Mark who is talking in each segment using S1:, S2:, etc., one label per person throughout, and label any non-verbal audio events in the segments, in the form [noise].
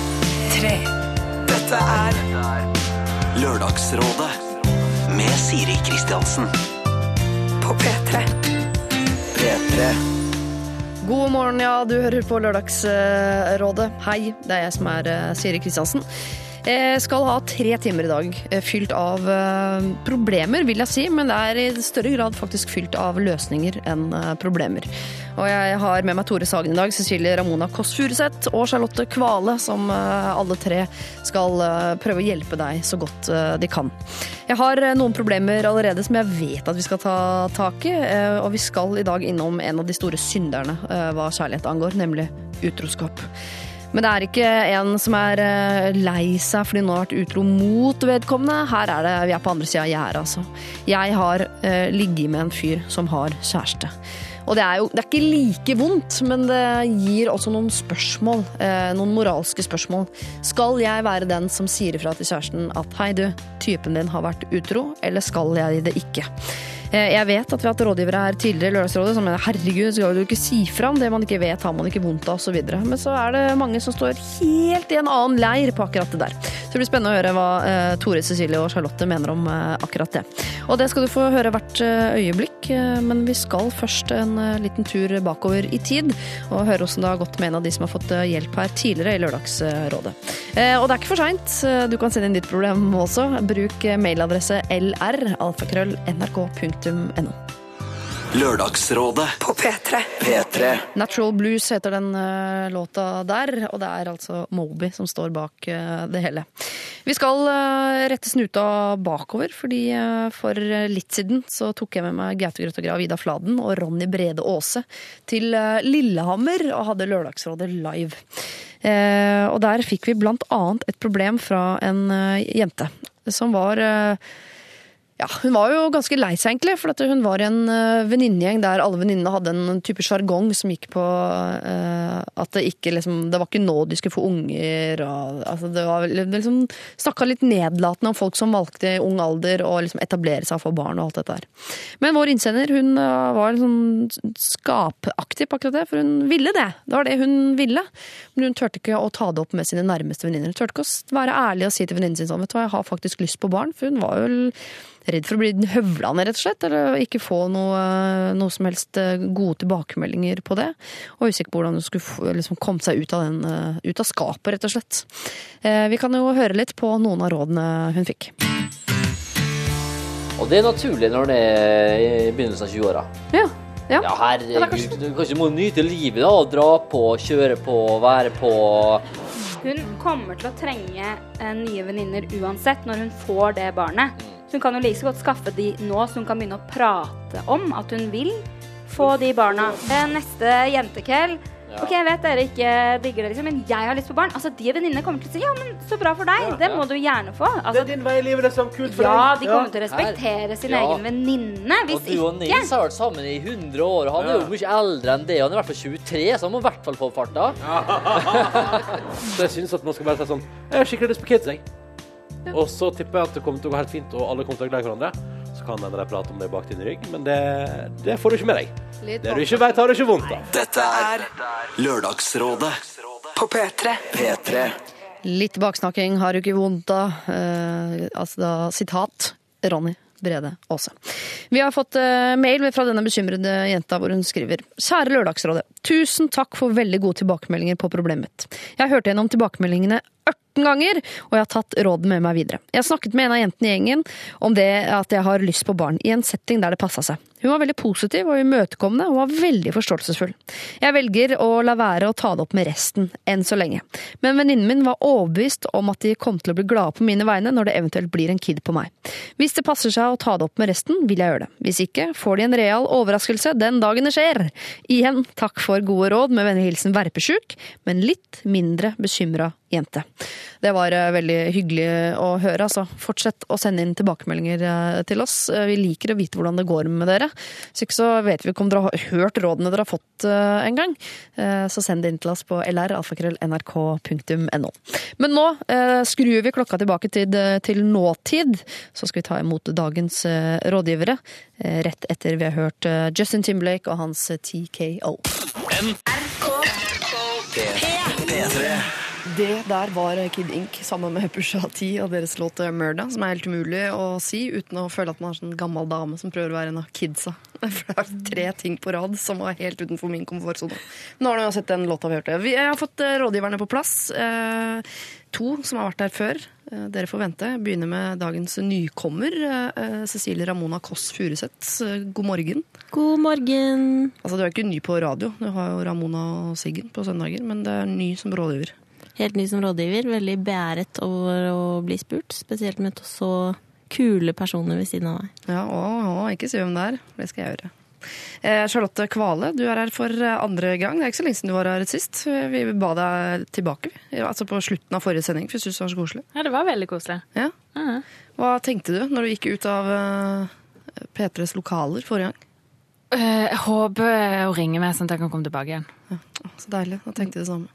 S1: P3.
S2: Dette er Lørdagsrådet med Siri Kristiansen.
S1: På P3.
S2: P3.
S3: God morgen, ja. Du hører på Lørdagsrådet. Hei, det er jeg som er eh, Siri Kristiansen. Jeg skal ha tre timer i dag eh, fylt av eh, problemer, vil jeg si, men det er i større grad faktisk fylt av løsninger enn eh, problemer. Og jeg har med meg Tore Sagen i dag, Cecilie Ramona Kåss Furuseth og Charlotte Kvale, som eh, alle tre skal eh, prøve å hjelpe deg så godt eh, de kan. Jeg har eh, noen problemer allerede som jeg vet at vi skal ta tak i, eh, og vi skal i dag innom en av de store synderne eh, hva kjærlighet angår, nemlig utroskap. Men det er ikke en som er eh, lei seg fordi hun har vært utro mot vedkommende. Her er det, vi er på andre sida av gjerdet, altså. Jeg har eh, ligget med en fyr som har kjæreste. Og det er jo det er ikke like vondt, men det gir også noen spørsmål. Eh, noen moralske spørsmål. Skal jeg være den som sier ifra til kjæresten at hei, du, typen din har vært utro, eller skal jeg det ikke? Eh, Jeg vet at vi har hatt rådgivere her tidligere i Lørdagsrådet som mener herregud, skal du ikke si fra om det man ikke vet, har man ikke vondt av, osv. Men så er det mange som står helt i en annen leir på akkurat det der. Så det blir spennende å høre hva eh, Tore, Cecilie og Charlotte mener om eh, akkurat det. Og det skal du få høre hvert eh, øyeblikk, eh, men vi skal først en eh, liten tur bakover i tid og høre hvordan det har gått med en av de som har fått eh, hjelp her tidligere i Lørdagsrådet. Eh, Og det er ikke for seint. Du kan sende inn ditt problem også. Bruk eh, mailadresse lr. alfakrøll nrk.no.
S2: Lørdagsrådet
S1: På P3.
S2: P3.
S3: Natural Blues heter den eh, låta der, og det er altså Moby som står bak eh, det hele. Vi skal eh, rette snuta bakover, fordi eh, for litt siden så tok jeg med meg Gaute Grøttegrav, Ida Fladen og Ronny Brede Aase til eh, Lillehammer og hadde Lørdagsrådet live. Eh, Og der fikk vi blant annet et problem fra en eh, jente som var eh, ja, Hun var jo ganske lei seg, egentlig. For at hun var i en eh, venninnegjeng der alle venninnene hadde en type sjargong som gikk på eh, at det ikke liksom Det var ikke nå de skulle få unger. Og, altså, det var vel- det liksom Snakka litt nedlatende om folk som valgte i ung alder å liksom etablere seg og få barn og alt dette her. Men vår innsender hun eh, var liksom skapaktiv på akkurat det, for hun ville det. Det var det hun ville. Men hun turte ikke å ta det opp med sine nærmeste venninner. Hun turte ikke å s- være ærlig og si til venninnen sin sånn, vet du hva, jeg har faktisk lyst på barn. For hun var jo redd for å bli høvla ned, rett og slett. Eller ikke få noe, noe som helst eh, gode tilbakemeldinger på det. Og usikker på hvordan hun skulle få- liksom, komme seg ut av, den, eh, ut av skapet, rett og slett. Eh, Vi kan jo høre litt på noen av rådene hun fikk.
S4: Og det er naturlig når det er i begynnelsen av 20-åra.
S3: Ja, ja.
S4: Ja,
S3: Ja, det er
S4: herregud.
S3: kanskje-
S4: Du kanskje må nyte livet, da. og Dra på, kjøre på, være på.
S5: Hun kommer til å trenge eh, nye venninner uansett når hun får det barnet. Så hun kan jo like så godt skaffe de nå, så hun kan begynne å prate om at hun vil få de barna. Eh, Neste jentekveld.
S4: Ja.
S5: OK, jeg vet dere ikke digger det, liksom, men jeg har lyst på barn. Altså, De venninnene kommer til å si ja, men så bra for deg. Det
S4: ja.
S5: må du gjerne få.
S6: Det
S5: Altså,
S6: er din vei i livet, det er så kult for
S5: ja,
S6: deg.
S5: de kommer til å respektere sin
S4: Ja.
S5: egen venninne.
S4: Og
S5: Hvis
S4: du og
S5: ikke
S4: Nils har vært sammen i 100 år, og han er jo
S6: Ja.
S4: mye eldre enn det. Han er i hvert fall 23, så han må i hvert fall få opp farta.
S6: Så jeg synes at man skal bare si sånn Jeg har skikkelig lyst på kids, jeg. Og så tipper jeg at det kommer til å gå helt fint, og alle kommer til å være glad i hverandre. Så kan hende de prater om det bak din rygg, men det, det får du ikke med deg. Det du ikke vet, har du ikke vondt av.
S2: Dette er Lørdagsrådet
S1: På P3.
S2: P3.
S3: Litt baksnakking har du ikke vondt av. Eh, altså da, sitat Ronny Brede Aase. Vi har fått eh, mail fra denne bekymrede jenta hvor hun skriver Kjære Lørdagsrådet. Tusen takk for veldig gode tilbakemeldinger på problemet mitt. Jeg hørte gjennom tilbakemeldingene 18 ganger, og jeg har tatt råden med meg videre. Jeg snakket med en av jentene i gjengen om det at jeg har lyst på barn, i en setting der det passa seg. Hun var veldig positiv og imøtekommende, og var veldig forståelsesfull. Jeg velger å la være å ta det opp med resten, enn så lenge. Men venninnen min var overbevist om at de kom til å bli glade på mine vegne når det eventuelt blir en kid på meg. Hvis det passer seg å ta det opp med resten, vil jeg gjøre det. Hvis ikke, får de en real overraskelse den dagen det skjer. Igjen, takk for gode råd med vennlig hilsen verpesjuk, men litt mindre bekymra jente. Det var eh, veldig hyggelig å høre, altså. Fortsett å sende inn tilbakemeldinger eh, til oss. Eh, Vi liker å vite hvordan det går med dere. Hvis ikke så vet vi ikke om dere har hørt rådene dere har fått eh, en gang. Eh, Så send det inn til oss på lralfakrøllnrk.no. Men nå eh, skrur vi klokka tilbake til, eh, til nåtid, så skal vi ta imot dagens eh, rådgivere. eh, Rett etter vi har hørt eh, Justin Timberlake og hans eh, TKO.
S2: P3.
S3: Det der var Kid Ink sammen med Pusha T og deres låt eh, 'Murda', som er helt umulig å si uten å føle at man er en sånn gammel dame som prøver å være en av kidsa. [laughs] For det er tre ting på rad som var helt utenfor min komfortsone. Nå har du uansett den låta vi hørte. Vi jeg har fått eh, rådgiverne på plass. Eh, To som har vært der før. Eh, Dere får vente. Jeg Begynner med dagens nykommer, eh, eh, Cecilie Ramona Kåss Furuseth. Eh, God morgen.
S7: God morgen.
S3: Altså, du er ikke ny på radio. Du har jo Ramona og Siggen på søndager, men det er ny som rådgiver.
S7: Helt ny som rådgiver. Veldig beæret over å bli spurt. Spesielt med så kule personer ved siden av meg.
S3: Ja, å, å, ikke si hvem det er. Det skal jeg gjøre. Eh, Charlotte Kvale, du er her for eh, andre gang. Det er ikke så lenge siden du var her sist. Eh, Vi ba deg tilbake vi. Ja, altså på slutten av forrige sending, for jeg synes det var så koselig.
S8: Ja, det var veldig koselig.
S3: Ja.
S8: Ja.
S3: Hva tenkte du når du gikk ut av eh, P3s lokaler forrige gang?
S8: Eh, Jeg håper hun ringer meg sånn at jeg kan komme tilbake igjen.
S3: Å, Så deilig. Da tenkte jeg det samme.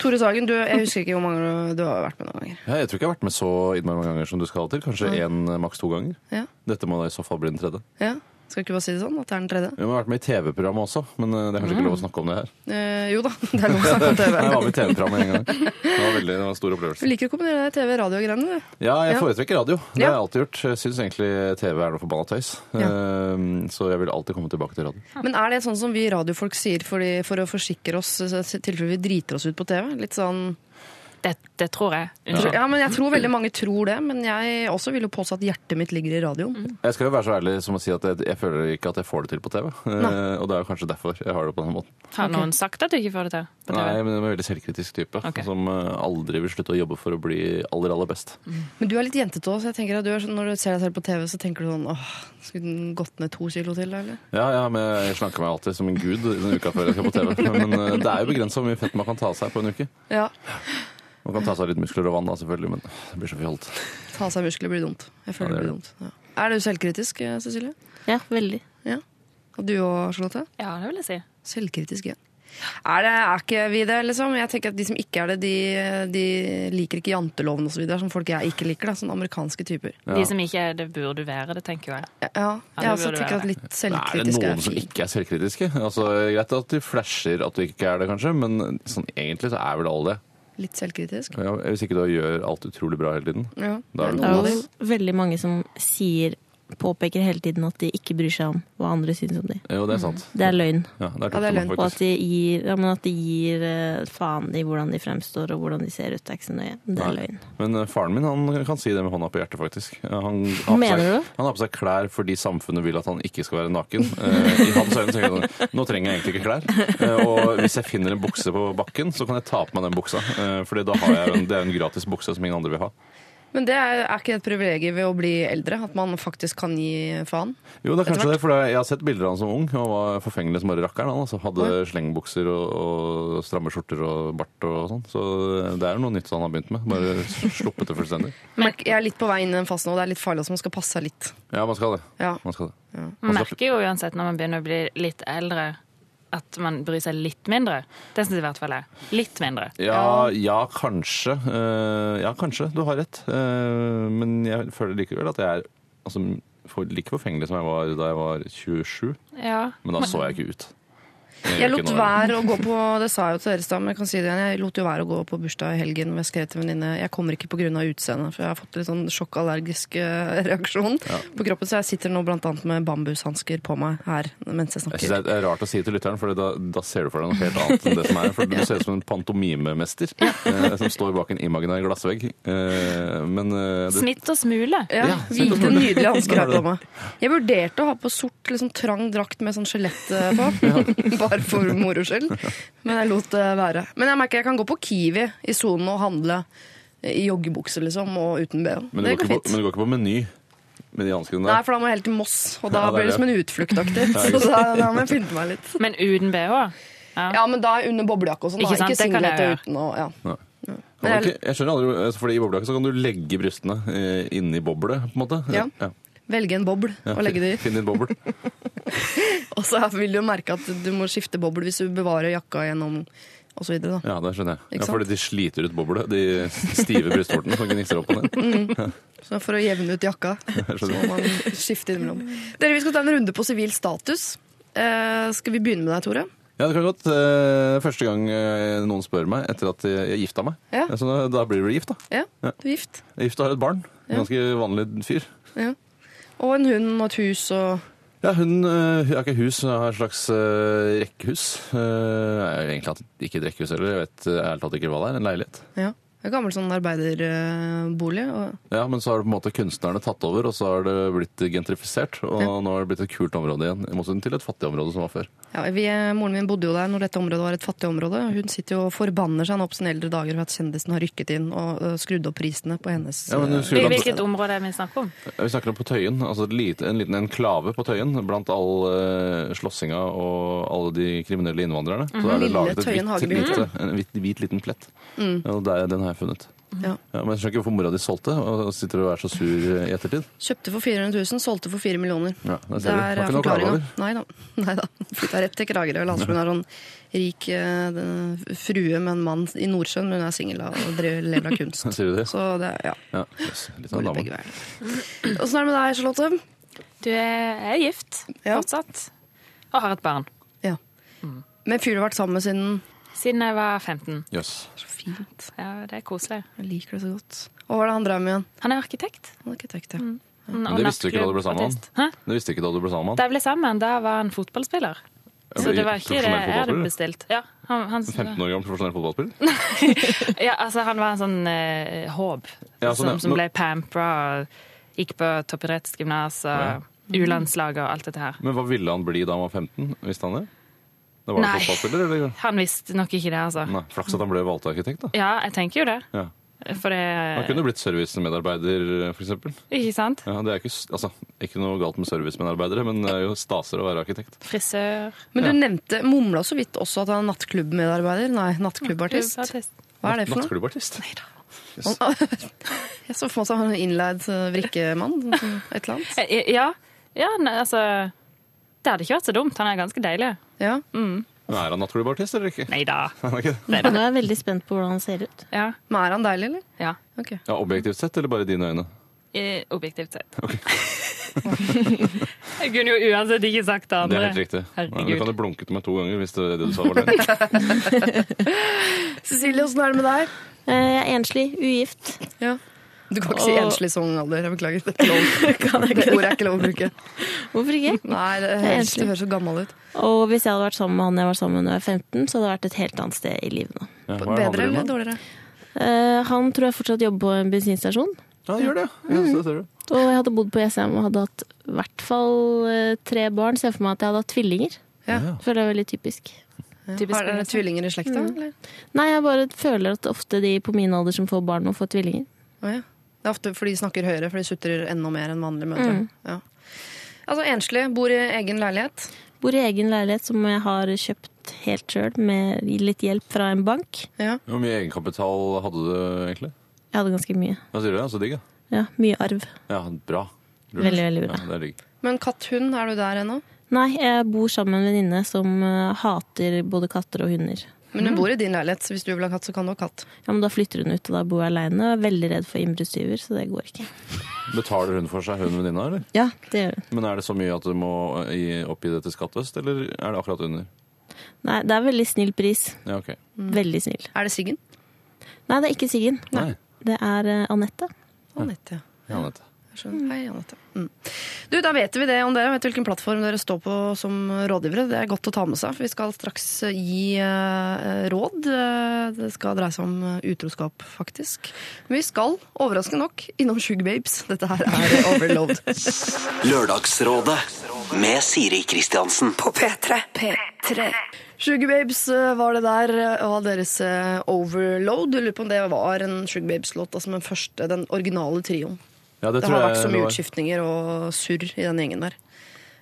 S3: Tore Sagen, du, jeg husker ikke hvor mange du- du har vært med noen ganger.
S9: Ja, jeg tror ikke jeg har vært med så innmari mange ganger som du skal til. Kanskje én, maks to ganger.
S3: Ja.
S9: Dette må da i så fall bli den tredje.
S3: Ja. Skal ikke bare si det sånn, at det er den tredje?
S9: Jeg har vært med i TV-programmet også, men eh, det er kanskje ikke lov å snakke om det her.
S3: Eh, jo da, [laughs] det er lov å snakke Mm. om
S9: [laughs]
S3: TV.
S9: Nei, Jeg var med i TV-programmet en gang. Det var, veldig, det var en stor
S3: Du
S9: opplevelse.
S3: liker å kombinere det TV-radio-greiene, du.
S9: Ja, jeg
S3: Ja.
S9: foretrekker radio. Det har
S3: Ja.
S9: jeg alltid gjort. Jeg syns egentlig TV er noe forbanna tøys. Eh, Så jeg vil alltid komme tilbake til radio.
S3: Men er det sånn som vi radiofolk sier fordi, for å forsikre oss så- så- i tilfelle vi driter oss ut på TV? Litt sånn
S8: Det, det tror jeg.
S3: ja.
S8: Unnskyld.
S3: men Jeg tror veldig mange tror det, men jeg også vil jo påstå at hjertet mitt ligger i radioen.
S9: Jeg skal jo være så ærlig som å si at jeg, jeg føler ikke at jeg får det til på TV. Eh,
S3: Nei.
S9: Og det er jo kanskje derfor jeg har det på den måten.
S8: Har noen sagt at du ikke får det til? På TV?
S9: Nei, men jeg er en veldig selvkritisk type
S8: Ok.
S9: som eh, aldri vil slutte å jobbe for å bli aller, aller best.
S3: Men du er litt jentete òg, så jeg tenker at du er sånn, når du ser deg selv på TV, så tenker du sånn åh, skulle den gått ned to kilo til, eller?
S9: Ja, ja, men jeg slanker meg alltid som en gud den uka før jeg skal på TV. Men eh, det er jo begrensa hvor mye fett man kan ta av seg på en uke.
S3: Ja.
S9: Man kan ta seg litt muskler og vann da, selvfølgelig, men det blir så fjolt.
S3: Ta av seg muskler blir dumt. Jeg føler
S9: Ja,
S3: det blir
S9: det er
S3: dumt. Ja. Er du selvkritisk, eh, Cecilie?
S7: Ja, veldig.
S3: Og du òg, Charlotte?
S8: Ja, det vil jeg si.
S3: Selvkritisk igjen. Er, det, er ikke vi det, liksom? Jeg tenker at De som ikke er det, de, de liker ikke janteloven osv. Som folk jeg ikke liker. da, Sånne amerikanske typer.
S8: De som ikke er det, burde være det, tenker jeg.
S3: Ja,
S8: Ja,
S3: jeg
S8: det
S3: også
S8: burde
S3: tenker
S8: være
S3: at litt
S9: Er det
S3: selvkritisk
S9: noen
S3: er
S9: som
S3: fint.
S9: ikke er selvkritiske? Altså, Greit at de flasher at du ikke er det, kanskje, men sånn, egentlig så er vel alle det.
S3: Litt selvkritisk.
S9: Ja, hvis ikke du gjør alt utrolig bra hele tiden.
S3: Ja.
S9: Da er det
S7: Det
S9: noen
S7: er
S9: av
S7: jo veldig mange som sier, påpeker hele tiden at de ikke bryr seg om hva andre syns om dem.
S9: Jo, det er sant.
S7: Mm. Det er løgn.
S9: Ja, det er,
S3: Ja, det er
S9: tøft for meg,
S3: løgn
S7: Og at
S9: faktisk.
S7: de gir, ja, men at de gir eh, faen i hvordan de fremstår og hvordan de ser ut. Det er ikke så nøye. Det er
S9: Nei.
S7: løgn.
S9: Men eh, faren min han kan si det med hånda på hjertet, faktisk. Ja, Han har, på
S7: Mener
S9: seg,
S7: du det?
S9: han har på seg klær fordi samfunnet vil at han ikke skal være naken. Eh, I hans øyne tenker jeg sånn, nå trenger jeg egentlig ikke klær. Eh, og hvis jeg finner en bukse på bakken, så kan jeg ta på meg den buksa. Uh, fordi da har jeg jo en, det er jo en gratis bukse som ingen andre vil ha.
S3: Men det er, er ikke et privilegium ved å bli eldre, at man faktisk kan gi faen.
S9: Jo, det er kanskje det, for jeg har sett bilder av han som ung. Han var forfengelig som bare rakkeren. Han altså, hadde slengbukser og, og stramme skjorter og bart og sånn. Så det er jo noe nytt han har begynt med. Bare sluppet det fullstendig.
S3: Men jeg er litt på vei inn i en fast nå, det er litt farlig også, man skal passe seg litt.
S9: Ja, man skal det.
S3: Ja.
S9: Man skal det.
S8: Man merker jo uansett når man begynner å bli litt eldre, at man bryr seg litt mindre. Det syns i hvert fall jeg. Litt mindre.
S9: Ja, ja, kanskje. Eh, ja, kanskje. Du har rett. Eh, men jeg føler likevel at jeg er altså, for, like forfengelig som jeg var da jeg var 27.
S8: Ja.
S9: Men da så jeg ikke ut.
S3: Jeg
S9: gjør
S3: lot
S9: ikke noe.
S3: være å gå på det sa jeg jo til dere i stad, men jeg kan si det igjen. Jeg lot jo være å gå på bursdag i helgen, og jeg skrev til en venninne jeg kommer ikke pga. utseendet, for jeg har fått litt sånn sjokkallergisk eh, reaksjon på kroppen. Så jeg sitter nå blant annet med bambushansker på meg her mens jeg
S9: Jeg
S3: snakker.
S9: synes det er rart å si til lytteren, for da, da ser du for deg noe helt annet enn det som er.
S3: [laughs]
S9: For du ser ut som en pantomimemester eh, som står bak en imaginær glassvegg. Eh, men eh, det,
S8: Smitt og smule.
S3: Ja,
S9: smitt og
S3: Hvite,
S9: smule. [laughs]
S3: nydelige hansker
S9: Da
S3: har
S9: har
S3: jeg
S9: du
S3: på meg. Jeg vurderte å ha på sort, liksom trang drakt med sånn skjelett eh,
S9: [laughs]
S3: på. [laughs] Bare for moro skyld. Men jeg lot det være. Men jeg merker jeg kan gå på Kiwi i sonen og handle i joggebukse, liksom, og uten BH.
S9: men, du
S3: Det går
S9: går ikke på,
S3: fint.
S9: men du går ikke på Meny med de hanskene
S3: Nei,
S9: der?
S3: for da må jeg helt til Moss, og da
S9: Ja, det er
S3: blir det
S9: det.
S3: som en utfluktaktig. [laughs] Så
S9: ikke
S3: da, da må jeg pynte meg litt.
S8: Men uten bh.
S3: Ja, men da er jeg under boblejakke og sånn.
S8: Ikke
S3: Ikke,
S8: sant,
S3: ikke
S8: det kan jeg
S3: singlet og uten og ja.
S9: Nei.
S3: Men
S9: Kan du
S3: jeg
S9: ikke, jeg skjønner aldri, altså, fordi I boblejakke så kan du legge brystene eh, inni boblet, på en måte.
S3: Ja. velger en boble og legger det i.
S9: Finn din boble.
S3: Og så vil du jo merke at du må skifte boble hvis du bevarer jakka gjennom og så videre, da.
S9: Ja, det skjønner jeg.
S3: Ikke
S9: Ja, fordi de sliter ut boblet, de stive brystvortene som gnisser opp og ned.
S3: Så for å jevne ut
S9: [laughs]
S3: jakka, så må man skifte innimellom. Dere, vi skal ta en runde på sivil status. Eh, skal vi begynne med deg, Tore?
S9: Ja, det kan godt. Eh, Første gang eh, noen spør meg etter at jeg jeg gifta meg.
S3: Ja.
S9: Så da, da blir du gift, da.
S3: Ja,
S9: Ja.
S3: du er gift.
S9: Gift og har et barn. En Ganske vanlig fyr.
S3: Ja. Og en hund og et hus og
S9: Ja, hun eh, hun har ikke hus, hun har et slags eh, rekkehus. Eh, er jo egentlig hatt- ikke et rekkehus heller, jeg vet eh, ærlig talt ikke hva det er. En leilighet.
S3: ja. En gammel sånn arbeiderbolig. Og...
S9: Ja, Men så har det på en måte kunstnerne tatt over, og så har det blitt gentrifisert. Og
S3: Ja.
S9: nå har det blitt et kult område igjen, i motsetning til et fattig område som var før.
S3: Ja, vi, eh, moren min bodde jo der når dette området var et fattig område. Hun sitter jo og forbanner seg nå på sine eldre dager for at kjendisen har rykket inn og øh, skrudd opp prisene på hennes
S9: Ja, men hun
S3: øh,
S9: skulle da-
S8: Hvilket område er det vi snakker om?
S9: Ja, Vi snakker om på Tøyen, altså et lite, en liten enklave på Tøyen blant all eh, slåssinga og alle de kriminelle innvandrerne. Så er
S3: Mhm.
S9: det
S3: Lille
S9: laget et
S3: Tøyen Mm. Hageby.
S9: hvitt, lite, en hvit, hvit liten plett. Ja, og der, den har jeg funnet.
S3: Ja.
S9: Ja, men jeg skjønner ikke hvorfor mora di solgte, og sitter og er så sur i ettertid.
S3: Kjøpte for 400 000, solgte for 4 millioner.
S9: Ja, det
S3: Det
S9: ser
S3: er
S9: du. Har ikke noe å klage
S3: forklaringa.
S9: over. [laughs]
S3: Nei da. [laughs] Nei da. Flytta rett til Kragerø. Landsbyen har en rik eh, det- frue med en mann i Nordsjøen, men hun er singel og driver- lever av kunst.
S9: [laughs] Sier du det?
S3: Så det er ja.
S9: Ja, yes, litt av en
S3: Går litt
S9: Sånn dame.
S3: begge veier. Åssen er det med deg, Charlotte?
S8: Du er, er gift
S3: Ja.
S8: fortsatt og har et barn.
S3: Ja. Med en fyr du har vært sammen med siden
S8: Siden jeg var 15.
S9: Yes.
S3: Så fint.
S8: Ja, det er koselig.
S3: Jeg liker det så godt. Mm. Og hva er det han drev med igjen?
S8: Han er arkitekt.
S3: Han er arkitekt, ja.
S9: Men det visste du ikke da du ble sammen med han.
S8: Hæ?
S9: Det visste ikke da du ble sammen med
S8: Da jeg ble sammen, da var han fotballspiller. Så det var ikke det
S9: Profesjonell
S8: jeg hadde
S9: fotballspiller?
S8: bestilt. Ja, han, han,
S9: 15 år gammel profesjonell
S3: [laughs]
S9: fotballspiller?
S8: ja, altså, han var en sånn eh, håp
S9: Ja, sånn, ja.
S8: som, som
S9: Nå-
S8: ble pampra og gikk på toppidrettsgymnas og U-landslaget og alt dette her.
S9: Men hva ville han bli da han var 15? Visste han det? Da var han
S8: Nei.
S9: fotballspiller,
S3: [laughs]
S9: eller?
S8: Han visste nok ikke det, altså.
S9: Nei, Flaks at han ble valgt arkitekt, da.
S8: Ja, jeg tenker jo det.
S9: Ja.
S8: For
S9: Han
S8: det
S9: kunne blitt servicemedarbeider, f.eks.
S8: Ikke sant?
S9: Ja, det er ikke, s- altså, ikke noe galt med servicemedarbeidere, men det er jo staser å være arkitekt.
S8: Frisør.
S3: Men du nevnte, mumla så vidt også at han er nattklubmmedarbeider. Nei, nattklubbartist.
S8: Artist.
S3: Hva er det for noe?
S9: Nattklubbartist.
S3: [laughs] Jeg så for meg at han var en innleid eh, vrikkemann. Et eller annet.
S8: Eh, Ja, ja nei, altså Det hadde ikke vært så dumt. Han er ganske deilig.
S3: Ja.
S9: Men er han nattklubbartist eller ikke?
S8: Nei da.
S9: Han [laughs] er ikke det.
S7: Nå er jeg veldig spent på hvordan han ser ut.
S8: Ja,
S3: Men er han deilig, eller?
S8: ja.
S3: Ok.
S9: Ja, objektivt sett, eller bare i dine øyne?
S8: Eh, Objektivt sett. jeg kunne jo uansett ikke sagt det
S9: Det er
S8: andre.
S9: helt riktig. Nei, men du
S8: Herregud.
S9: kan jo blunke til meg to ganger hvis det er det du sa var det.
S3: Cecilie, åssen er det med deg?
S7: Eh, Jeg er enslig, ugift.
S3: Ja. Du kan ikke si
S7: Og-
S3: enslig sånn alder. Jeg beklager. Det, er [laughs] ikke lov. det ordet er ikke lov å bruke.
S7: Hvorfor
S3: [laughs]
S7: ikke?
S3: Nei, det
S7: er
S3: høres,
S7: enslig.
S3: det høres så gammel ut.
S7: Og hvis jeg hadde vært sammen med han jeg var sammen med da jeg var 15, så hadde jeg vært et helt annet sted i livet nå.
S9: Ja, hva er det han
S3: Bedre
S9: driver
S3: eller
S9: med?
S3: dårligere?
S7: Eh, Han tror jeg fortsatt jobber på en bensinstasjon.
S9: Ja, han gjør det. Ja, så det ser du.
S7: Og jeg hadde bodd på Jessheim og hadde hatt i hvert fall eh, tre barn. Ser for meg at jeg hadde hatt tvillinger.
S3: Ja.
S7: Føler jeg er veldig typisk.
S8: Typisk
S3: Har dere
S8: Vanessa.
S3: tvillinger i slekta? eller?
S7: Nei, jeg bare føler at ofte de på min alder som får barn, må få tvillinger.
S3: Å, ja. Det er ofte fordi de snakker høyere, for de sutrer enda mer enn vanlige mødre. Ja. Altså enslig, bor i egen leilighet.
S7: Bor i egen leilighet som jeg har kjøpt helt sjøl, med litt hjelp fra en bank.
S3: Ja.
S9: Hvor mye egenkapital hadde du egentlig?
S7: Jeg hadde ganske mye.
S9: Hva sier du? Ja, så digg, ja.
S7: Ja, mye arv.
S9: Ja, bra. Lurt.
S7: Veldig, veldig bra.
S9: Ja, det er digg.
S3: Men katt, hund, er du der ennå?
S7: Nei, jeg bor sammen med en venninne som eh, hater både katter og hunder.
S3: Men hun bor i din leilighet, så hvis du vil ha katt, så kan du ha katt.
S7: Ja, men Da flytter hun ut, og da bor jeg aleine og er veldig redd for innbruddstyver, så det går ikke.
S9: Betaler hun for seg, hun venninna, eller?
S7: Ja, det gjør hun.
S9: Men er det så mye at du må eh, gi- oppgi det til Skatt Vest, eller er det akkurat under?
S7: Nei, det er veldig snill pris.
S9: Ja, ok.
S7: Veldig snill.
S3: Er det Siggen?
S7: Nei, det er ikke Siggen.
S9: Nei.
S7: Det er eh, Anette.
S3: Anette, ja.
S9: Ja, Anette.
S3: Jeg skjønner. Hei, Anette. Mm. Du, da vet vi det om dere. Vet hvilken plattform dere står på som rådgivere. Det er godt å ta med seg, for vi skal straks gi eh, råd. Eh, Det skal dreie seg om eh, utroskap, faktisk. Men vi skal, overraskende nok, innom Sugar Babes. Dette her er overload.
S2: Lørdagsrådet med Siri Kristiansen.
S1: På P3. P3.
S3: Sugar Babes eh, var det der, eh, og deres eh, Overload. Jeg lurer på om det var en Sugar Babes-låt, altså den første, den originale trioen.
S9: Ja,
S3: Det,
S9: tror
S3: har
S9: jeg
S3: vært så
S9: det
S3: mye
S9: var.
S3: utskiftninger og surr i den gjengen der.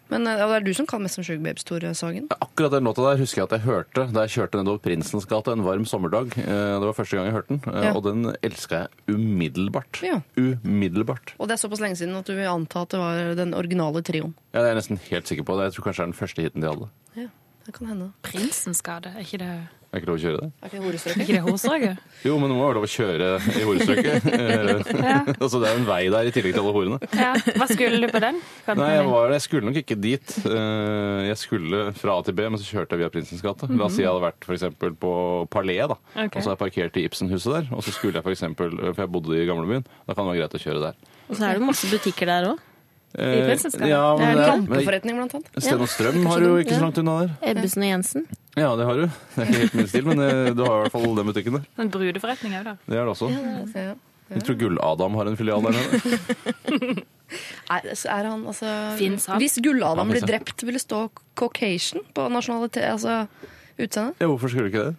S3: Men eh, ja, det er du som kan mest om Sugar Babes, Tore Sagen.
S9: Akkurat den låta der husker jeg at jeg hørte da jeg kjørte nedover Prinsens gate en varm sommerdag. Eh, Det var første gang jeg hørte den, eh,
S3: Ja.
S9: og den elska jeg umiddelbart.
S3: Ja.
S9: Umiddelbart.
S3: Og det er såpass lenge siden at du vil anta at det var den originale trioen.
S9: Ja, det er jeg nesten helt sikker på. Jeg tror kanskje det er den første hiten de hadde.
S3: Ja, det kan hende.
S8: Prinsens gate, er ikke det
S9: Er ikke lov å kjøre det?
S3: Er ikke [laughs] det horestrøket?
S8: Ikke det hos òg?
S9: Jo, men det må være lov å kjøre i
S3: [laughs]
S9: horestrøket. Eh, [laughs] altså, det er en vei der i tillegg til alle horene.
S8: Ja. Hva skulle du på den? Kan
S9: Nei, jeg, var, jeg skulle nok ikke dit. Eh, Jeg skulle fra A til B, men så kjørte jeg via Prinsens gate. La oss si jeg hadde vært for eksempel på Palais, da.
S8: Ok.
S9: Og så har jeg parkert i Ibsenhuset der. Og så skulle jeg for eksempel, eh, for jeg bodde i gamlebyen, da kan det være greit å kjøre der.
S7: Og så er det masse butikker der òg.
S9: Eh,
S8: Prinsens gate?
S9: Ja,
S7: Det er
S9: men
S7: en
S9: det er, men,
S3: Lampeforretning, blant annet.
S9: Sten og Strøm har jo ikke så langt unna der.
S7: Ebbesen og Jensen.
S9: Ja, det har du. Det er ikke helt min stil, men eh, du har i hvert fall den butikken der.
S8: Den brudeforretning òg, da.
S9: Det er det også.
S3: Ja.
S9: Jeg tror Gull-Adam har en filial der nede.
S3: Er, er han, altså,
S8: Fins han?
S3: Hvis Gull-Adam
S9: Han
S3: ble
S9: finnes, ja.
S3: drept, ville det stå Caucasian på nasjonalitet, altså utseendet?
S9: Ja, hvorfor skulle du ikke det?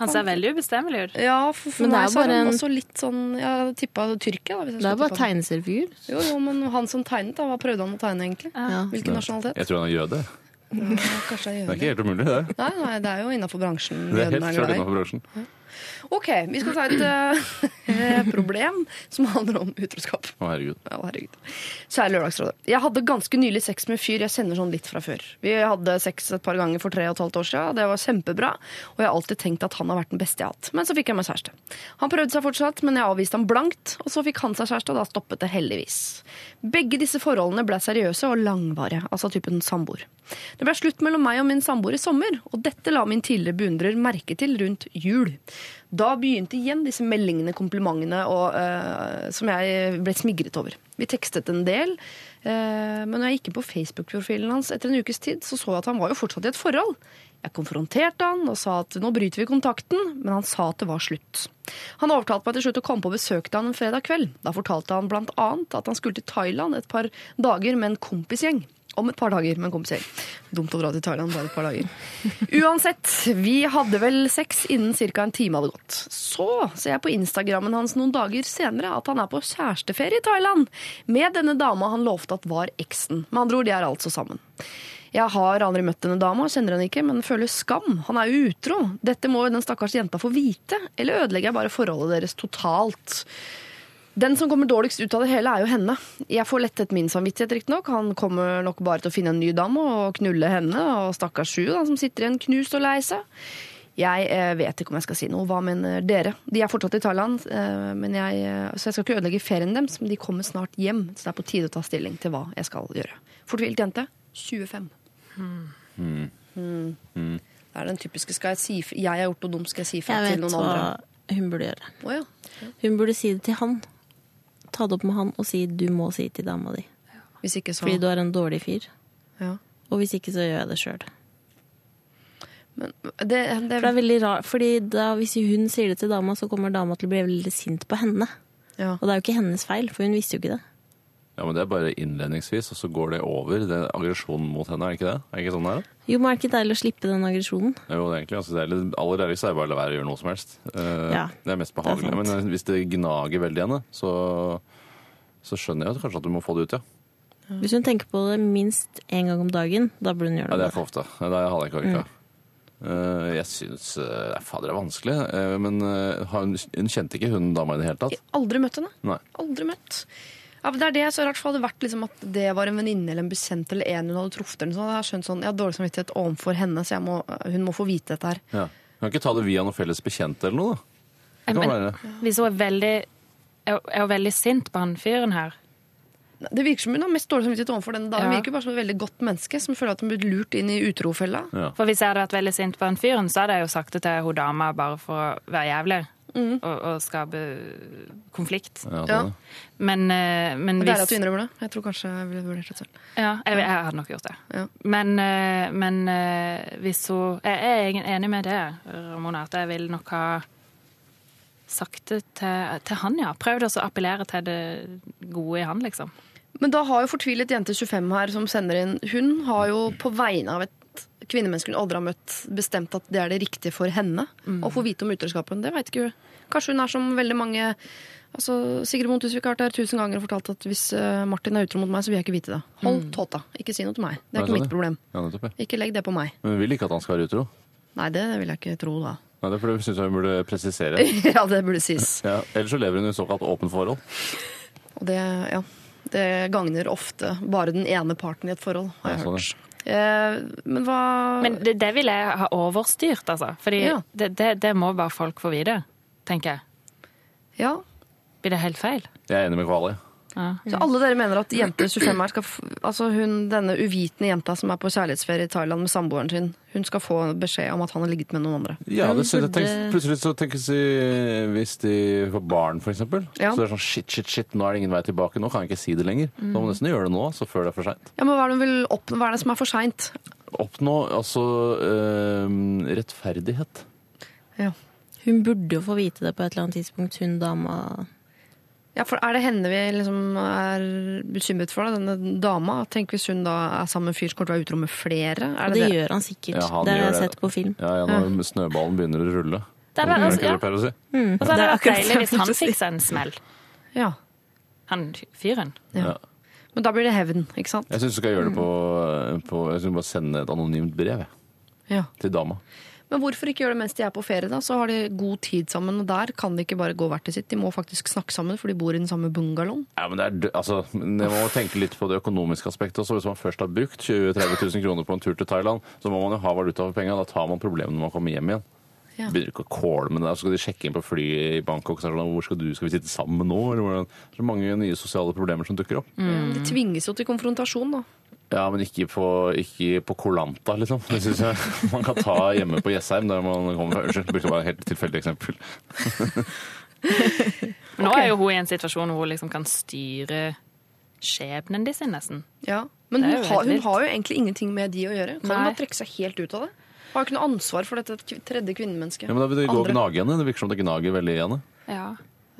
S8: Han ser veldig ubestemmelig ut.
S3: Ja, for, for
S7: Men det er
S3: meg
S7: jo
S3: så er
S7: bare
S3: han
S7: en-
S3: også litt sånn Jeg tippa Tyrkia, da. Hvis jeg
S7: Det er
S3: skulle
S7: bare
S3: tippe han.
S7: tegneseriefigur.
S3: Jo, jo, men han som tegnet, da, hva prøvde han å tegne, egentlig?
S7: Ja.
S3: Hvilken nasjonalitet?
S9: Jeg tror han er jøde.
S3: Ja, kanskje det er
S9: Det er ikke
S3: jødene.
S9: helt umulig, det.
S3: Nei, nei, det er jo innafor bransjen.
S9: Det er
S3: jødene
S9: helt
S3: glad
S9: klart
S3: i.
S9: innenfor bransjen.
S3: Ok, vi skal ta et [laughs] eh, problem som handler om utroskap.
S9: Å, herregud.
S3: Ja, herregud. Kjære Lørdagsrådet. Jeg hadde ganske nylig sex med en fyr jeg kjenner sånn litt fra før. Vi hadde sex et par ganger for tre og et halvt år siden, og det var kjempebra. Og jeg har alltid tenkt at han har vært den beste jeg har hatt. Men så fikk jeg meg kjæreste. Han prøvde seg fortsatt, men jeg avviste ham blankt. Og så fikk han seg kjæreste, og da stoppet det heldigvis. Begge disse forholdene ble seriøse og langvarige, altså typen samboer. Det ble slutt mellom meg og min samboer i sommer, og dette la min tidligere beundrer merke til rundt jul. Da begynte igjen disse meldingene, komplimentene, og, eh, som jeg ble smigret over. Vi tekstet en del, eh, men når jeg gikk inn på Facebook-profilen hans etter en ukes tid, så så jeg at han var jo fortsatt i et forhold. Jeg konfronterte han og sa at nå bryter vi kontakten, men han sa at det var slutt. Han overtalte meg til slutt å komme på besøk til han en fredag kveld. Da fortalte han blant annet at han skulle til Thailand et par dager med en kompisgjeng. Om et par dager, men kompisgjeng. Dumt å dra til Thailand bare et par dager. Uansett, vi hadde vel sex innen ca. en time hadde gått. Så ser jeg på Instagrammen hans noen dager senere at han er på kjæresteferie i Thailand med denne dama han lovte at var eksen. Med andre ord, de er altså sammen. Jeg har aldri møtt denne dama, kjenner henne ikke, men føler skam. Han er jo utro. Dette må jo den stakkars jenta få vite, eller ødelegger jeg bare forholdet deres totalt? Den som kommer dårligst ut av det hele, er jo henne. Jeg får lettet min samvittighet, riktignok. Han kommer nok bare til å finne en ny dame og knulle henne og stakkars Sju, da, som sitter igjen knust og lei seg. Jeg eh, vet ikke om jeg skal si noe. Hva mener dere? De er fortsatt i Thailand, eh, men jeg, eh, så jeg skal ikke ødelegge ferien deres. Men de kommer snart hjem, så det er på tide å ta stilling til hva jeg skal gjøre. Fortvilt jente. 25. Mm. Det er den typiske skal jeg si fra Jeg har gjort noe dumt, skal jeg si fra
S7: Jeg
S3: til
S7: vet
S3: noen
S7: hva
S3: andre.
S7: hun burde gjøre.
S3: Å ja.
S7: Hun burde si det til han. Ta det opp med han og si 'du må si til dama di',
S3: Hvis ikke, så
S7: fordi du er en dårlig fyr.
S3: ja.
S7: Og hvis ikke, så gjør jeg det sjøl.
S3: Men det, det,
S7: For det er veldig rart, fordi da, hvis hun sier det til dama, så kommer dama til å bli veldig sint på henne.
S3: ja.
S7: Og det er jo ikke hennes feil, for hun visste jo ikke det.
S9: Ja, men det er bare innledningsvis, og så går det over. Det er aggresjon mot henne, er det ikke det? Er det ikke sånn det er? da?
S7: Jo, men er det ikke deilig å slippe den aggresjonen?
S9: Jo, det er egentlig. Altså, det er litt, aller ærligst er det bare å la være å gjøre noe som helst. Eh,
S7: Ja,
S9: det er mest
S7: er
S9: behagelig.
S7: sant.
S9: men eh, hvis det gnager veldig i henne, så, så skjønner jeg jo kanskje at du må få det ut, ja.
S7: Mm. Hvis hun tenker på det minst én gang om dagen, da burde hun gjøre
S9: Ja, det
S7: det.
S9: er for ofte. Det hadde jeg ikke orka. Eh, jeg syns eh, Fader, det er vanskelig. Eh, men eh, har hun, hun kjente ikke hun dama i det hele tatt?
S3: Aldri møtt henne.
S9: Nei.
S3: Aldri møtt. Ja, men det er det jeg så rart, for hadde det vært liksom at det var en venninne eller en bekjent eller en hun hadde truffet, eller noe sånt, hadde jeg skjønt sånn, jeg har dårlig samvittighet overfor henne, så jeg må, hun må få vite dette her.
S9: Ja. Kan ikke ta det via noen felles bekjente eller noe, da? Det kan
S8: Men
S9: være.
S8: hvis hun er veldig er hun- er hun veldig sint på han fyren her.
S3: Nei, Det virker som hun har mest dårlig samvittighet overfor denne damen.
S8: Ja.
S3: Hun virker bare som et veldig godt menneske som føler at hun blir lurt inn i utrofella.
S8: For hvis jeg hadde vært veldig sint på han fyren, så hadde jeg jo sagt det til hun dama bare for å være jævlig. Og, og skape konflikt.
S9: Ja,
S3: Ja.
S9: sånn,
S8: Men, eh, men
S3: Det er
S8: hvis
S3: at du innrømmer det. Jeg tror kanskje jeg ville vurdert det selv.
S8: Ja, jeg, jeg hadde nok gjort det.
S3: Ja.
S8: Men, eh, men eh, hvis hun Jeg er egentlig enig med det, Ramona, at jeg vil nok ha sagt det til, til han, ja. Prøvd også å appellere til det gode i han, liksom.
S3: Men da har jo fortvilet jente 25 her som sender inn Hun har jo på vegne av et kvinnemenneske hun aldri har møtt, bestemt at det er det riktige for henne å få vite om utroskapen. Det veit ikke hun. Kanskje hun er som veldig mange altså Sigrid Bonde Tusvik har vært her tusen ganger og fortalt at hvis eh, Martin er utro mot meg, så vil jeg ikke vite det. Hold tåta. Ikke si noe til meg. Det
S9: Mm. Nei,
S3: er
S9: sånn,
S3: ikke mitt
S9: ja.
S3: problem.
S9: ja, nettopp, ja.
S3: Ikke legg det på meg.
S9: Men hun vil ikke at han skal være utro.
S3: Nei, det vil jeg ikke tro, da. [laughs]
S9: Nei, det er fordi hun syns hun burde presisere.
S3: ja, det burde sies.
S9: Ja, ellers så lever hun i såkalt åpent forhold.
S3: Og det, ja, det gagner ofte bare den ene parten i et forhold, har
S9: Ja,
S3: jeg
S9: sånn,
S3: hørt. Eh, men hva
S8: Men det, det vil jeg ha overstyrt, altså. Fordi
S3: Ja.
S8: det, det, det må bare folk få vite, tenker jeg.
S3: Ja.
S8: Blir det helt feil?
S9: Jeg er enig med Kvali.
S3: Så alle dere mener at jenter 25 her skal f Altså hun, denne uvitende jenta som er på kjærlighetsferie i Thailand med samboeren sin, hun skal få beskjed om at han har ligget med noen andre.
S9: Ja,
S7: Men
S9: det, synes jeg
S7: burde-
S9: tenks- plutselig så tenkes de Hvis de får barn, for eksempel,
S3: Ja.
S9: så det er sånn shit, shit, shit, nå er det ingen vei tilbake. Nå kan jeg ikke si det lenger. Nå må jeg nesten gjøre det nå, så før det er for seint.
S3: Ja, men hva er det, hun vil oppnå? Hva er det som er for seint?
S9: Oppnå altså eh, rettferdighet.
S7: Hun burde jo få vite det på et eller annet tidspunkt, hun dama.
S3: Ja, for er det henne vi liksom er bekymret for, da? denne dama? Tenk hvis hun da er sammen med en fyr som kommer til å være utro med flere?
S7: Og
S3: Er
S7: det
S3: det det?
S7: gjør han sikkert.
S9: Ja, han
S7: det har jeg
S9: gjør det.
S7: sett på film.
S9: Ja, ja, når snøballen begynner å rulle.
S8: Det hadde
S9: Er det
S8: vært,
S9: ikke
S8: ja.
S9: det du pleier å si?
S8: Og så hadde det vært
S3: akkurat
S8: deilig hvis
S3: det jeg
S8: han
S3: skulle
S8: fikk seg en smell.
S3: Ja.
S8: Han fyren.
S3: Ja. Men da blir det hevn, ikke sant?
S9: Jeg syns du skal gjøre det på, på Jeg synes bare sende et anonymt brev jeg,
S3: Ja.
S9: til dama.
S3: Men hvorfor ikke gjøre det mens de er på ferie, da? Så har de god tid sammen, og der kan de ikke bare gå hvert til sitt. De må faktisk snakke sammen, for de bor i den samme bungalowen.
S9: Ja, men det er, dø- altså, men jeg må tenke litt på det økonomiske aspektet også. Hvis man først har brukt 20 000-30 000 kroner på en tur til Thailand, så må man jo ha valuta for pengene. Da tar man problemene når man kommer hjem igjen.
S3: Ja.
S9: Begynner ikke å kåle med det. Så skal de sjekke inn på flyet i Bangkok. Så er det sånn, hvor skal du? Skal vi sitte sammen nå? Eller hvordan? Så mange nye sosiale problemer som dukker opp.
S3: De tvinges jo til konfrontasjon, da.
S9: Ja, men ikke på, ikke på Kolanta, liksom. Det syns jeg [laughs] man kan ta hjemme på Jessheim, der man kommer fra. Unnskyld, brukte bare et helt tilfeldig eksempel.
S8: Men nå er jo hun i en situasjon hvor hun liksom kan styre skjebnen de sin, nesten.
S3: Ja. Men
S8: Det er
S3: hun,
S8: jo
S3: har,
S8: helt
S3: hun
S8: vilt.
S3: har jo egentlig ingenting med de å gjøre. Kan hun
S8: Nei.
S3: bare trekke seg helt ut av det? Hun har jo ikke noe ansvar for dette kv- tredje kvinnemennesket.
S9: Ja, men da vil det gå og
S3: Andre.
S9: gnage i henne. Det virker som det gnager veldig i henne.
S8: Ja.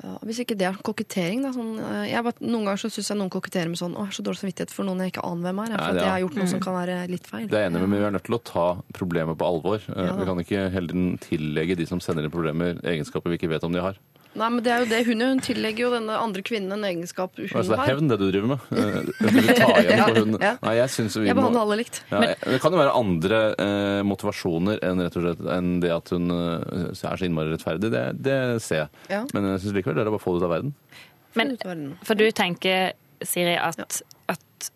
S3: Ja, hvis ikke det er kokettering, da. Sånn, eh, jeg bare, noen ganger så syns jeg noen koketterer med sånn Å, jeg har så dårlig samvittighet for noen jeg ikke aner hvem er. jeg,
S9: Nei,
S3: For at
S9: det er-
S3: jeg har gjort noe
S8: Mm.
S3: som kan være litt feil.
S9: Det er jeg enig med, men vi er nødt til å ta problemet på alvor. Eh,
S3: da.
S9: Vi kan ikke hele tiden tillegge de som sender inn problemer, egenskaper vi ikke vet om de har.
S3: Nei, men det er jo det hun gjør. Hun tillegger jo denne andre kvinnen en egenskap hun
S9: Altså, det er
S3: har.
S9: hevn, det du driver med. Eh, Du vil ta igjen på hun.
S3: Ja.
S9: Nei, jeg synes vi
S3: Jeg behandler
S9: må...
S3: alle likt.
S9: Ja, det kan jo være andre eh, motivasjoner enn, rett og slett, enn det at hun eh, er så innmari rettferdig. Det, det ser jeg.
S3: Ja.
S9: Men jeg syns likevel det er å bare få det ut av verden.
S8: Men
S3: Ut av verden.
S8: For du tenker, Siri, at, at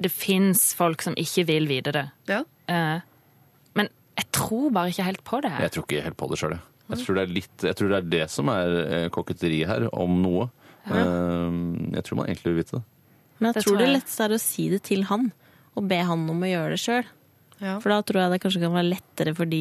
S8: det fins folk som ikke vil vite det.
S3: Ja.
S8: Eh, men jeg tror bare ikke helt på det. her.
S9: Jeg tror ikke helt på det sjøl, jeg. Jeg tror det, er litt, jeg tror det er det som er eh, koketteri her, om noe. Eh, Jeg tror man egentlig vil vite det.
S7: Men jeg
S8: Det
S7: tror
S8: tror
S7: det
S8: jeg.
S7: letteste er å si det til han, og be han om å gjøre det sjøl.
S3: Ja.
S7: For da tror jeg det kanskje kan være lettere for de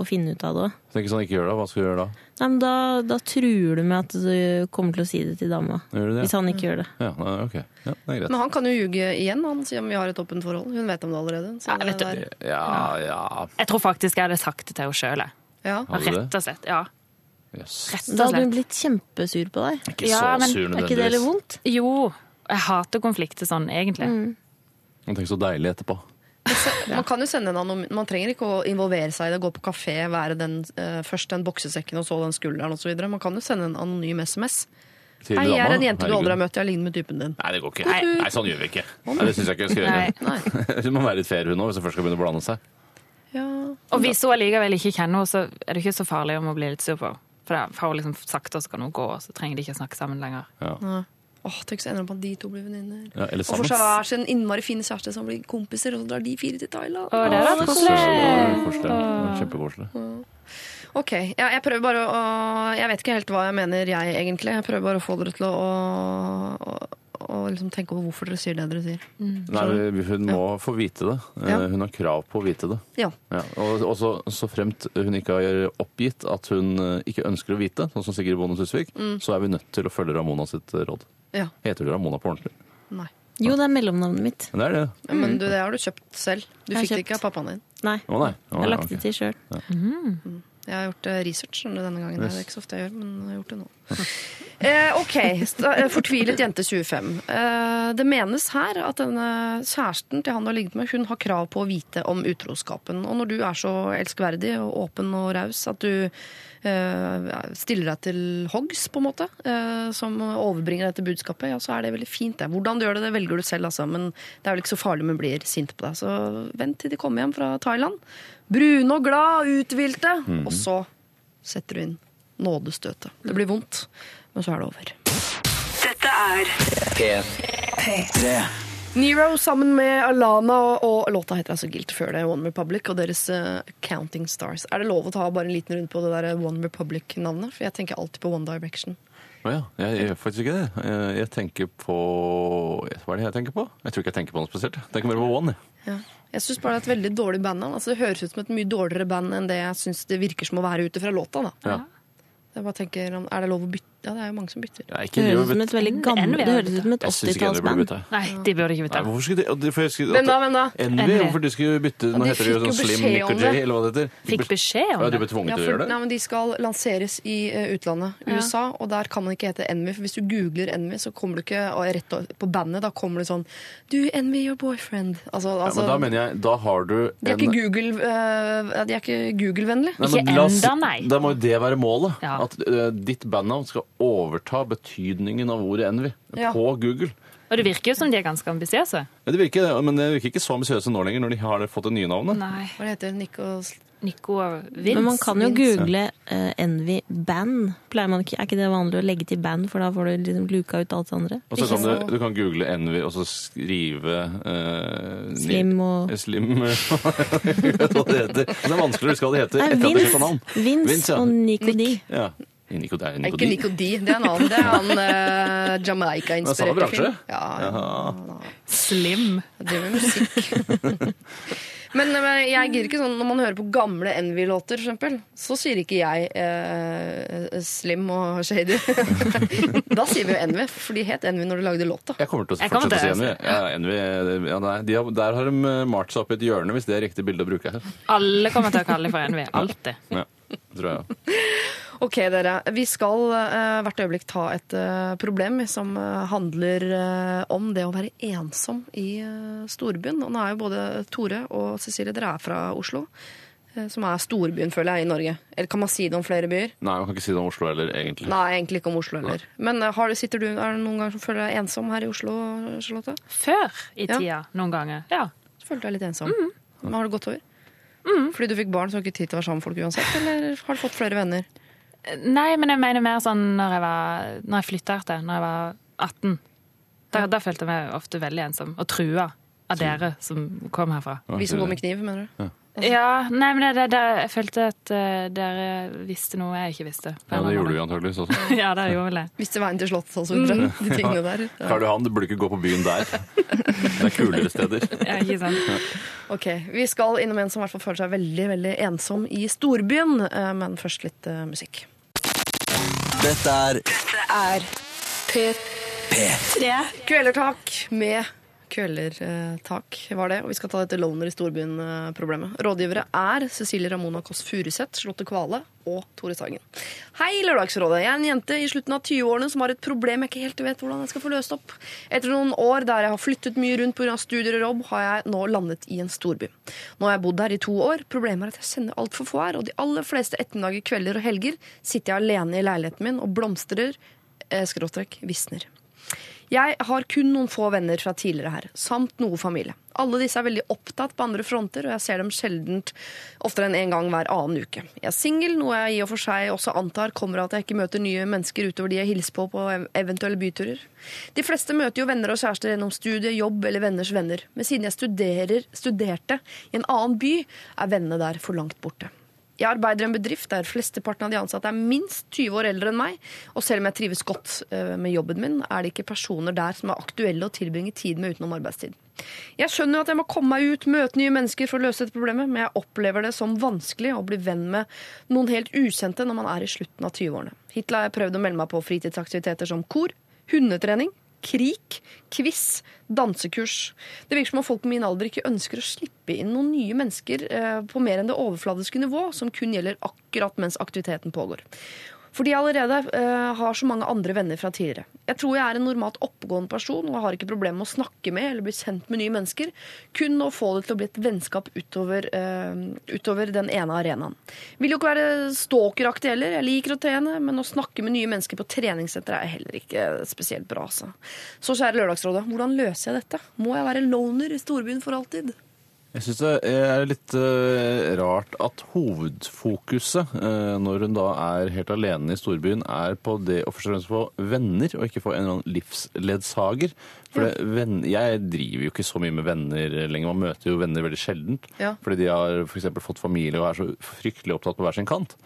S7: å finne ut av det òg.
S9: Så det er ikke sånn, ikke gjør det, hva skal vi gjøre da?
S7: Nei, men da, da truer du med at du kommer til å si det til dama.
S9: Gjør du det?
S7: Hvis han ikke gjør det.
S9: Ja, nei, ok. Ja, det er greit.
S3: Men han kan jo ljuge igjen. Han sier om vi har et åpent forhold. Hun vet om det allerede. Så
S8: Ja, jeg vet
S3: det
S8: det.
S3: der-
S9: Ja, ja
S8: Jeg tror faktisk jeg hadde sagt det til henne sjøl.
S3: ja.
S9: Hadde du
S8: Rett og slett. Ja.
S9: Yes.
S8: Rett
S7: Da
S8: og
S7: hadde hun
S8: slett.
S7: blitt kjempesur på deg.
S9: Ikke
S8: Ja, men-
S9: så sur
S7: Er ikke det Mm. litt
S9: nødvendigvis.
S7: vondt?
S8: Jo, jeg hater konflikter sånn, egentlig.
S9: Men Tenk så deilig etterpå.
S3: Man kan jo sende en anonym Man trenger ikke å involvere seg i det, gå på kafé, være den, eh, først den boksesekken og så den skulderen osv. Man kan jo sende en anonym SMS.
S9: Til
S3: Hei, jeg er
S9: dama.
S3: en jente du
S9: Herregud.
S3: aldri har møtt, jeg ligner med typen din.
S9: Nei, det går ikke. Nei, sånn gjør vi ikke. Nei, det syns jeg ikke vi skal
S8: Nei.
S9: gjøre. [laughs] Hun må være litt fair, hun òg, hvis hun først skal begynne å blande seg.
S3: Ja.
S8: Og hvis hun allikevel ikke kjenner henne, så er det ikke så farlig om hun blir litt sur på henne. For da får hun liksom sagt det, så kan hun gå, og så trenger de ikke snakke sammen lenger.
S3: Åh, Tenk så ender det på at de to blir venninner.
S9: Ja, eller
S3: Og får seg
S9: sammen.
S3: hver sin innmari fine kjæreste som blir kompiser, og så drar de fire til Thailand.
S8: Og det
S9: Ja,
S8: er da
S9: fy søren, det
S8: koselig.
S9: var koselig. Det var Kjempekoselig.
S3: Ok, ja, jeg prøver bare å Jeg vet ikke helt hva jeg mener, jeg egentlig. Jeg prøver bare å få dere til å, å, å liksom tenke over hvorfor dere sier det dere sier.
S9: Nei, hun må få vite det. Eh,
S3: Ja.
S9: Hun har krav på å vite det.
S3: Ja.
S9: Ja, og og så, så fremt hun ikke har oppgitt at hun eh, ikke ønsker å vite, sånn som Sigrid Bonde Tusvik, så er vi nødt til å følge Ramona sitt eh, råd.
S3: ja.
S9: Heter du Ramona på ordentlig?
S3: Nei.
S7: Jo, det er mellomnavnet mitt.
S9: Men det er det.
S3: Ja, Men
S9: Mm.
S3: du, det har du kjøpt selv. Du
S7: Jeg har
S3: fikk det ikke
S7: kjøpt.
S3: av pappaen din.
S7: Nei.
S9: Å nei. Å,
S7: Jeg har
S9: nei,
S7: lagt
S9: ok.
S7: det til sjøl.
S3: Jeg har gjort eh, research skjønner du, denne gangen. Det er ikke så ofte jeg gjør, men jeg har gjort det nå. Eh, ok, sta- eh, Fortvilet jente 25. Eh, det menes her at denne kjæresten til han du har ligget med, hun har krav på å vite om utroskapen. Og når du er så elskverdig og åpen og raus at du eh, stiller deg til hoggs, på en måte, eh, som overbringer dette budskapet, ja, så er det veldig fint. Det. Hvordan du gjør det, det velger du selv, altså, men det er vel ikke så farlig om hun blir sint på deg. Så vent til de kommer hjem fra Thailand. Brune og glad, uthvilte. Og så setter du inn nådestøtet. Det blir vondt, men så er det over.
S1: Dette er
S2: P3.
S3: Nero sammen med Alana, og, og låta heter altså Guilt før det, One Republic, og deres eh, Counting Stars. Er det lov å ta bare en liten runde på det der eh, One Republic-navnet? For jeg tenker alltid på One Direction.
S9: Å ja, jeg gjør faktisk ikke det. Eh, Jeg tenker på Hva er det jeg tenker på? Jeg tror ikke jeg tenker på noe spesielt. Jeg tenker bare på One. jeg.
S3: Ja. Jeg syns bare det er et veldig dårlig bandnavn. Altså, det høres ut som et mye dårligere band enn det jeg syns det virker som å være ut ifra låta. Da.
S9: Ja.
S3: Jeg bare tenker, er det lov å bytte? Ja, det er jo mange som bytter.
S9: Jeg er
S7: Det
S9: ikke-
S7: høres ut som et veldig
S8: Envy
S7: gammelt
S8: er
S7: Det høres ut som et
S9: Jeg syns ikke det burde
S7: 80-tallsband.
S9: bytte.
S8: Nei, de burde ikke
S9: Nei,
S8: vite det.
S9: hvorfor skulle de, og de- for jeg husker
S3: Hvem da,
S9: at-
S3: hvem da?
S9: Envy,
S8: Envy.
S9: hvorfor de skulle bytte Nå
S3: de
S9: heter det jo
S3: fikk jo
S9: sånn Slim,
S3: beskjed
S9: Nick
S3: om
S9: og
S3: det.
S9: Jay, eller hva det heter.
S8: Fikk beskjed om
S9: Ja, de
S8: det.
S9: ble tvunget
S3: Ja,
S9: til å
S3: for,
S9: gjøre
S3: nei,
S9: det.
S3: men de skal lanseres i eh, utlandet, USA, og der kan man ikke hete Envy. For hvis du googler Envy, så kommer du ikke og rett og- på bandet. Da kommer det sånn Du, Envy, your boyfriend. Altså,
S9: Ja,
S3: altså
S9: men da mener jeg, da har du
S3: De er ikke Google, eh, de er ikke Google-vennlige.
S9: Nei, men
S8: Ikke
S9: la oss-
S8: enda, nei.
S9: Da må jo det være målet.
S8: Ja.
S9: At eh, ditt bandnavn skal overta betydningen av ordet Envy
S3: Ja.
S9: på Google.
S8: Og det virker jo som de er ganske ambisiøse.
S9: Ja, det virker, men det virker ikke så ambisiøse nå lenger, når de har fått det nye navnet.
S8: Nei.
S3: Hva det heter Nichols
S8: Nico og Vince.
S7: Men man kan jo google eh, Envy band. Pleier man ikke, er ikke det vanlig å legge til band, for da får du liksom luka ut alt det andre?
S9: Og så
S3: Ikke
S9: kan
S3: så-
S9: du, du kan google Envy og så skrive eh,
S7: Slim
S9: ni-
S7: og-
S9: eh, Slim [laughs] eh, hva det heter. Det er vanskelig å huske hva det heter
S7: Nei,
S9: etter at de skifta
S7: Vince,
S9: navn. Vince,
S7: Vince
S9: ja.
S7: og Nico D.
S9: Ja. Nico, det er
S3: Nei,
S9: Nico
S3: ikke
S9: D.
S3: Nico D, det er en annen. Det er han
S9: [laughs]
S3: eh,
S9: Men samme
S3: Jamaica-inspirerte
S9: bransje?
S3: film. Ja, ja.
S8: Slim.
S3: Jeg driver med musikk. [laughs] men, eh, men jeg gir ikke sånn Når man hører på gamle Envy-låter, for eksempel, så sier ikke jeg eh, Slim og [laughs] Shady. da sier vi jo Envy, for de het Envy når de lagde låta.
S9: Jeg kommer til å
S8: Jeg kommer
S9: fortsette å si
S8: til å
S9: Envy. Ja, Envy det- ja, nei, de har, der har de eh, malt seg opp i et hjørne, hvis det er riktig bilde å bruke her.
S8: Alle kommer til å kalle dem for Envy. Alltid.
S9: Ja, det tror jeg.
S3: Ok, dere. Vi skal eh, hvert øyeblikk ta et eh, problem som eh, handler eh, om det å være ensom i eh, storbyen. Og nå er jo både Tore og Cecilie, dere er fra Oslo. eh, Som er storbyen, føler jeg, i Norge. Eller kan man si det om flere byer?
S9: Nei, man kan ikke si det om Oslo heller, egentlig.
S3: Nei, egentlig ikke om Oslo heller. Men eh, har du, sitter du, er det noen ganger som føler deg ensom her i Oslo, Charlotte?
S8: Før i
S3: Ja.
S8: tida, noen ganger. Ja.
S3: Så følte jeg litt ensom. Men har det gått over? Fordi du fikk barn, så har du ikke tid til å være sammen med folk uansett? Eller har du fått flere venner?
S8: Nei, men jeg mener mer sånn når jeg, var, når jeg flytta her til, når jeg var 18. Da, da følte jeg meg ofte veldig ensom og trua av dere som kom herfra.
S3: Vi som går med kniv, mener du?
S8: Ja, nei, men det, det, det, jeg følte at eh, dere visste noe jeg ikke visste.
S9: Ja, det gjorde vi antakeligvis også.
S8: [laughs] Ja, det gjorde vel det.
S3: Visste veien til Slottet, altså. De tingene der. Ja.
S9: Karl Johan, du burde ikke gå på byen der. Det er kulere steder.
S8: Ja, ikke sant?
S3: Ok, Vi skal innom en som i hvert fall føler seg veldig veldig ensom i storbyen. eh, Men først litt eh, musikk.
S2: Dette er
S3: Kvelertak med Kvelertak var det. Og vi skal ta dette Loner i storbyen-problemet. Rådgivere er Cecilie Ramona Kåss Furuseth, Charlotte Kvale og Tore Sagen. Hei, Lørdagsrådet. Jeg er en jente i slutten av 20-årene som har et problem jeg ikke helt vet hvordan jeg skal få løst opp. Etter noen år der jeg har flyttet mye rundt pga. studier og jobb, har jeg nå landet i en storby. Nå har jeg bodd her i to år. Problemet er at jeg kjenner altfor få her, og de aller fleste ettermiddager, kvelder og helger sitter jeg alene i leiligheten min og blomstrer, eh, skråstrek, visner. Jeg har kun noen få venner fra tidligere her, samt noe familie. Alle disse er veldig opptatt på andre fronter, og jeg ser dem sjeldent, oftere enn en gang hver annen uke. Jeg er singel, noe jeg i og for seg også antar kommer av at jeg ikke møter nye mennesker utover de jeg hilser på på ev- eventuelle byturer. De fleste møter jo venner og kjærester gjennom studie, jobb eller venners venner, men siden jeg studerer, studerte i en annen by, er vennene der for langt borte. Jeg arbeider i en bedrift der flesteparten av de ansatte er minst 20 år eldre enn meg, og selv om jeg trives godt eh, med jobben min, er det ikke personer der som er aktuelle å tilbringe tid med utenom arbeidstid. Jeg skjønner jo at jeg må komme meg ut, møte nye mennesker for å løse dette problemet, men jeg opplever det som vanskelig å bli venn med noen helt ukjente når man er i slutten av 20-årene. Hittil har jeg prøvd å melde meg på fritidsaktiviteter som kor, hundetrening, krik, quiz, dansekurs. Det virker som om folk på min alder ikke ønsker å slippe inn noen nye mennesker eh, på mer enn det overfladiske nivå, som kun gjelder akkurat mens aktiviteten pågår. Fordi jeg allerede eh, har så mange andre venner fra tidligere. Jeg tror jeg er en normalt oppegående person og har ikke problemer med å snakke med eller bli kjent med nye mennesker. Kun å få det til å bli et vennskap utover, eh, utover den ene arenaen. Vil jo ikke være stalkeraktig heller. Jeg liker å trene, men å snakke med nye mennesker på treningssenter er heller ikke spesielt bra. Altså. Så kjære Lørdagsrådet, hvordan løser jeg dette? Må jeg være loner i storbyen for alltid?
S9: Jeg syns det er litt eh, rart at hovedfokuset, eh, når hun da er helt alene i storbyen, er på det å først og fremst få venner, og ikke få en eller annen livsledsager. For det, venn, jeg driver jo ikke så mye med venner lenger, man møter jo venner veldig sjeldent.
S3: Ja.
S9: Fordi de har for eksempel fått familie og er så fryktelig opptatt på hver sin kant.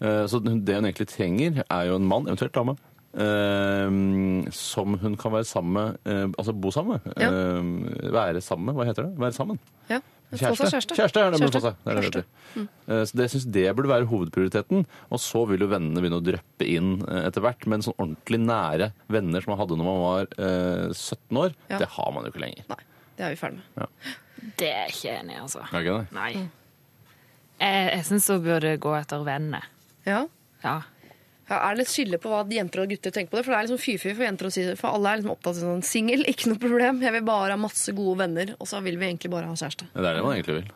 S9: Eh, Så det hun egentlig trenger, er jo en mann, eventuelt dame, eh, som hun kan være sammen med, eh, altså bo sammen med.
S3: Ja.
S9: Eh, Være sammen med, hva heter det? Være sammen.
S3: Ja. Få
S9: Kjæreste.
S3: seg kjæreste.
S9: Kjæreste er det man får
S3: Kjæreste. Mm.
S9: seg. Det er det det heter. Eh, Så det syns det burde være hovedprioriteten. Og så vil jo vennene begynne å dryppe inn eh, etter hvert. Men sånn ordentlig nære venner som man hadde når man var eh, 17 år,
S3: Ja.
S9: det har man jo ikke lenger.
S3: Nei, det er vi ferdig med.
S8: Det er jeg ikke enig i, altså.
S9: Er ikke det?
S8: Nei. Jeg, jeg syns hun burde gå etter vennene.
S3: Ja.
S8: Ja.
S3: Ja, er det litt skille på hva jenter og gutter tenker på det? For det er liksom fy-fy for jenter å si det. For alle er liksom opptatt av sånn singel, [laughs] ikke noe problem. Jeg vil bare ha masse gode venner, og så vil vi egentlig bare ha kjæreste.
S9: Det er det man egentlig vil.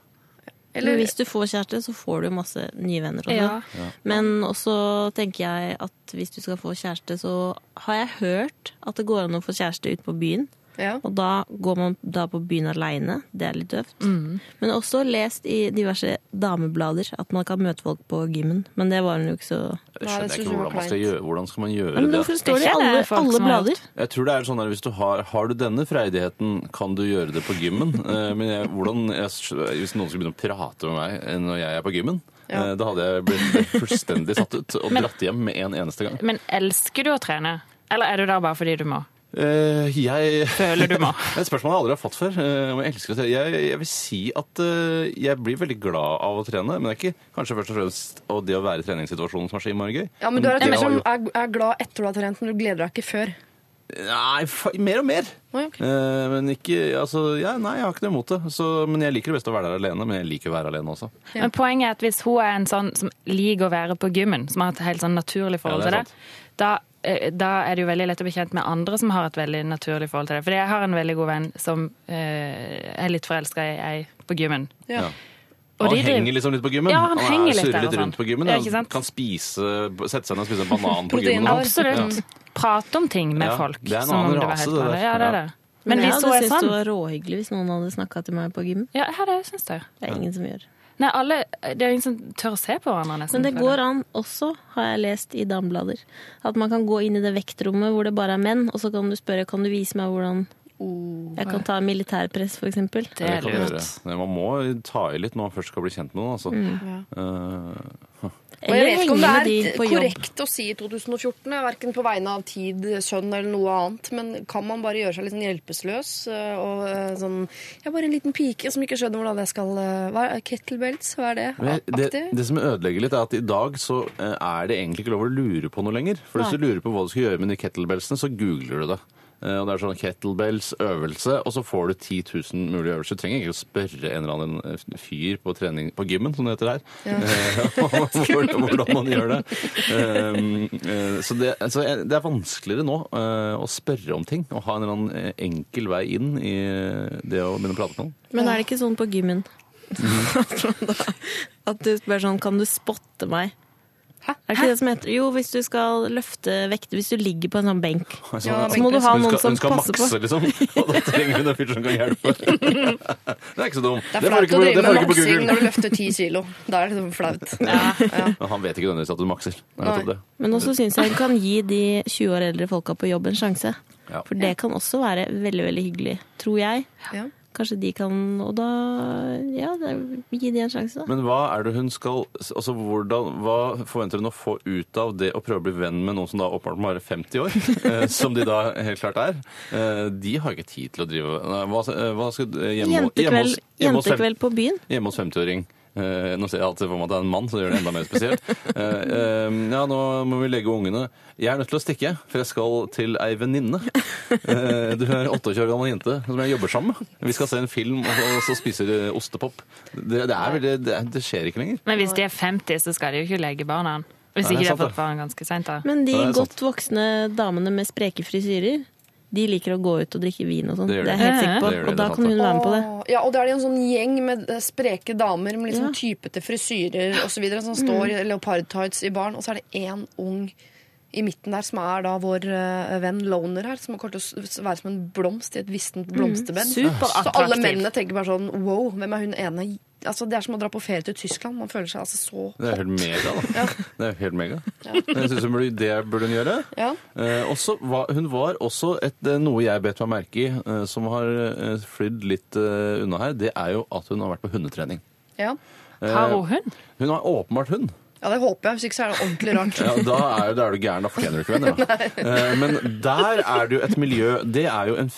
S3: Eller-
S7: Men hvis du får kjæreste, så får du masse nye venner også.
S8: Ja.
S7: Men også tenker jeg at hvis du skal få kjæreste, så har jeg hørt at det går an å få kjæreste ute på byen.
S3: Ja.
S7: Og da går man da på byen aleine. Det er litt døvt.
S3: Mm.
S7: Men også lest i diverse dameblader at man kan møte folk på gymmen. Men det var hun jo ikke så
S3: Nei, det
S9: Det skjønner
S3: synes
S9: jeg ikke
S3: jeg var
S9: hvordan man skal
S3: kleint.
S9: gjøre, hvordan skal man gjøre
S7: Men
S9: det.
S7: hvorfor står det i
S8: Jeg kjenner
S7: alle,
S8: folk
S7: alle
S8: som har
S7: blader?
S9: Jeg tror det er sånn at hvis du har, har du denne freidigheten, kan du gjøre det på gymmen. Eh, Men jeg, hvordan, jeg, hvis noen skulle begynne å prate med meg eh, når jeg er på gymmen, eh, da hadde jeg blitt fullstendig satt ut og dratt hjem med en eneste gang.
S8: Men elsker du å trene? Eller er du der bare fordi du må?
S9: Eh, jeg
S8: Føler
S9: [laughs]
S8: du må?
S9: Det er Et spørsmål jeg aldri har fått før. eh, om Jeg, elsker å trene. jeg, jeg vil si at eh, jeg blir veldig glad av å trene, men det er ikke kanskje først og fremst og det å være i treningssituasjonen som er så innmari gøy.
S3: Ja, men du er
S9: det
S3: en
S9: å
S3: type som
S9: gjøre-
S3: er, er glad etter du har trent, men du gleder deg ikke før.
S9: Nei, fa- mer og mer.
S3: Å, ja, ok.
S9: Eh, men ikke Altså, ja, nei, jeg har ikke noe imot det. Så, men jeg liker det best å være der alene, men jeg liker å være alene også.
S8: Men poenget er at hvis hun er en sånn som liker å være på gymmen, som har et helt sånn naturlig forhold
S9: Ja, det er
S8: til det, da, eh, da er det jo veldig lett å bli kjent med andre som har et veldig naturlig forhold til det. Fordi jeg har en veldig god venn som eh, er litt forelska i ei på gymmen.
S9: Ja.
S8: Og
S9: Han
S8: de driver-
S9: henger liksom litt på gymmen.
S8: Ja, han
S9: er-
S8: henger litt
S9: surrer
S8: der
S9: litt
S8: og sånn.
S9: rundt på gymmen.
S8: Ja,
S9: Han
S8: ikke sant?
S9: Kan spise, sette seg ned og spise en
S8: [laughs]
S9: banan på
S3: Protein
S9: gymmen.
S3: bar.
S9: også.
S8: Absolutt. Prate om ting med
S9: Ja,
S8: folk.
S9: det er en
S8: som om det
S9: annen
S8: var
S9: rase,
S8: helt
S9: det der.
S8: vanlig. Ja, det er
S9: Ja.
S8: det. Men
S7: jeg
S8: hvis hun
S7: hadde
S8: er
S7: syntes
S8: sånn
S7: det var råhyggelig hvis noen hadde snakka til meg på gymmen.
S8: Ja, ja, det syns jeg.
S7: Det er ingen som gjør.
S8: Nei, alle, det er jo ingen som tør å se på hverandre, nesten.
S7: Men det
S8: føler jeg.
S7: går an også, har jeg lest i dameblader, at man kan gå inn i det vektrommet hvor det bare er menn, og så kan du spørre kan du vise meg hvordan
S3: Oh,
S7: jeg kan ta militærpress, for eksempel.
S8: Det
S9: Det
S8: er
S9: kan du
S8: lurt.
S9: gjøre. Man må ta i litt når man først skal bli kjent med noen, altså. Eh,
S3: Og jeg vet ikke om det
S7: med
S3: er
S7: de på jobb.
S3: korrekt å si i 2014, verken på vegne av tid, sønn eller noe annet, men kan man bare gjøre seg litt sånn hjelpeløs øh, og øh, sånn Jeg er bare en liten pike som ikke skjønner hvordan jeg skal øh, Hva er kettlebells? Hva er det?
S9: Men jeg-
S3: Aktig?
S9: det, det som ødelegger litt, er at i dag så eh, er det egentlig ikke lov å lure på noe lenger. For hvis du lurer på hva du skal gjøre med de kettlebellsene, så googler du det. Eh, Og det er sånn kettlebells øvelse, og så får du 10 000 mulige øvelser. Du trenger ikke å spørre en eller annen eh, fyr på trening på gymmen, som det heter her, [laughs] eh, om hvordan hvordan man gjør det. Um, eh, Så det, altså, jeg- det er vanskeligere nå eh, å spørre om ting, og ha en eller annen eh, enkel vei inn i eh, det å begynne å prate med noen.
S7: Men er det ikke sånn på gymmen? at du spør sånn Kan du spotte meg?
S3: Hæ?
S7: Er det ikke det som heter Jo, hvis du skal løfte vekter Hvis du ligger på en sånn benk.
S3: Ja,
S7: Så må du ha
S9: Hun
S7: noen som
S9: skal, hun skal
S7: passer på.
S9: makse, liksom.
S3: [laughs]
S9: Og da trenger hun en fyr som kan hjelpe. Det er ikke så dumt.
S3: Det er flaut å drive med maksing
S9: Google.
S3: når du løfter ti kilo. Da er det liksom
S7: [laughs]
S3: flaut.
S9: Men han vet ikke nødvendigvis at hun makser. Det er nettopp det.
S7: Men også syns jeg hun kan gi de 20 år eldre folka på jobb en sjanse.
S9: Ja.
S7: For det kan også være veldig, veldig hyggelig. Tror jeg.
S3: Ja.
S7: Kanskje de kan Og da Ja, det- gi de en sjanse, da.
S9: Men hva er det hun skal Altså, hvordan, Hva forventer hun å få ut av det å prøve å bli venn med noen som da åpenbart må være 50 år,
S3: [laughs]
S9: eh, som de da helt klart er? Eh, De har ikke tid til å drive Nei, Hva, eh, hva skal eh, hjemme, hjemme,
S7: Jentekveld,
S9: hos, hjemme, hos, fem-
S7: jentekveld på byen.
S9: hjemme hos 50-åring. Eh, nå ser jeg alltid for meg at det er en mann, så det gjør det enda mer spesielt. Eh, eh, ja, nå må vi legge ungene. Jeg er nødt til å stikke, for jeg skal til ei venninne. Eh, du er 28 år gammel jente som jeg jobber sammen med. Vi skal se en film, og så, og så spiser du ostepop. Det, det, er veldig, det, er- det skjer ikke lenger.
S8: Men hvis de er 50, så skal de jo ikke legge barna. Hvis
S9: Nei,
S8: ikke de
S9: sant
S8: har
S9: det.
S8: fått barn ganske seint, da.
S7: Men de
S9: Ja, det er sant.
S7: godt voksne damene med spreke frisyrer, de liker å gå ut og drikke vin og sånn.
S9: Det
S7: Det, er
S9: gjør de.
S7: jeg helt
S8: Ja,
S7: sikker
S9: ja. Det
S7: på.
S9: gjør de,
S7: Og
S9: det
S7: da
S9: er
S7: kan hun være med på det.
S3: Åh, Ja, og da er det jo en sånn gjeng med eh, spreke damer med liksom
S7: Ja. Mm.
S3: typete frisyrer osv. som står i leopardtights i baren, og så er det én ung i midten der, som er da vår eh, venn Loner her, som kommer til å s- være som en blomst i et vistent
S7: Mm.
S3: blomsterbed. så alle
S8: superattraktiv.
S3: mennene tenker bare sånn wow, hvem er hun ene? Altså, det er som å dra på ferie til Tyskland. Man føler seg altså så
S9: Det er jo helt mega, da. Det er jo helt mega. Jeg synes hun burde, det burde hun gjøre.
S3: Ja.
S9: Eh, også, var- hun var også et, eh, noe jeg bet meg merke i, eh, som har eh, flydd litt eh, unna her. Det er jo at hun har vært på hundetrening.
S3: Ja.
S9: Eh,
S8: Har hun hund?
S9: Hun har åpenbart hund.
S3: ja, det håper jeg. Hvis ikke så er det ordentlig rart.
S9: Ja, da er, da er du gæren. Da fortjener du
S3: [laughs]
S9: ikke venner. Da. Eh, Men der er det jo et miljø Det er jo en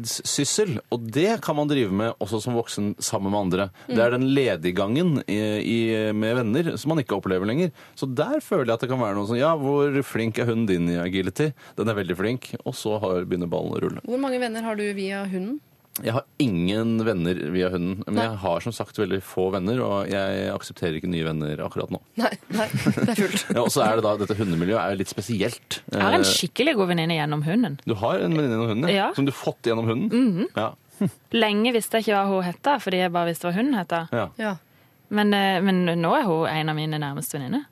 S9: fritidssyssel, og det kan man drive med også som voksen sammen med andre. Det er den lediggangen i, i, med venner som man ikke opplever lenger. Så der føler jeg at det kan være noe sånn Ja, hvor flink er hunden din i agility? Den er veldig flink. Og så har, begynner ballen å rulle.
S3: Hvor mange venner har du via hunden?
S9: Jeg har ingen venner via hunden, men jeg har som sagt veldig få venner, og jeg aksepterer ikke nye venner akkurat nå.
S3: Nei, nei det er fullt.
S9: Ja, og så er det da, Dette hundemiljøet er jo litt spesielt.
S8: Jeg har en
S9: Eh,
S8: skikkelig god venninne gjennom hunden.
S9: Du har en venninne gjennom hunden?
S8: Ja. Mhm.
S9: Som du har fått gjennom hunden? ja.
S8: Lenge visste jeg ikke hva hun het, fordi jeg bare visste hva hunden het.
S9: ja.
S3: [laughs] Ja.
S8: Men, eh, men nå er hun en av mine nærmeste venninner.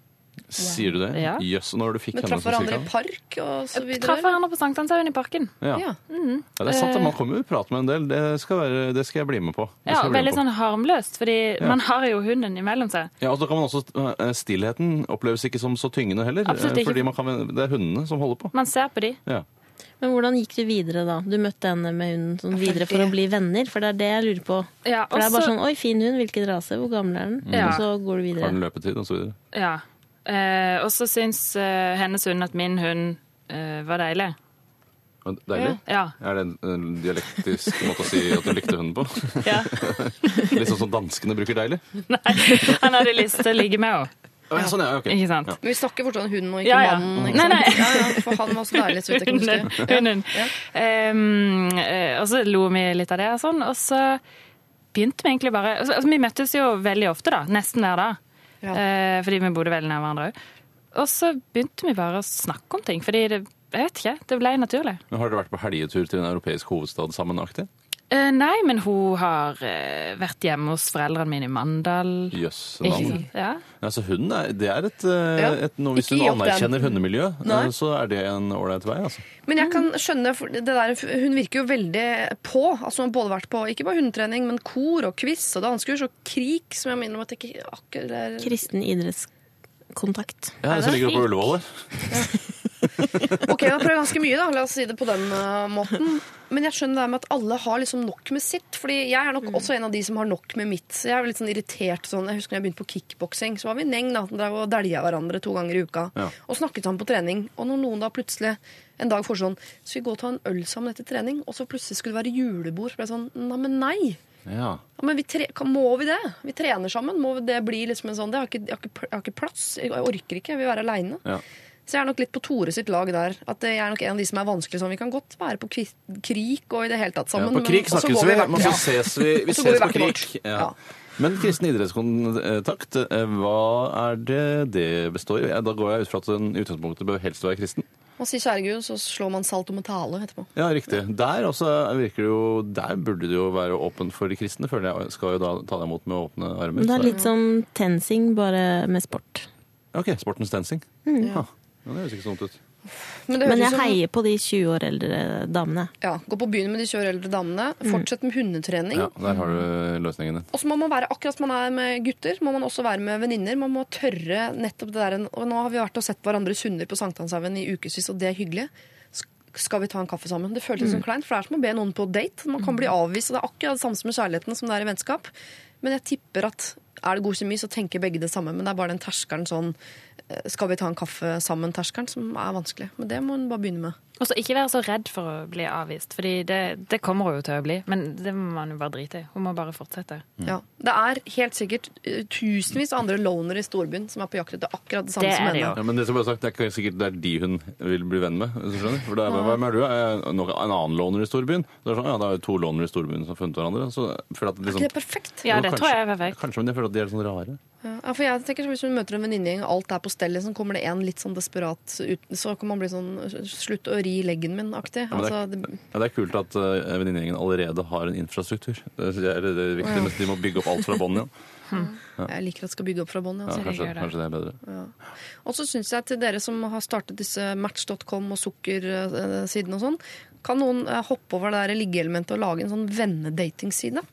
S9: Sier du det?
S8: Ja.
S9: Jøss, og når du fikk
S3: Men
S9: henne
S3: traff
S9: som
S3: hverandre i
S9: cirka?
S3: park og så
S8: Traff
S3: videre?
S8: hverandre på sankthanshaugen i parken.
S9: Ja.
S3: Ja.
S9: ja, det er sant. da. Man kommer jo og prater med en del. Det skal, være, det skal jeg bli med på. Det
S8: Eh. Ja,
S9: skal jeg bli med
S8: veldig
S9: på.
S8: sånn harmløst, fordi man har jo hunden imellom seg.
S9: Ja, og så kan man også, eh, Stillheten oppleves ikke som så tyngende heller.
S8: Absolutt
S9: eh,
S8: ikke.
S9: Fordi man kan, det er hundene som holder på.
S8: Man ser på de.
S9: Ja.
S7: Men hvordan gikk det videre da? Du møtte henne med hunden sånn
S3: Ja, Altså- for
S7: videre for
S3: det-
S7: å bli venner, for det er det jeg lurer på.
S8: Ja,
S7: For det er
S8: også-
S7: bare sånn, oi, fin hund, hvilken rase, hvor gammel er den?
S8: Ja.
S7: Og så går du
S9: Har
S7: videre.
S9: den løpetid og så videre.
S8: Ja. Eh, og så syns eh, hennes hund at min hund eh, var deilig.
S9: Men Deilig.
S8: Ja.
S9: Er det en, en
S8: [laughs]
S9: dialektisk måte å si at du likte hunden på? [laughs] litt sånn som danskene bruker 'deilig'?
S8: Han hadde lyst til å ligge med henne,
S9: Å, Ja, sånn, ja, ok.
S8: ikke sant?
S9: Ja.
S3: Men vi snakker fortsatt om hunden og ikke
S8: Ja, ja.
S3: mannen. Ikke
S8: Nei,
S3: sant?
S8: nei.
S3: Ja, ja, for han var så deilig, så vidt jeg kan
S8: Hunden. [laughs]
S3: huske.
S8: hunden. Ehm, eh, og så lo vi litt av det og sånn, og så begynte vi egentlig bare altså, altså, Vi møttes jo veldig ofte, da. Nesten hver dag.
S3: Ja.
S8: Eh, fordi vi bodde veldig nær hverandre òg. Og så begynte vi bare å snakke om ting, fordi det jeg vet ikke, det ble naturlig.
S9: Men Har dere vært på helgetur til en europeisk hovedstad sammen? aktig?
S8: Eh, nei, men hun har eh, vært hjemme hos foreldrene mine i Mandal.
S9: Jøss.
S8: Ikke
S9: navn.
S8: sant? Ja.
S9: Ja, så hunden er, det er et, eh,
S3: Ja.
S9: et noe, Hvis
S3: Ikke
S9: hun
S3: gi opp
S9: anerkjenner hundemiljø, eh,
S3: Nei.
S9: så er det en ålreit vei. altså.
S3: Men jeg kan skjønne, for det der, hun virker jo veldig på. Altså Hun har både vært på ikke bare hundetrening, men kor og quiz og danskurs og krig, som jeg minner om at jeg ikke akkurat det er-
S7: Kristen idrettskontakt.
S9: Ja,
S3: det
S9: så
S3: er
S9: ligger det på Ullevål der.
S3: Ok, jeg har prøvd ganske mye, da. La oss si det på den eh, måten. Men jeg skjønner det her med at alle har liksom nok med sitt. Fordi jeg er nok også en av de som har nok med mitt. Så jeg er litt sånn irritert sånn. Jeg husker når jeg begynte på kickboksing, så var vi en gjeng da. som drev og dælja hverandre to ganger i uka.
S9: Ja.
S3: Og snakket sammen på trening. Og når noen da plutselig en dag får sånn Skal vi gå og ta en øl sammen etter trening? Og så plutselig skulle det være julebord. Så ble jeg sånn Nei, men nei.
S9: Ja.
S3: Ja, men vi tre kan- må vi det? Vi trener sammen. Må det bli liksom en sånn det? Jeg har ikke, jeg har ikke, pl- jeg har ikke plass. Jeg orker ikke. Jeg vil være aleine.
S9: Ja.
S3: Så jeg er nok litt på Tore sitt lag der. At jeg er nok en av de som er vanskelig sånn. Vi kan godt være på kvi- krik og i det hele tatt
S9: Ja,
S3: sammen.
S9: på
S3: men-
S9: krig
S3: og så
S9: snakkes
S3: går
S9: vi,
S3: hvert-
S9: men så
S3: ja.
S9: ses vi, vi
S3: Og så går
S9: ses
S3: vi
S9: på
S3: hvert
S9: krig.
S3: vårt.
S9: Ja.
S3: Ja.
S9: Men kristen idrettskontakt, eh, hva er det det består i? Ja, Da går jeg ut fra at den i utgangspunktet bør helst være kristen.
S3: Man sier kjære Gud, så slår man salt og metale etterpå.
S9: Ja, riktig. Der også virker det jo Der burde det jo være åpen for de kristne, føler jeg. Skal jo da ta deg imot med åpne armer.
S7: Men det
S9: så-
S7: er litt som tensing, bare med sport.
S9: Ok, sportens dancing. Mm. Ja. Ja, det høres ikke sånn ut.
S3: det
S7: Men
S3: høres
S7: jeg
S3: ut som-
S7: heier på de 20 år eldre damene.
S3: Ja, Gå på byen med de 20 år eldre damene.
S7: Mm.
S3: Fortsett med hundetrening.
S9: Ja, der har du eh, løsningen din.
S3: Og så må man være akkurat som man er med gutter, må man også være med venninner. Man må tørre nettopp det der. Og nå har vi vært og sett hverandres hunder på Sankthanshaugen i ukevis, og det er hyggelig. Sk- Skal vi ta en kaffe sammen? Det føltes
S8: Mm.
S3: som kleint, for det er som å be noen på date. Man kan bli avvist, og det er akkurat det samme som med kjærligheten som det er i vennskap. Men jeg tipper at er det god kjemi, så tenker begge det samme. Men det er bare den terskelen sånn eh, skal vi ta en kaffe sammen-terskelen som er vanskelig. Men det må hun bare begynne med.
S8: Og så ikke være så redd for å bli avvist, fordi det, det kommer hun jo til å bli. Men det må man jo bare drite i. Hun må bare fortsette.
S3: Ja. Det er helt sikkert eh, tusenvis av andre loner i storbyen som er på jakt etter akkurat det samme
S8: Det er
S3: som
S8: det
S3: henne.
S8: jo.
S9: Ja, men det som jeg har sagt, det er ikke sikkert det er de hun vil bli venn med. Hvis du skjønner. For det er, bare, Hvem er du? Er jeg nok en annen låner i storbyen? Det er sånn, ja, det er jo to låner i storbyen som har funnet hverandre. Så jeg føler at
S3: Er
S9: det
S3: ikke
S9: liksom,
S3: det perfekt?
S8: Ja,
S9: Jo,
S8: det
S9: kanskje-
S8: tror jeg er perfekt.
S9: Kanskje, men jeg føler at de er litt sånn rare.
S3: Ja, for jeg tenker sånn, Hvis hun møter en venninnegjeng og alt er på stell, liksom, kommer det en litt sånn desperat ut, så kan man bli sånn Slutt å ri leggen min-aktig.
S9: men det er-
S3: altså, det-
S9: Ja, det er kult at eh, venninnegjengen allerede har en infrastruktur. Det er det, det er viktig, men de må bygge opp alt fra bånn igjen.
S3: jeg liker at det skal bygge opp fra bånn.
S9: Ja,
S3: Altså.
S9: kanskje,
S8: gjør det.
S9: kanskje det er bedre.
S3: Og så syns jeg til dere som har startet disse match.com og sukkersidene og sånn, kan noen eh, hoppe over det der liggeelementet og lage en sånn vennedatingside?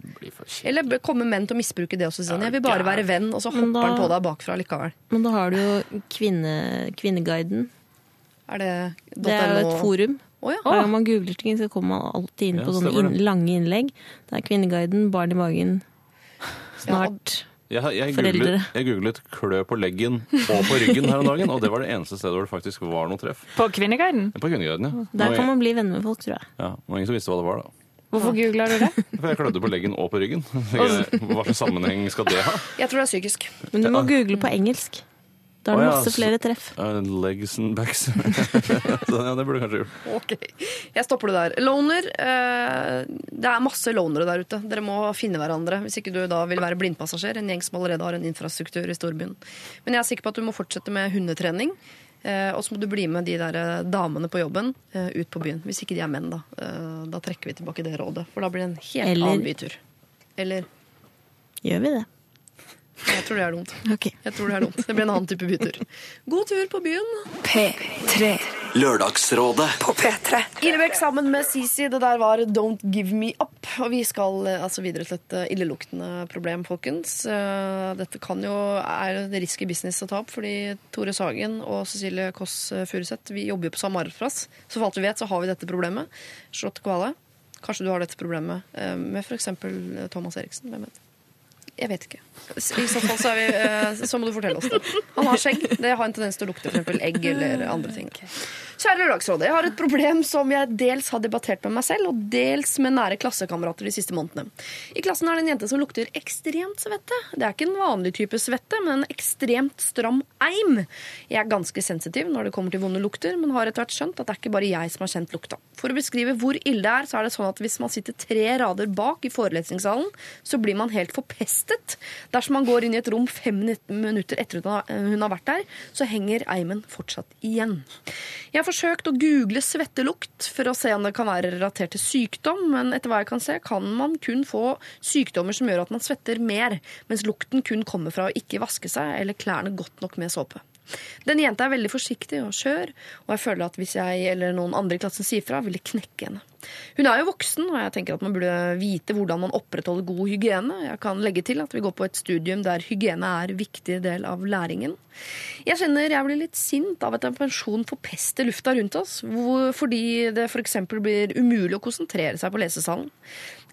S3: Eller b- kommer menn til å misbruke det også? Sånn. Jeg vil bare være venn, og så
S7: Men
S3: hopper
S7: da-
S3: han på deg bakfra likevel.
S7: Men da har du jo kvinne, Kvinneguiden.
S3: Er det
S7: Det er jo et forum.
S3: Å ja.
S7: Hver gang man googler ting, så kommer man alltid inn
S9: Ja,
S7: på sånne
S9: stemmer
S7: inn,
S9: det.
S7: lange innlegg. Det er Kvinneguiden, Barn i magen, snart
S9: Jeg, jeg,
S7: Foreldre.
S9: googlet, jeg googlet 'klø på leggen' og på ryggen her om dagen, og det var det eneste stedet hvor det faktisk var noe treff.
S8: På Kvinneguiden?
S9: På Kvinneguiden, ja.
S7: Der
S9: Og
S7: kan
S9: jeg-
S7: man bli venner med folk, tror jeg.
S9: ja. Og ingen som visste hva det var, da.
S8: Hvorfor googla du
S9: [laughs]
S8: det?
S9: For jeg klødde på leggen og på ryggen. [laughs] Hva slags sammenheng skal det ha?
S3: Jeg tror det er psykisk.
S7: Men du må
S9: Ja.
S7: google på engelsk. Da
S9: Å
S7: er det
S9: ja,
S7: masse
S9: så-
S7: flere treff.
S9: [laughs] Uh, legs and backs. [laughs] Sånn, ja, det burde du kanskje
S3: [laughs]
S9: gjort.
S3: Ok, Jeg stopper det der. Loner. Eh, det er masse lonere der ute. Dere må finne hverandre hvis ikke du da vil være blindpassasjer. En gjeng som allerede har en infrastruktur i storbyen. Men jeg er sikker på at du må fortsette med hundetrening. eh, og så må du bli med de der eh, damene på jobben eh, ut på byen. Hvis ikke de er menn, da. Eh, da trekker vi tilbake det rådet. For da blir det en helt
S7: Eller-
S3: annen bytur. Eller
S7: Gjør vi det?
S3: Jeg tror det er dumt.
S7: Ok.
S3: Jeg tror Det er dumt. Det blir en annen type bytur. God tur på byen.
S1: P3
S2: Lørdagsrådet.
S1: på P3.
S3: Illebekk sammen med Sisi. Det der var Don't Give Me Up. Og vi skal eh, altså videre til et eh, illeluktende problem, folkens. Eh, Dette kan jo er det risky business å ta opp, fordi Tore Sagen og Cecilie Kåss eh, Furuseth vi jobber jo på samme arbeidsplass. Så for alt vi vet, så har vi dette problemet. Charlotte Kvale, kanskje du har dette problemet eh, med f.eks. Thomas Eriksen. Hvem vet? Jeg vet ikke. S- I så fall så, er vi, eh, så må du fortelle oss det. Han har skjegg. Det har en tendens til å lukte f.eks. egg eller andre ting. Kjære Lørdagsrådet, jeg har et problem som jeg dels har debattert med meg selv, og dels med nære klassekamerater de siste månedene. I klassen er det en jente som lukter ekstremt svette. Det er ikke en vanlig type svette, men en ekstremt stram eim. Jeg er ganske sensitiv når det kommer til vonde lukter, men har etter hvert skjønt at det er ikke bare jeg som har kjent lukta. For å beskrive hvor ille det er, så er det sånn at hvis man sitter tre rader bak i forelesningssalen, så blir man helt forpestet. Dersom man går inn i et rom fem minut- minutter etter at hun har vært der, så henger eimen fortsatt igjen. Jeg har forsøkt å google svettelukt for å se om det kan være relatert til sykdom, men etter hva jeg kan se, kan man kun få sykdommer som gjør at man svetter mer, mens lukten kun kommer fra å ikke vaske seg eller klærne godt nok med såpe. Den jenta er veldig forsiktig og skjør, og jeg føler at hvis jeg eller noen andre i klassen sier fra, vil det knekke henne. Hun er jo voksen, og jeg tenker at man burde vite hvordan man opprettholder god hygiene. Jeg kan legge til at vi går på et studium der hygiene er en viktig del av læringen. Jeg kjenner jeg blir litt sint av at en pensjon forpester lufta rundt oss, hvor- fordi det f.eks. blir umulig å konsentrere seg på lesesalen.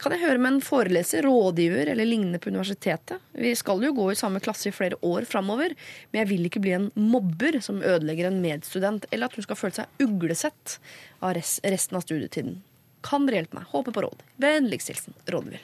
S3: Kan jeg høre med en foreleser, rådgiver eller lignende på universitetet? Vi skal jo gå i samme klasse i flere år framover, men jeg vil ikke bli en mobber som ødelegger en medstudent, eller at hun skal føle seg uglesett av res- resten av studietiden. Kan dere hjelpe meg? Håper på råd. Vennligst hilsen Rådvill.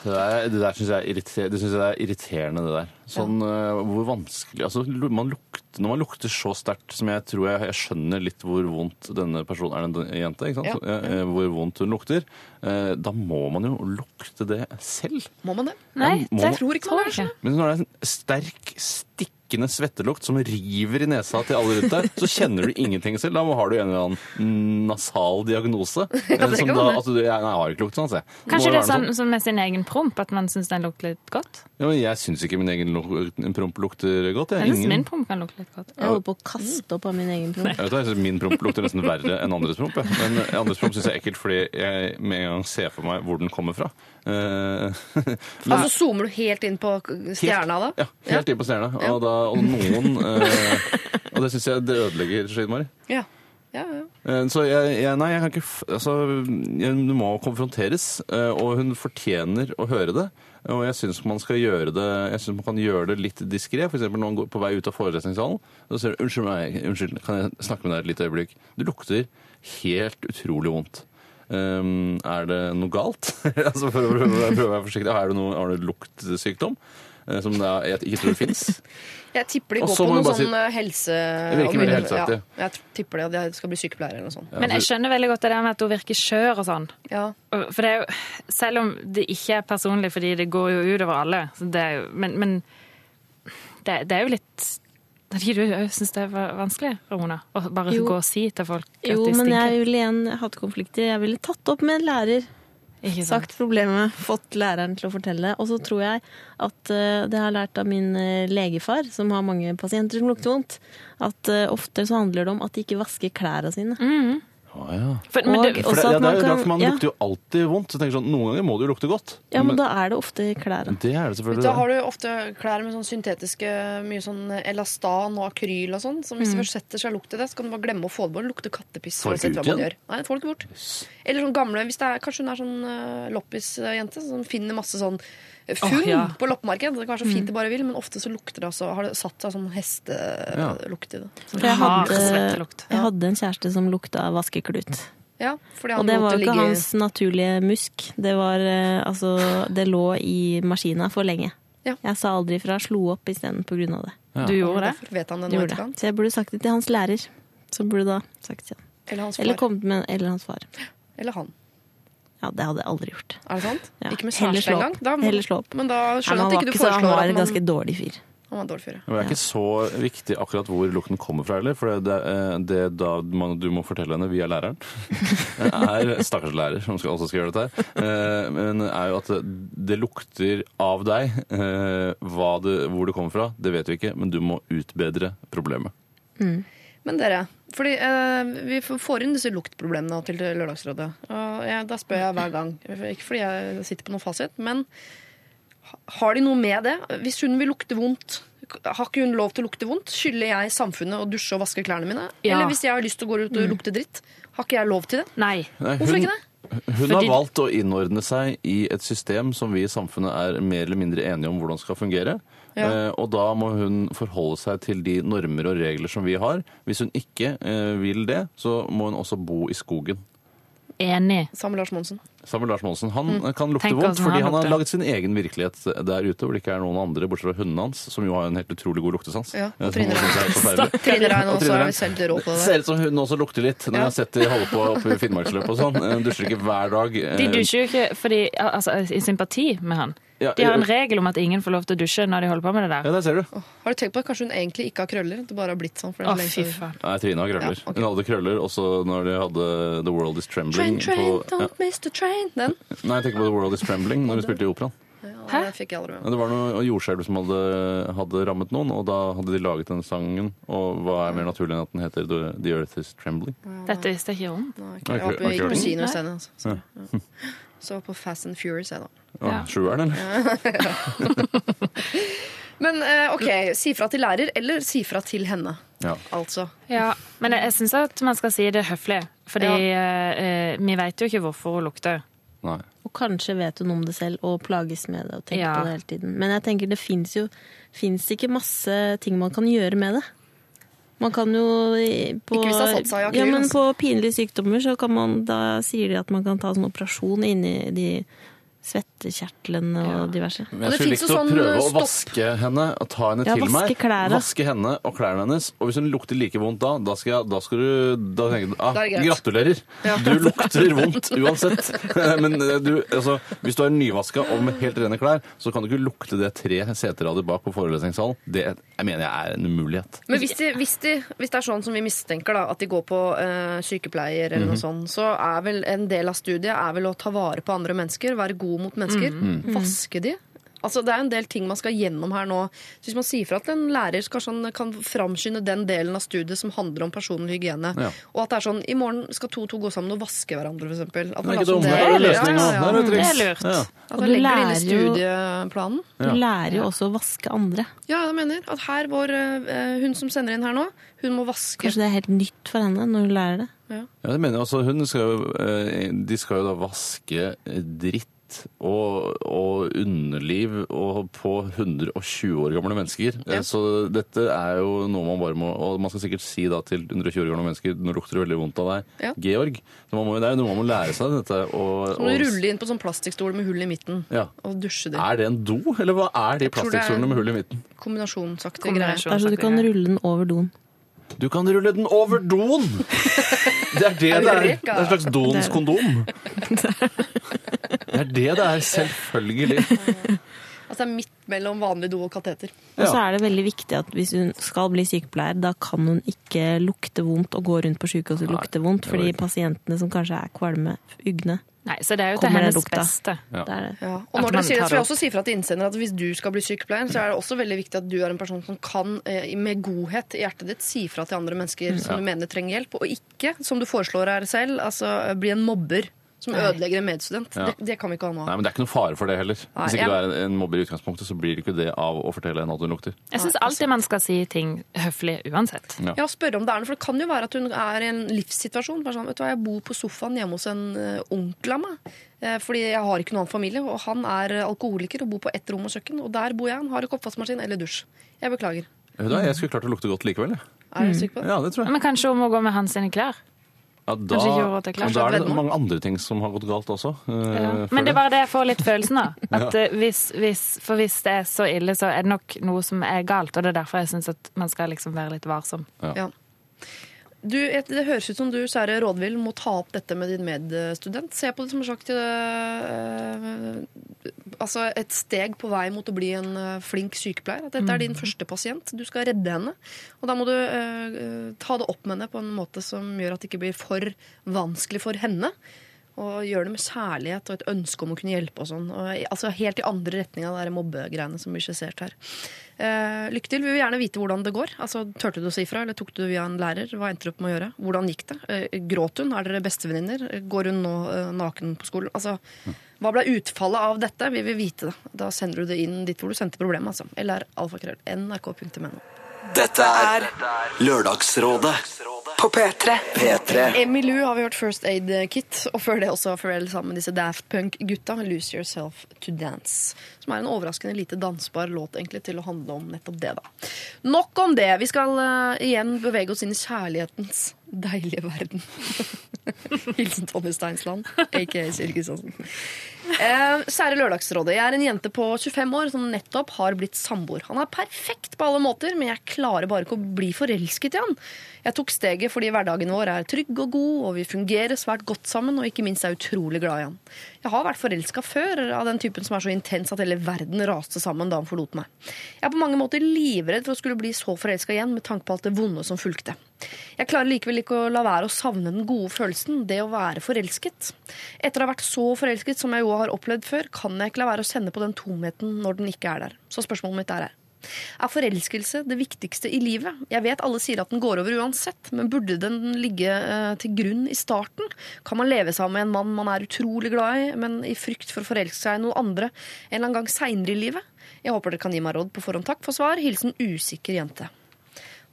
S9: Det der, det der syns jeg, er irriter- det synes jeg er irriterende, det der. Sånn eh, hvor vanskelig Altså, lu- man lukter, når man lukter så sterkt som jeg tror jeg, jeg skjønner litt hvor vondt denne personen Er det en jente, ikke sant?
S3: Ja.
S9: Så, eh, eh, Hvor vondt hun lukter. eh, Da må man jo lukte det selv.
S3: Må man det?
S8: Nei,
S9: må-
S8: det
S3: Jeg tror ikke man er sånn.
S9: Men når det er en sterk, stikkende svettelukt som river i nesa til alle rundt deg, så kjenner du ingenting selv. Da har du en eller annen nasal
S8: [laughs]
S9: diagnose. eh,
S3: det
S9: som
S3: kan
S9: da,
S3: være.
S9: at du, jeg, nei, jeg har ikke lukt sånn, altså. jeg. Må
S8: Kanskje det er
S9: være noe sånn-
S8: sånn, sånn med sin egen promp, at man syns den lukter litt godt?
S9: Ja, men jeg syns ikke min egen lu- promp lukter godt. Jeg,
S8: Jeg synes
S9: Ingen-
S8: min promp kan lukte litt godt.
S7: Jeg holder på å kaste opp av min egen promp.
S9: Jeg vet hva, jeg synes min promp lukter nesten verre enn andres promp. jeg. Men eh, andres promp syns jeg er ekkelt fordi jeg med en gang ser for meg hvor den kommer fra. Eh, [laughs]
S3: Og så zoomer du helt inn på stjerna da?
S9: Ja, helt inn på stjerna. Og, da, og noen eh, Og det syns jeg det ødelegger så innmari.
S3: Ja. ja, ja.
S9: Eh, Så jeg, jeg, nei, jeg kan ikke f altså, jeg, Du må konfronteres, eh, og hun fortjener å høre det. Og jeg syns man skal gjøre det Jeg synes man kan gjøre det litt diskré. F.eks. når man går på vei ut av forelesningssalen. Så sier du 'Unnskyld meg, unnskyld, kan jeg snakke med deg et lite øyeblikk?' Du lukter helt utrolig vondt. Ehm, er det noe galt? [laughs] altså for å prøve, prøve å være forsiktig. Har du, noe, har du luktsykdom? Eh, Som da jeg ikke tror fins.
S3: Jeg tipper de
S9: Og
S3: går
S9: så
S3: på
S9: må
S3: noe
S9: jeg bare si-
S3: sånn eh, helse...
S9: Det virker veldig
S3: Ja,
S9: helseaktig.
S3: jeg tr- tipper det, at jeg skal bli sykepleier eller noe sånt.
S8: Men jeg skjønner veldig godt det der med at hun virker skjør og sånn.
S3: Ja.
S8: Og- For det er jo, selv om det ikke er personlig, fordi det går jo utover alle, så det er jo, men, men det, det er jo litt At ikke du òg syns det er vanskelig, Ramona? Å bare
S7: Jo.
S8: gå og si til folk at
S7: Jo,
S8: de
S7: men
S8: stinker?
S7: jeg vil igjen hatkonflikter. Jeg ville tatt opp med en lærer.
S8: Ikke sant?
S7: Sagt problemet, fått læreren til å fortelle. Og så tror jeg at eh, det har jeg lært av min eh, legefar, som har mange pasienter som lukter vondt, at eh, ofte så handler det om at de ikke vasker klærne sine.
S9: Å, [laughs] ja.
S8: For, men
S7: Og-
S8: det,
S9: For det,
S7: Også at
S9: ja, det er
S7: man
S9: jo
S7: kan-
S9: derfor man
S7: ja.
S9: lukter jo alltid vondt. Så jeg tenker sånn, Noen ganger må det jo lukte godt.
S7: Ja, men da er det ofte klærne.
S9: det er det selvfølgelig.
S3: Da
S9: det.
S3: har du ofte klær med sånn syntetiske, mye sånn elastan og akryl og sånn. Som hvis
S7: Mm.
S3: det først setter seg lukt i det, så kan du bare glemme å få det bort. Det Lukter kattepiss.
S9: Får
S3: uansett
S9: ikke ut
S3: hva man
S9: igjen?
S3: gjør. Nei, det får du ikke bort. Eller sånn gamle hvis det er, Kanskje hun er sånn eh, loppisjente som finner masse sånn funn
S8: Åh, ja.
S3: på loppemarked. Det kan være så
S7: Mm.
S3: fint det bare vil, men ofte så lukter det altså, har det satt seg sånn hestelukt i det.
S7: For jeg hadde,
S8: svettelukt.
S7: jeg hadde en kjæreste som lukta vaskeklut.
S3: Ja, fordi
S7: Og
S3: han
S7: det
S3: lot
S7: var
S3: det
S7: jo ikke
S3: ligge
S7: hans naturlige musk. Det var eh, altså Det lå i maskina for lenge.
S3: Ja.
S7: Jeg sa aldri fra. Slo opp isteden på grunn av det.
S8: Du gjorde det?
S3: Derfor vet han det nå
S7: Gjorde det.
S3: etterkant.
S7: Så jeg burde sagt det til hans lærer. Som burde da sagt til han.
S3: Eller hans far.
S7: Eller
S3: Eller,
S7: kommet med Eller hans far.
S3: han.
S7: Ja, det hadde jeg aldri gjort.
S3: Er det sant?
S7: Ja.
S3: Ikke med
S7: Heller
S3: sværste
S7: slå
S3: engang.
S7: opp.
S3: Da må-
S7: Heller slå opp.
S3: Men da
S7: Nei, men
S3: skjønner
S7: han,
S3: jeg
S7: var
S3: at ikke
S7: ikke
S3: du
S7: så, han
S3: foreslår
S7: var
S3: at
S7: en
S3: man,
S7: ganske dårlig fyr.
S3: han var en dårlig fyr. ja.
S9: Men det er ikke så viktig akkurat hvor lukten kommer fra heller, for det, er- det er da man, du må fortelle henne via læreren, [laughs] er stakkars lærer som skal, også skal gjøre dette her, eh, men er jo at det lukter av deg. eh, Hva det, hvor det kommer fra, det vet vi ikke, men du må utbedre problemet.
S3: Men dere, fordi eh, vi f- får inn disse luktproblemene til til Lørdagsrådet. Og jeg, da spør jeg hver gang. Ikke fordi jeg sitter på noen fasit, men ha- har de noe med det? Hvis hun vil lukte vondt, k- har ikke hun lov til å lukte vondt? Skylder jeg samfunnet å dusje og vaske klærne mine?
S8: Ja. Mm.
S3: Eller hvis jeg har lyst til å gå ut og lukte dritt, har ikke jeg lov til det?
S8: Nei.
S9: Nei, hun,
S3: Hvorfor ikke det?
S9: Hun
S8: Fordi-
S9: har valgt å innordne seg i et system som vi i samfunnet er mer eller mindre enige om hvordan skal fungere. Eh, og da må hun forholde seg til de normer og regler som vi har. Hvis hun ikke eh, vil det, så må hun også bo i skogen.
S8: Enig.
S3: Sammen med Lars Monsen.
S9: Samuel Lars Monsen han eh, kan lukte
S8: Mm. Tenk
S9: vondt
S8: hvordan
S9: fordi
S8: han
S9: han har
S8: lukter.
S9: laget sin egen virkelighet der ute, hvor det ikke er noen andre bortsett fra hundene hans, som jo har en helt utrolig god luktesans.
S3: Ja,
S9: Eh,
S3: og
S9: som
S3: Trine
S9: også synes er forferdelig.
S3: Trine Rein
S9: Og
S3: også
S9: Trine
S3: er
S9: Rein.
S3: selv rå på det.
S9: Ser ut som hun også lukter litt når jeg har sett de holde på oppe i Finnmarksløpet og sånn. Eh, Dusjer ikke hver dag. eh,
S8: De dusjer jo ikke fordi, altså, i sympati med han.
S9: Ja, eh,
S8: De har
S9: ja.
S8: en regel om at ingen får lov til å dusje når de holder på med det
S9: Ja,
S8: der.
S9: der ser du.
S3: Har du tenkt på at kanskje hun egentlig ikke har krøller? Det bare har blitt sånn. For det er så
S8: Å,
S3: lenge
S8: fy
S3: siden.
S8: faen.
S9: Nei, Trine har krøller.
S3: Ja, ok.
S9: Hun hadde krøller også når de hadde The World Is Trembling.
S3: Train, train,
S9: på, ja.
S3: don't miss the train. Den.
S9: Nei, jeg tenker på The World Is Trembling når vi spilte i operaen.
S3: Ja, det fikk jeg aldri med meg.
S9: Det var noe jordskjelv som hadde, hadde rammet noen, og da hadde de laget den sangen. Og hva er mer naturlig enn at den heter The, The Earth Is Trembling?
S8: Dette visste jeg ikke om.
S3: Nei,
S9: Nei,
S3: Jeg var
S9: ikke-
S3: på,
S9: ikke
S3: gikk på
S9: hørt.
S3: kino i stedet. Altså. Så, ja. så på Fast and Furious, jeg, da.
S9: Å, Sjueren, eller?
S3: Men eh, OK, si fra til lærer, eller si fra til henne.
S9: Ja.
S3: Altså.
S8: Ja, men jeg, jeg syns at man skal si det høflig. Fordi eh, eh, vi veit jo ikke hvorfor hun lukter.
S9: Nei.
S7: Og kanskje vet hun om det selv og plages med det og tenker
S8: Ja.
S7: på det hele tiden. Men jeg tenker det fins jo finnes ikke masse ting man kan gjøre med det. Man kan jo i- på,
S3: Ikke hvis det har satt seg i akryl,
S7: ja, men
S3: altså.
S7: på pinlige sykdommer så kan man, da sier de at man kan ta sånn operasjon inni de svettekjertlene og diverse.
S3: Og
S9: Men jeg
S3: det
S9: skulle
S3: finnes
S9: likt
S3: jo
S9: å
S3: sånn,
S9: prøve å
S3: stopp.
S9: vaske henne og ta henne
S7: Ja,
S9: til meg.
S7: vaske klærne.
S9: Vaske henne og klærne hennes. Og hvis hun lukter like vondt da, da skal, jeg, da skal du da tenker, du, ah,
S3: Da er det greit.
S9: Gratulerer! Du lukter vondt uansett. [laughs] Men eh, du, altså, hvis du har nyvaska og med helt rene klær, så kan du ikke lukte det tre seterader bak på forelesningssalen. Det jeg mener jeg er en umulighet.
S3: Men hvis, de, hvis, de, hvis det er sånn som vi mistenker, da, at de går på eh, sykepleier eller
S9: Mhm.
S3: noe sånt, så er vel en del av studiet er vel å ta vare på andre mennesker, være god mot mennesker,
S9: Mhm.
S3: vaske de. Altså, det er en del ting man skal gjennom her nå. Så hvis man sier fra til en lærer, så kanskje han kan framskynde den delen av studiet som handler om personlig hygiene.
S9: Ja.
S3: Og at det er sånn i morgen skal to og to gå sammen og vaske hverandre, f.eks.
S9: Det er ikke dumt. Der er det løsning nå. Der er det
S8: Det
S9: triks.
S8: er lurt.
S9: Ja.
S3: At
S7: Og
S3: man
S7: du
S3: legger det inn i
S7: lærer jo-
S3: studieplanen.
S7: Du lærer jo også å vaske andre.
S3: Ja, jeg mener at her vår, eh, hun som sender inn her nå, hun må vaske.
S7: Kanskje det er helt nytt for henne når hun lærer det.
S9: Ja, det mener jeg også. Hun skal jo, eh, de skal jo da vaske eh, dritt og, og underliv og på 120 år gamle mennesker. Eh, Så dette er jo noe man bare må Og man skal sikkert si da til 120 år gamle mennesker nå lukter det veldig vondt av deg,
S3: Ja.
S9: Georg. Så man må, jo- det er jo noe man må lære seg dette. Og,
S3: Så må du
S9: og-
S3: rulle inn på sånn plastikkstol med hull i midten
S9: Ja.
S3: og dusje det.
S9: Er det en do, eller hva er de
S3: Jeg tror det er-
S9: plastikkstolene med hull i midten?
S3: Kombinasjonsaktige greier.
S7: Det er så du kan rulle den over doen.
S9: Du kan rulle den over doen! Det er det det er. Det er et slags doens kondom. Det er det det er, selvfølgelig.
S3: Altså det er midt mellom vanlig do og kateter.
S7: Og så er det veldig viktig at hvis hun skal bli sykepleier, da kan hun ikke lukte vondt og gå rundt på sykehus og
S9: Nei,
S7: lukte vondt,
S9: det går
S7: fordi
S9: ikke.
S7: pasientene som kanskje er kvalme, ugne
S8: Nei, så det er jo til
S7: Kommer det
S8: hennes
S7: lukta?
S8: beste.
S9: Ja.
S7: det er det.
S3: Ja.
S8: At
S3: Og når
S8: man
S3: dere sier det,
S8: tar
S3: så vil jeg
S8: opp.
S3: også si fra til innsender at hvis du skal bli sykepleier, så er det også veldig viktig at du er en person som kan, eh, med godhet i hjertet ditt, si fra til andre mennesker som du mener trenger hjelp, og ikke, som du foreslår her selv, altså bli en mobber som ødelegger en medstudent.
S9: Ja.
S3: Det, det kan vi ikke ha nå.
S9: Nei, men Det er ikke noe fare for det heller.
S3: Nei,
S9: Hvis ikke
S3: jeg-
S9: du er en mobber i utgangspunktet, så blir det ikke det av å fortelle henne at hun lukter.
S8: Jeg syns alltid man skal si ting høflig uansett.
S3: Ja, spørre om det er noe, for det kan jo være at hun er i en livssituasjon. Bare sånn, vet du hva, jeg bor på sofaen hjemme hos en eh, onkel av meg, eh, fordi jeg har ikke noen annen familie, og han er alkoholiker og bor på ett rom og kjøkken, og der bor jeg, han har ikke oppvaskmaskin eller dusj. Jeg beklager.
S9: Vet du hva, Jeg skulle klart å lukte godt likevel. jeg.
S3: Er du sikker på det?
S9: Ja, det tror jeg.
S8: Men kanskje hun må gå med hans sine klær?
S9: Ja, da,
S8: Kanskje ikke råd til klær.
S9: men da er det
S3: Veddemål.
S9: mange andre ting som har gått galt også. eh,
S8: Ja.
S9: før
S8: Men det
S9: det.
S8: er bare det jeg får litt følelsen
S9: [laughs]
S8: av. At eh, hvis, hvis, for hvis det er så ille, så er det nok noe som er galt. Og det er derfor jeg syns at man skal liksom være litt varsom.
S3: Ja. Du, et- det høres ut som du, kjære rådvill, må ta opp dette med din medstudent. Se på det som en slags øh, altså et steg på vei mot å bli en øh, flink sykepleier. At dette er din første pasient. Du skal redde henne. Og da må du øh, øh, ta det opp med henne på en måte som gjør at det ikke blir for vanskelig for henne. Og gjøre det med kjærlighet og et ønske om å kunne hjelpe. og sånn. Og, altså Helt i andre retninga av de der mobbegreiene som blir skissert her. Eh, lykke til. Vi vil gjerne vite hvordan det går. Altså, Turte du å si ifra, eller tok du via en lærer? Hva endte du opp med å gjøre? Hvordan gikk det? Eh, gråt hun? Er dere bestevenninner? Går hun nå eh, naken på skolen? Altså, Hva ble utfallet av dette? Vi vil vite det. Da sender du det inn dit hvor du sendte problemet. altså. Eller alfakrøll. nrk.no.
S2: Dette er Lørdagsrådet
S1: På P3.
S2: P3.
S3: Emilu har vi hørt First Aid Kit, og før det også Pharrell sammen med disse Daft Punk-gutta. Lose Yourself to Dance. Som er en overraskende lite dansbar låt egentlig til å handle om nettopp det, da. Nok om det. Vi skal eh, igjen bevege oss inn i kjærlighetens deilige verden. [laughs] Hilsen Tommy Steinsland, aka Siri Kristiansen. Eh, kjære Lørdagsrådet, jeg er en jente på 25 år som nettopp har blitt samboer. Han er perfekt på alle måter, men jeg klarer bare ikke å bli forelsket i han. Jeg tok steget fordi hverdagen vår er trygg og god, og vi fungerer svært godt sammen, og ikke minst er jeg utrolig glad i han. Jeg har vært forelska før, av den typen som er så intens at hele verden raste sammen da han forlot meg. Jeg er på mange måter livredd for å skulle bli så forelska igjen, med tanke på alt det vonde som fulgte. Jeg klarer likevel ikke å la være å savne den gode følelsen, det å være forelsket. Etter å ha vært så forelsket som jeg jo har opplevd før, kan jeg ikke la være å kjenne på den tomheten når den ikke er der. Så spørsmålet mitt er her. Er forelskelse det viktigste i livet? Jeg vet alle sier at den går over uansett, men burde den ligge eh, til grunn i starten? Kan man leve sammen med en mann man er utrolig glad i, men i frykt for å forelske seg i noen andre en eller annen gang seinere i livet? Jeg håper dere kan gi meg råd på forhånd. Takk for svar. Hilsen usikker jente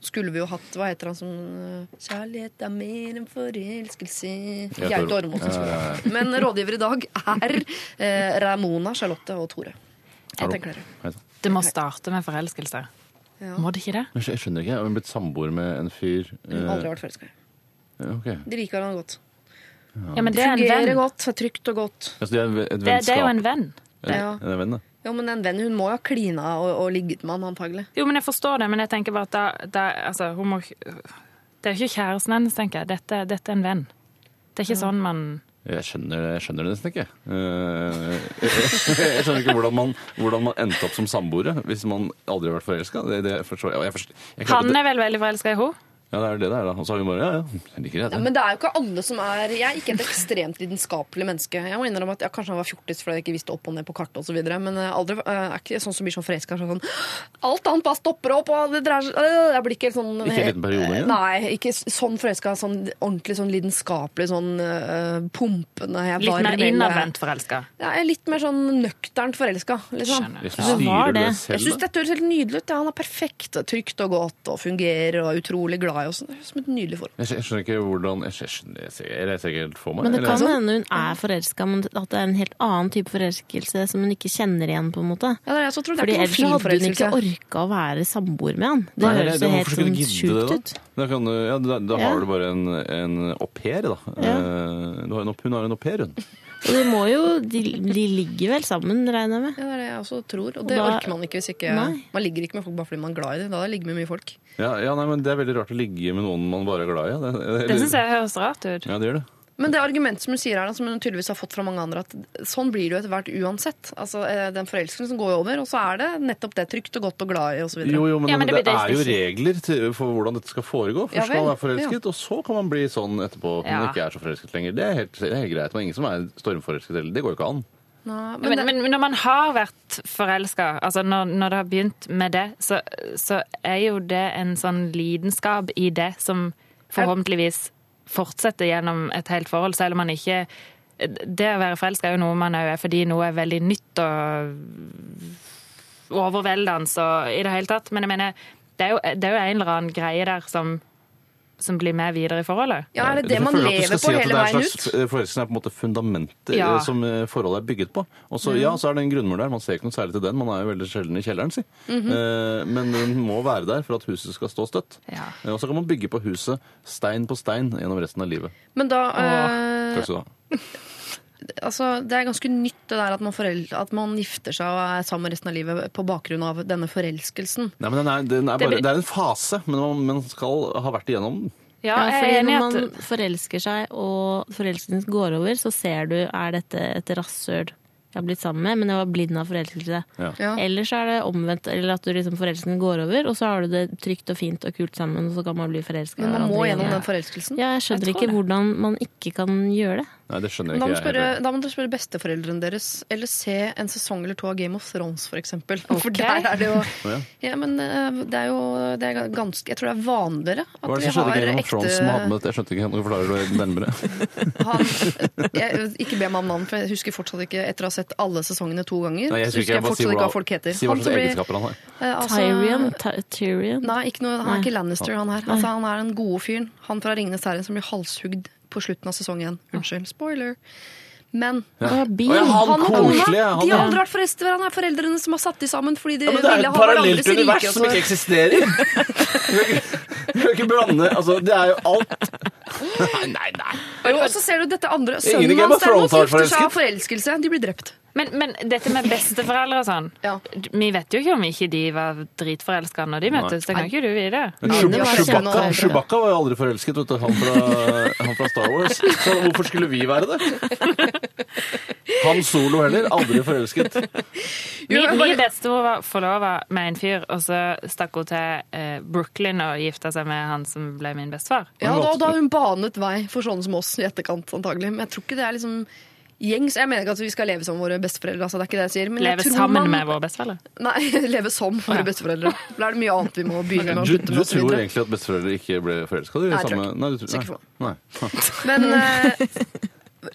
S3: skulle vi jo hatt Hva heter han som øh, Kjærlighet er mer enn forelskelse Gaute
S9: Tor-
S3: Ormåsen. skulle vi hatt. Men rådgiver i dag er eh, Ramona, Charlotte og Tore. Hva
S9: Hallo.
S3: tenker dere?
S9: Hei sann.
S8: Det må starte med forelskelse.
S3: Ja.
S8: Må det ikke det?
S9: Men Jeg skjønner ikke. Jeg har blitt samboer med en fyr
S3: Hun har aldri
S9: eh,
S3: vært forelska.
S9: ok.
S3: De liker hverandre godt.
S8: Ja, men det er en
S3: Fungerer
S8: venn.
S3: godt, er trygt og godt.
S9: Altså, det, er et
S8: Det, det er jo en
S9: vennskap.
S8: venn.
S3: Ja.
S9: En- en venn, da.
S3: Jo, men en venn, hun må jo ha klina og, og ligget med han antagelig.
S8: Jo, men jeg forstår det, men jeg tenker bare at da, da altså, hun må ikke- Det er jo ikke kjæresten hennes, tenker jeg. Dette, dette er en venn. Det er ikke sånn man
S9: Jeg skjønner, jeg skjønner det nesten ikke. Eh, [laughs] jeg skjønner ikke hvordan man, hvordan man endte opp som samboere hvis man aldri har vært forelska. Det, det forstår jeg. jeg, forstår, jeg klarer
S8: Han
S9: ikke-
S8: er vel veldig forelska i henne?
S9: Ja, det er det det er, da. Og så har vi bare Ja, ja, jeg liker det.
S3: Ja,
S9: jeg.
S3: men det er jo ikke alle som er Jeg er ikke et ekstremt lidenskapelig menneske. Jeg må innrømme at jeg kanskje var fjortis fordi jeg ikke visste opp og ned på kartet osv. Men jeg aldri, eh, er ikke sånn som blir sånn forelska. Sånn, alt annet bare stopper opp, og det dreier seg øh, Jeg blir ikke sånn
S9: Ikke en liten periode engang?
S3: Nei, ikke s- sånn forelska. Sånn ordentlig sånn lidenskapelig, sånn øh, pumpende. Jeg
S8: Litt
S3: var
S8: mer
S3: rebell, jeg-
S8: innadvendt forelska.
S3: Ja, jeg er litt mer sånn nøkternt forelska. Liksom.
S8: Skjønner.
S9: Jeg synes
S7: Ja. Hva var det?
S9: styrer du det
S3: Jeg
S9: selv,
S3: syns
S9: da?
S3: dette høres helt nydelig ut. Ja, han er perfekt, og trygt og godt og fungerer og er utrolig glad i oss. Det høres ut som et nydelig forhold.
S9: Jeg skj- jeg skjønner ikke hvordan Jeg skj- jeg skjønner, jeg ser, jeg ser ikke helt for meg.
S7: Men det
S9: eller-
S7: kan hende hun er forelska, men at det er en helt annen type forelskelse som hun ikke kjenner igjen, på en måte.
S3: Ja, det er jeg som tror. Det er
S7: Fordi
S3: ikke
S7: ellers
S3: sånn
S7: så hadde hun
S3: filmforelskelse.
S7: ikke orka å være samboer med han. Det
S9: Nei, det-
S7: høres
S9: det-
S7: jo
S9: hvorfor
S7: helt
S9: skulle
S7: sånn
S9: du gidde
S7: sjukt
S9: det,
S7: ut.
S9: Da, da, kan, du- ja, da, da
S7: Ja.
S9: har du bare en, en au pair, da.
S7: Ja.
S9: Eh, Du har en, au- hun har en au pair, hun.
S7: Og de må jo De, de ligger vel sammen, regner jeg med.
S3: Ja, det er det jeg også tror. Og det
S7: da-
S3: orker man ikke hvis ikke
S7: Nei.
S3: Man ligger ikke med folk bare fordi man er glad i dem. Da ligger man med mye folk.
S9: Ja, ja, nei, men Det er veldig rart å ligge med noen man bare er glad i. ja. Det,
S8: Det syns jeg høres rart ut.
S9: Ja, det gjør det.
S3: Men det argumentet som hun sier her, da, som hun tydeligvis har fått fra mange andre, at sånn blir det jo etter hvert uansett. Altså, eh, Den forelskelsen går jo over, og så er det nettopp det trygt og godt og glad i osv.
S9: Jo, jo, men,
S8: Ja, men
S9: det,
S8: det blir
S9: er jo
S8: det-
S9: regler til, for hvordan dette skal foregå. Først
S3: Ja vel,
S9: skal man være forelsket, og så kan man bli sånn etterpå. Når man
S8: Ja.
S9: ikke er så forelsket lenger. Det er helt, det er helt greit. Men ingen som er stormforelsket heller. Det går jo ikke an.
S3: Men,
S8: Men,
S3: det-
S8: men, men når man har vært forelska, altså når, når det har begynt med det, så, så er jo det en sånn lidenskap i det som forhåpentligvis fortsetter gjennom et helt forhold, selv om man ikke Det å være forelska er jo noe man òg er fordi noe er veldig nytt og overveldende og i det hele tatt. Men jeg mener, det er jo, det er jo en eller annen greie der som, som blir med videre i forholdet.
S3: ja, er det det
S9: Jeg
S3: man
S9: føler at du
S3: lever
S9: skal si
S3: på
S9: at
S3: hele
S9: det er
S3: veien
S9: en slags-
S3: ut?
S9: eh, Forelskelsen er på en måte fundamentet
S8: Ja.
S9: eh, som eh, forholdet er bygget på. Og så,
S3: Mm.
S9: ja, så er det en grunnmur der. Man ser ikke noe særlig til den. Man er jo veldig sjelden i kjelleren, si.
S3: Mhm.
S9: Eh, Men den må være der for at huset skal stå støtt.
S8: Ja.
S9: Eh, Og så kan man bygge på huset stein på stein gjennom resten av livet.
S3: Men da eh,
S9: Takk skal du ha.
S3: altså, Det er ganske nytt det der at man, forel at man gifter seg og er sammen resten av livet på bakgrunn av denne forelskelsen.
S9: Nei, men den er, den er
S8: Det
S9: bare,
S8: blir-
S9: det er en fase, men man, man skal ha vært igjennom den.
S8: Ja,
S7: Ja,
S8: jeg
S7: fordi
S8: er enig i
S7: når
S8: at
S7: man forelsker seg, og forelskelsen går over, så ser du er dette et rasshøl jeg har blitt sammen med, men jeg var blind av forelskelse.
S9: Ja.
S3: Ja.
S7: Eller så er det omvendt, eller at du liksom forelskelsen går over, og så har du det trygt og fint og kult sammen, og så kan man bli forelska.
S3: Men man må gjennom den forelskelsen.
S7: Ja, jeg skjønner
S8: Jeg tror
S7: ikke
S8: det.
S7: hvordan man ikke kan gjøre det.
S9: Nei, det skjønner
S3: Men Da må,
S9: ikke jeg.
S3: du spørre,
S9: heller.
S3: da må dere spørre besteforeldrene deres, eller se en sesong eller to av Game of Thrones, for eksempel. [laughs] For
S8: Ok.
S3: der er det jo
S9: ja.
S3: Ja, men eh, det er jo det er ganske Jeg tror det er vanligere at
S9: Hva er det
S3: vi
S9: som skjedde i
S3: har
S9: Game of Thrones som hadde
S3: ekte
S9: med dette? Jeg skjønte ikke, kan du forklare det nærmere?
S3: [laughs] han, jeg, Ikke be meg om navn, for jeg husker fortsatt ikke Etter å ha sett alle sesongene to ganger,
S9: Nei,
S3: så husker jeg
S9: bare si
S3: fortsatt ikke
S9: hva-
S3: hva folk heter.
S9: Si hva
S3: Han som
S9: slags
S3: blir,
S9: egenskaper han har.
S3: eh, altså-
S7: Tyrion? Ty Tyrion?
S3: Nei, ikke noe, han er ikke Lannister, han her. Altså, han er den gode fyren. Han fra Ringenes herre som blir halshugd på slutten av sesong én. Unnskyld, spoiler. Men
S7: Å, Bean.
S9: Å, ja, han
S3: og kona,
S9: koselige, han-
S3: de har aldri vært forelsket i hverandre. Det er foreldrene som har satt de sammen fordi de
S9: Ja, men det er
S3: ville
S9: et
S3: ha hverandres
S9: parallelt univers
S3: rike. sånn.
S9: som ikke
S3: [laughs]
S9: eksisterer! Du kan ikke- du kan ikke blande Altså, det er jo alt Nei, nei, nei.
S3: Jo, og så ser du dette andre.
S9: Ingen i
S3: Sønnen
S9: Game of
S3: hans derimot
S9: Thrones har vært
S3: gifter seg av forelskelse. De blir drept.
S8: Men, men dette med besteforeldre og sånn
S3: Ja.
S8: Vi vet jo ikke om ikke de var dritforelska når de møttes. Det kan ikke du vite.
S9: Men
S3: Ja,
S9: Shub-
S3: det var ikke noe
S9: Chewbacca,
S3: bedre.
S9: Chewbacca var jo aldri forelsket, vet du. Han fra, han fra Star Wars. Så hvorfor skulle vi være det? Han Solo heller. Aldri forelsket.
S3: Jo,
S8: Min,
S3: men
S8: min
S3: bare-
S8: bestemor var forlova med en fyr, og så stakk hun til eh, Brooklyn og gifta seg med han som ble min bestefar.
S3: Ja, da, da har hun banet vei for sånne som oss i etterkant, antagelig. Men jeg tror ikke det er liksom gjengs. Jeg mener ikke at vi skal leve som våre besteforeldre. Altså, det er ikke det jeg sier. Men
S8: Leve
S3: jeg tror
S8: sammen
S3: man,
S8: med våre besteforeldre.
S3: Nei, [laughs] leve som våre besteforeldre. Da er det mye annet vi må begynne med. og
S9: Du,
S3: slutte med
S9: du
S3: og så
S9: tror
S3: videre.
S9: egentlig at besteforeldre ikke ble forelska?
S3: Nei, jeg tror ikke.
S9: Nei, du tror-
S3: Sikker på
S9: nei. Nei.
S3: Men
S8: Mm.
S3: eh,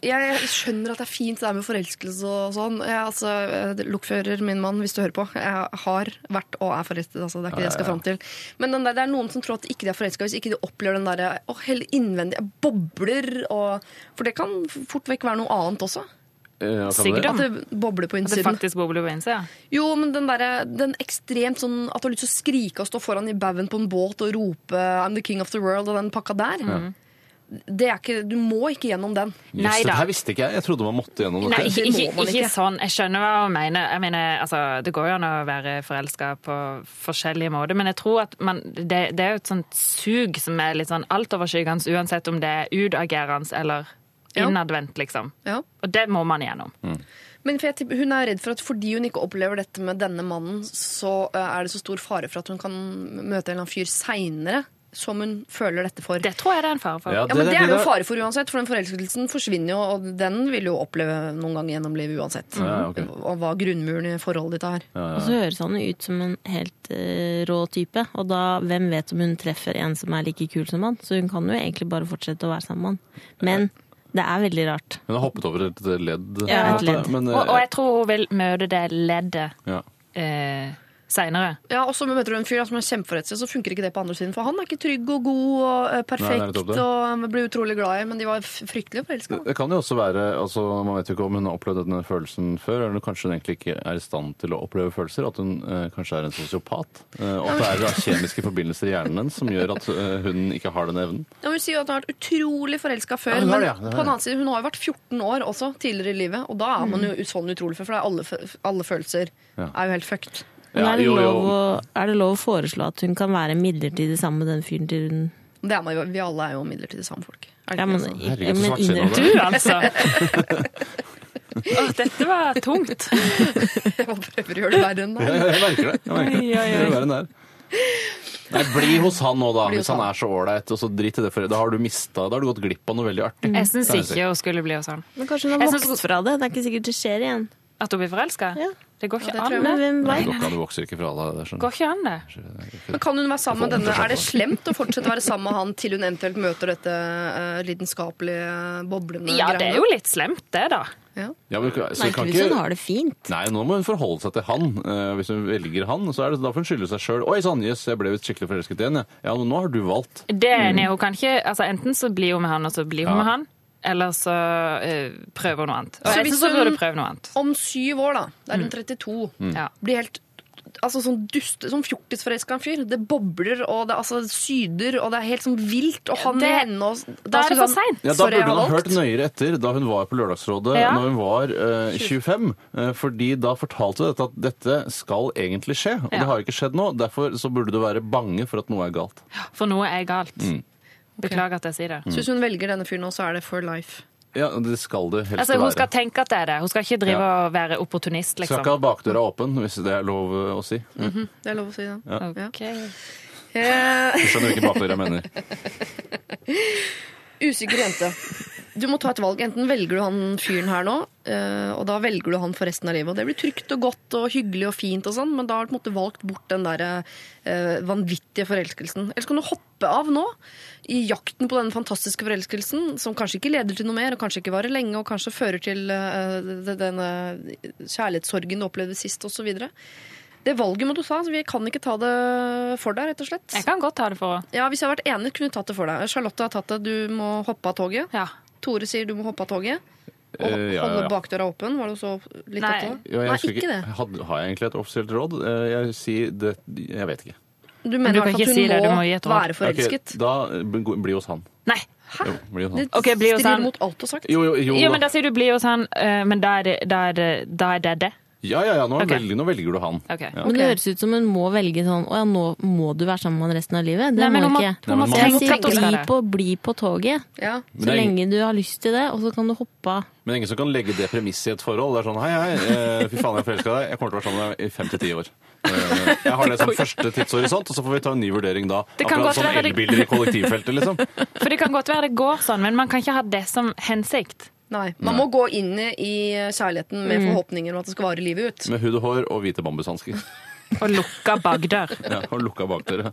S3: jeg skjønner at det er fint det der med forelskelse og sånn. Jeg, altså, eh, lokfører, min mann, hvis du hører på. Jeg har vært og er forelsket. Altså, det er ikke det jeg skal fram til. Men den der, det er noen som tror at ikke de er forelska hvis ikke de opplever den derre oh, innvendige bobler og For det kan fort vekk være noe annet også.
S9: Eh, hva kan
S8: Sikkert
S9: det?
S8: om
S3: At det bobler på
S8: At det
S3: innsiden.
S8: faktisk bobler på innsida.
S3: Jo, men den, derre- den ekstremt sånn at du har lyst til å skrike og stå foran i baugen på en båt og rope 'I'm the king of the world' og den pakka der.
S8: Mm.
S3: Det er ikke, du må ikke gjennom den.
S9: Jøss,
S8: Nei
S9: dette
S8: da.
S9: her visste ikke jeg. Jeg trodde man måtte gjennom
S8: Nei,
S9: dette.
S8: ikke,
S3: Det må
S8: ikke,
S3: man
S8: ikke
S3: ikke.
S8: sånn. Jeg skjønner hva hun mener. Jeg mener altså, det går jo an å være forelska på forskjellige måter, men jeg tror at man, det, det er jo et sånt sug som er litt sånn altoverskyggende, uansett om det er utagerende eller
S3: Ja.
S8: innadvendt, liksom.
S3: Ja.
S8: Og det må man gjennom.
S3: Men for jeg, tipper- hun er redd for at fordi hun ikke opplever dette med denne mannen, så eh, er det så stor fare for at hun kan møte en eller annen fyr seinere som hun føler dette for.
S8: Det tror jeg det er en fare for.
S9: Ja,
S3: ja, men
S9: det-
S3: Det er det
S9: det-
S3: jo fare for uansett, for den forelskelsen forsvinner jo, og den vil du jo oppleve noen gang gjennom livet uansett.
S9: Ja, ok.
S3: Og hva grunnmuren i forholdet ditt er.
S7: Og så høres han jo ut som en helt eh, rå type, og da hvem vet om hun treffer en som er like kul som han? Så hun kan jo egentlig bare fortsette å være sammen med han. Men det er veldig rart.
S9: Hun har hoppet over et ledd.
S7: Ja, et
S9: på en måte,
S7: ledd.
S9: Men, eh,
S8: Og, og jeg tror hun vil møte det leddet
S9: ja.
S8: eh,
S9: [laughs]
S8: seinere.
S3: Ja, og så møter du en fyr da, som er kjempeforelsket, så funker ikke det på andre siden. For han er ikke trygg og god og eh,
S9: Nei,
S3: perfekt
S9: det er nettopp det.
S3: og eh, blir utrolig glad i, men de var f- fryktelig forelska.
S9: Det kan jo også være, altså Man vet jo ikke om hun har opplevd denne følelsen før, eller kanskje hun egentlig ikke er i stand til å oppleve følelser. At hun eh, kanskje er en sosiopat. Eh, og at det er da kjemiske forbindelser i hjernen hennes som gjør at eh, hun ikke har den evnen.
S3: Ja, men hun sier jo at hun har vært utrolig forelska før,
S9: Ja, hun har
S3: men
S9: det, ja.
S3: på
S9: Det har det.
S3: den annen side, hun har jo vært 14 år også tidligere i livet, og da er man jo sånn utrolig for, for det er alle, fø- alle følelser er jo helt fucked.
S7: Men
S9: Ja,
S7: er, det
S9: jo, jo.
S7: lov Å, er det lov å foreslå at hun kan være midlertidig sammen med den fyren til hun
S3: Det er man jo, vi alle er jo midlertidig samfolk. Er det
S7: Ja,
S3: ikke
S7: men,
S3: det, altså?
S9: Herregud, så
S7: men
S9: svart siden av
S7: innrøm
S8: Du, altså! Å, dette var tungt.
S3: [laughs]
S9: [laughs]
S3: Jeg prøver å gjøre det verre enn det.
S9: Ja,
S3: er.
S9: ja, jeg merker det. Jeg merker det.
S8: Oi, oi, oi.
S9: Det er verre enn det er. Nei, bli hos han nå, da,
S3: Bli hos
S9: hvis han
S3: han.
S9: er så ålreit. Og så drit i det, for da har du mista Da har du gått glipp av noe veldig artig.
S8: Mm. Jeg syns ikke hun skulle bli hos han.
S7: Men kanskje hun
S8: Jeg
S7: har
S8: synes-
S7: vokst fra det. Det er ikke sikkert det skjer igjen.
S8: At hun blir forelska?
S7: Ja.
S8: Det går ikke
S3: Ja, det tror jeg.
S8: an,
S7: Men
S8: det.
S7: hvem
S9: Nei, det
S7: veit?
S9: går ikke an, du vokser ikke fra deg. Det er sånn.
S8: Går ikke an, det.
S3: Men kan hun være sammen med denne? Er det slemt å fortsette å være sammen med han til hun eventuelt møter dette eh, lidenskapelige, boblende
S8: Ja, det er jo litt slemt, det, da.
S3: Ja.
S9: Ja, men, så
S7: Nei,
S9: vi
S7: ikke hvis
S9: kan ikke-
S7: hun sånn har det fint.
S9: Nei, nå må hun forholde seg til han. Eh, hvis hun velger han, så er det, da får hun skylde seg sjøl. 'Oi sann, jøss, jeg ble jo skikkelig forelsket igjen', ja. ja. men Nå har du valgt.
S8: Det er jeg enig i. Hun kan ikke altså, Enten så blir hun med han, og så blir hun
S9: Mm. Ja.
S8: med han. Eller så eh, prøver hun noe annet. Og
S3: Så
S8: jeg
S3: hvis
S8: syns hun burde
S3: hun-
S8: prøve noe annet.
S3: Om syv år, da. Da er hun 32.
S8: Mm. Ja.
S3: Blir helt Altså sånn duste, sånn fjortisforelska en fyr. Det bobler og det altså, syder, og det er helt sånn vilt. Og han
S8: Det-
S3: i henne og Da,
S8: da er det for
S3: Susanne,
S8: sent.
S9: Ja, Da
S3: sorry, jeg
S9: burde hun
S3: har
S9: ha hørt
S3: valgt.
S9: nøyere etter da hun var på Lørdagsrådet
S8: Ja.
S9: når hun var eh, 25. eh, fordi da fortalte hun dette at dette skal egentlig skje, og
S8: Ja.
S9: det har jo ikke skjedd nå. Derfor så burde du være bange for at noe er galt.
S8: For noe er galt.
S9: Mm.
S8: Beklager at jeg sier det.
S3: Så hvis hun velger denne fyren nå, så er det for life.
S9: Ja, det skal du helst
S8: Altså, Hun
S9: være.
S8: skal tenke at det er det. Hun skal ikke drive
S9: Ja.
S8: og være opportunist,
S9: Skal ikke
S8: liksom.
S9: ha bakdøra åpen, hvis det er lov eh, å si.
S3: Det er lov å si, da.
S8: Ok.
S3: Eh, [laughs]
S9: Du skjønner hvilken bakdør jeg
S8: [laughs]
S9: mener.
S3: Usikker jente. Du må ta et valg. Enten velger du han fyren her nå, eh, og da velger du han for resten av livet. Og det blir trygt og godt og hyggelig og fint og sånn, men da har du på en måte valgt bort den der eh, vanvittige forelskelsen. Eller så kan du hoppe av nå, i jakten på den fantastiske forelskelsen, som kanskje ikke leder til noe mer, og kanskje ikke varer lenge, og kanskje fører til eh, d- denne kjærlighetssorgen du opplevde sist, osv. Det valget må du ta. så Vi kan ikke ta det for deg, rett og slett.
S8: Jeg kan godt ta det for henne.
S3: Ja, Hvis jeg hadde vært enig, kunne du tatt det for deg. Charlotte har tatt det. Du må hoppe av toget.
S8: Ja.
S3: Tore sier du må hoppe av toget. Og
S9: Eh, ja, ja,
S3: holde
S9: ja.
S3: bakdøra åpen. Var det så litt
S8: Nei.
S3: opptatt av?
S9: Ja, jeg
S3: Nei,
S9: husker
S3: ikke det.
S9: Had- har jeg egentlig et offisielt råd? Eh, Jeg sier det Jeg vet ikke.
S3: Du mener i
S8: kan
S3: hvert fall
S8: ikke
S3: at hun
S8: si det, du
S3: må,
S8: må gi et råd.
S3: være
S9: Ok,
S3: forelsket.
S9: da bli bli hos han.
S8: Nei.
S3: Hæ?
S9: Jo, bli hos
S3: Det
S9: han.
S8: Ok, bli hos han.
S3: strider mot alt du har sagt.
S9: Jo, jo, jo.
S8: Jo, men da sier du 'bli hos han', eh, men da er det da er det, da er det, det.
S9: Ja, ja, ja, nå,
S8: Ok.
S9: velger, nå velger du han.
S8: Ok.
S9: Ja.
S7: Men det høres ut som hun må velge sånn Å ja, nå må du være sammen med han resten av livet. Det
S8: Nei, men
S7: må
S8: hun må,
S7: ikke.
S8: hun må
S9: Nei, men
S7: Jeg
S9: man-
S8: tenke
S7: sier
S8: at hun skal
S7: bli
S8: det.
S7: på, bli på toget
S3: Ja.
S9: Men
S7: så
S9: det er ingen-
S7: lenge du har lyst til det, og så kan du hoppe av.
S9: Men det er ingen som kan legge det premisset i et forhold. Det er sånn hei, hei, eh, fy faen, jeg forelska deg. Jeg kommer til å være sammen med deg i fem til ti år. Eh, Jeg har det
S8: [laughs]
S9: som første tidshorisont, og så får vi ta en ny vurdering da.
S8: Det kan
S9: Akkurat
S8: godt
S9: som
S8: være det-
S9: elbiler i kollektivfeltet, liksom.
S8: For det kan godt være det går sånn, men man kan ikke ha det som hensikt.
S3: Nei. Man må gå inn i kjærligheten med
S8: Mm.
S3: forhåpninger om at det skal vare livet ut.
S9: Med hud og hår og hvite bambushansker.
S8: Å lukke bagdør.
S9: [laughs] Ja, og lukka bakdøra.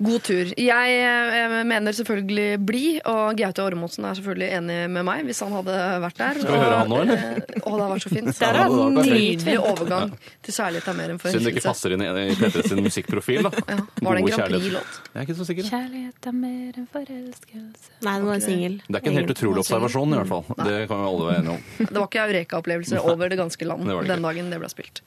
S3: God tur. Jeg eh, mener selvfølgelig bli, og Gaute Ormåsen er selvfølgelig enig med meg hvis han hadde vært der. eh,
S9: Skal vi høre han nå, eller?
S3: Å, det hadde vært så
S9: [laughs]
S3: fint.
S9: hadde vært
S3: en
S9: perfekt.
S3: nydelig overgang til kjærlighet er mer enn
S9: Synd det ikke
S3: forelskelse.
S9: passer inn i i P3 sin
S3: [laughs]
S9: musikkprofil, da.
S3: sånn. Var det en
S9: God
S3: Grand
S9: kjærlighet.
S3: Prix-låt?
S9: Jeg er ikke så sikker.
S8: Kjærlighet er mer enn forelskelse.
S7: Nei, det var en singel.
S9: Det er ikke en helt utrolig observasjon, i hvert fall. Det kan vi alle være enige om.
S3: Det var ikke eureka-opplevelse over det ganske land
S9: Det var det
S3: den
S9: ikke.
S3: dagen det ble spilt.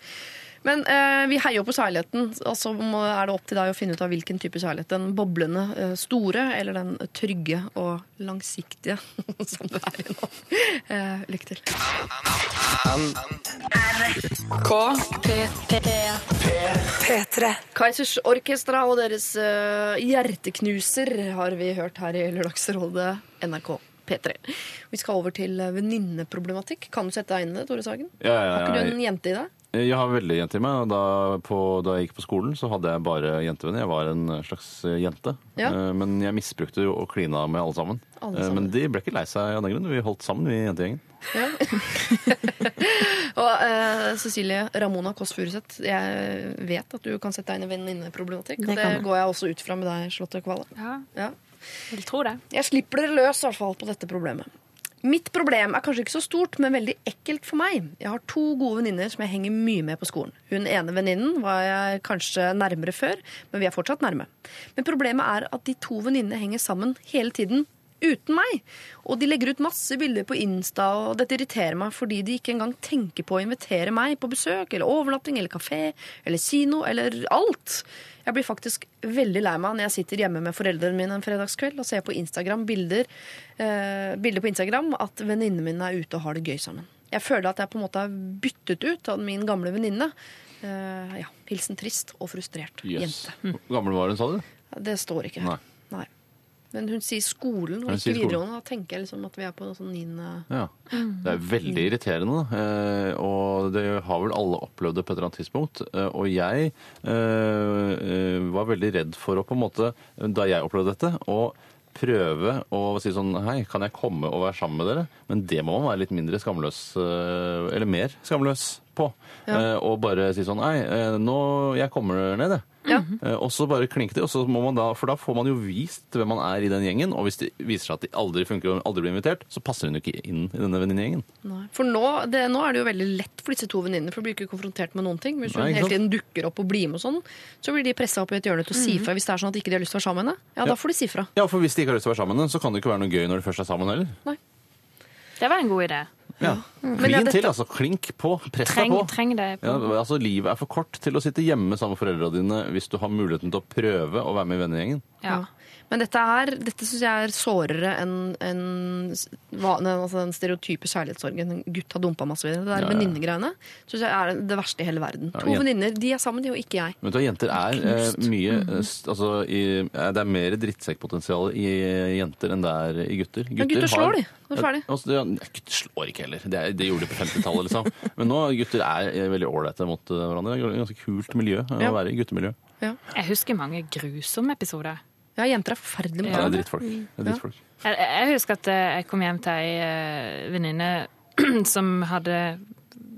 S3: Men eh, vi heier på kjærligheten, og så må- er det opp til deg å finne ut av hvilken type kjærlighet. Den boblende, eh, store, eller den trygge og langsiktige [laughs] som du er i nå. Eh, lykke til.
S1: P3.
S3: Kaizers Orkestra og deres eh, hjerteknuser har vi hørt her i Lørdagsrådet NRK P3. Vi skal over til eh, venninneproblematikk. Kan du sette deg inn i det, Tore Sagen?
S9: Ja, ja,
S3: Har
S9: ja.
S3: ikke du en jente i deg?
S9: Jeg har veldig jente i meg. og Da, på, da jeg gikk på skolen, så hadde jeg bare jentevenner. Jeg var en slags eh, jente.
S3: Ja.
S9: Eh, Men jeg misbrukte jo og klina med alle sammen.
S3: Alle
S9: Eh,
S3: sammen.
S9: Men de ble ikke lei seg av den grunn. Vi holdt sammen, vi jentegjengen.
S3: Ja. og eh, Cecilie Ramona Kåss Furuseth, jeg vet at du kan sette deg inn i venninneproblematikk.
S7: Det
S3: og Det
S7: kan jeg.
S3: går jeg også ut fra med deg, Charlotte Kvale.
S8: Ja,
S3: Ja.
S8: jeg tror det.
S3: Jeg slipper dere løs i hvert fall på dette problemet. Mitt problem er kanskje ikke så stort, men veldig ekkelt for meg. Jeg har to gode venninner som jeg henger mye med på skolen. Hun ene venninnen var jeg kanskje nærmere før, men vi er fortsatt nærme. Men problemet er at de to venninnene henger sammen hele tiden uten meg. Og de legger ut masse bilder på Insta, og dette irriterer meg fordi de ikke engang tenker på å invitere meg på besøk eller overnatting eller kafé eller kino eller alt. Jeg blir faktisk veldig lei meg når jeg sitter hjemme med foreldrene mine en fredagskveld og ser på Instagram bilder, eh, bilder på Instagram at venninnene mine er ute og har det gøy sammen. Jeg føler at jeg på en måte er byttet ut av min gamle venninne. Eh, ja, hilsen trist og frustrert jente.
S9: Hvor gammel var hun, sa du?
S3: Det står ikke her.
S9: Nei.
S3: Nei. Men hun sier skolen, og
S9: Hun
S3: ikke
S9: sier skolen.
S3: videregående. Da tenker jeg liksom at vi er på noe sånn niende
S9: Ja. Det er veldig irriterende, da. Eh, og det har vel alle opplevd det på et eller annet tidspunkt. Eh, Og jeg eh, eh, var veldig redd for å på en måte, da jeg opplevde dette, å prøve å si sånn Hei, kan jeg komme og være sammen med dere? Men det må man være litt mindre skamløs, eh, eller mer skamløs på. Eh, Og bare si sånn Hei, eh, nå Jeg kommer ned, jeg. Eh, Og så bare klinke det, og så må man da, for da får man jo vist hvem man er i den gjengen. Og hvis det viser seg at de aldri funker og aldri blir invitert, så passer hun jo ikke inn i denne venninnegjengen.
S3: Nei. For nå, det, nå er det jo veldig lett for disse to venninnene, for de blir ikke konfrontert med noen ting. Men Hvis hun
S9: Nei, ikke
S3: hele
S9: sant?
S3: tiden dukker opp og blir med og sånn, så blir de pressa opp i et hjørne til å si fra hvis det er sånn at ikke de har lyst til å være sammen med henne. Ja, da
S9: Ja.
S3: får de si fra.
S9: Ja, for hvis de ikke har lyst til å være sammen, så kan det ikke være noe gøy når de først er sammen heller.
S8: Det var en god idé.
S9: Ja.
S3: Men
S9: Klin
S3: ja, dette-
S9: til, altså. Klink på. Press
S8: Treng,
S9: deg på.
S8: treng det.
S9: Ja,
S8: På.
S9: altså, Livet er for kort til å sitte hjemme sammen med foreldrene dine hvis du har muligheten til å prøve å være med i vennegjengen.
S8: Ja.
S3: Men dette, er- dette syns jeg er sårere enn enn s- hva- nei, altså den stereotype kjærlighetssorgen. Gutt har dumpa masse videre. Det der
S9: Ja, ja.
S3: venninnegreiene syns jeg er det verste i hele verden.
S9: Ja,
S3: To
S9: ja.
S3: venninner, de er sammen, de og ikke jeg.
S9: Men vet du, hva, jenter er eh, mye eh, s- altså, i, eh, Det er mer drittsekkpotensial i jenter enn det er i gutter.
S3: Men gutter slår de. Nå er det
S9: Ja,
S3: ferdig.
S9: altså, ja, nei, gutter slår ikke heller. Det, er, det gjorde de på 50-tallet, liksom. Men nå gutter er eh, veldig ålreite mot eh, hverandre. Det er et ganske kult miljø eh,
S3: Ja.
S9: å være i. Guttemiljø.
S8: Jeg husker mange grusomme episoder.
S3: Ja, jenter er forferdelige med
S9: Ja, det
S3: hverandre.
S9: er drittfolk. Det er drittfolk.
S8: Jeg, jeg husker at eh, jeg kom hjem til ei eh, venninne [clears throat] som hadde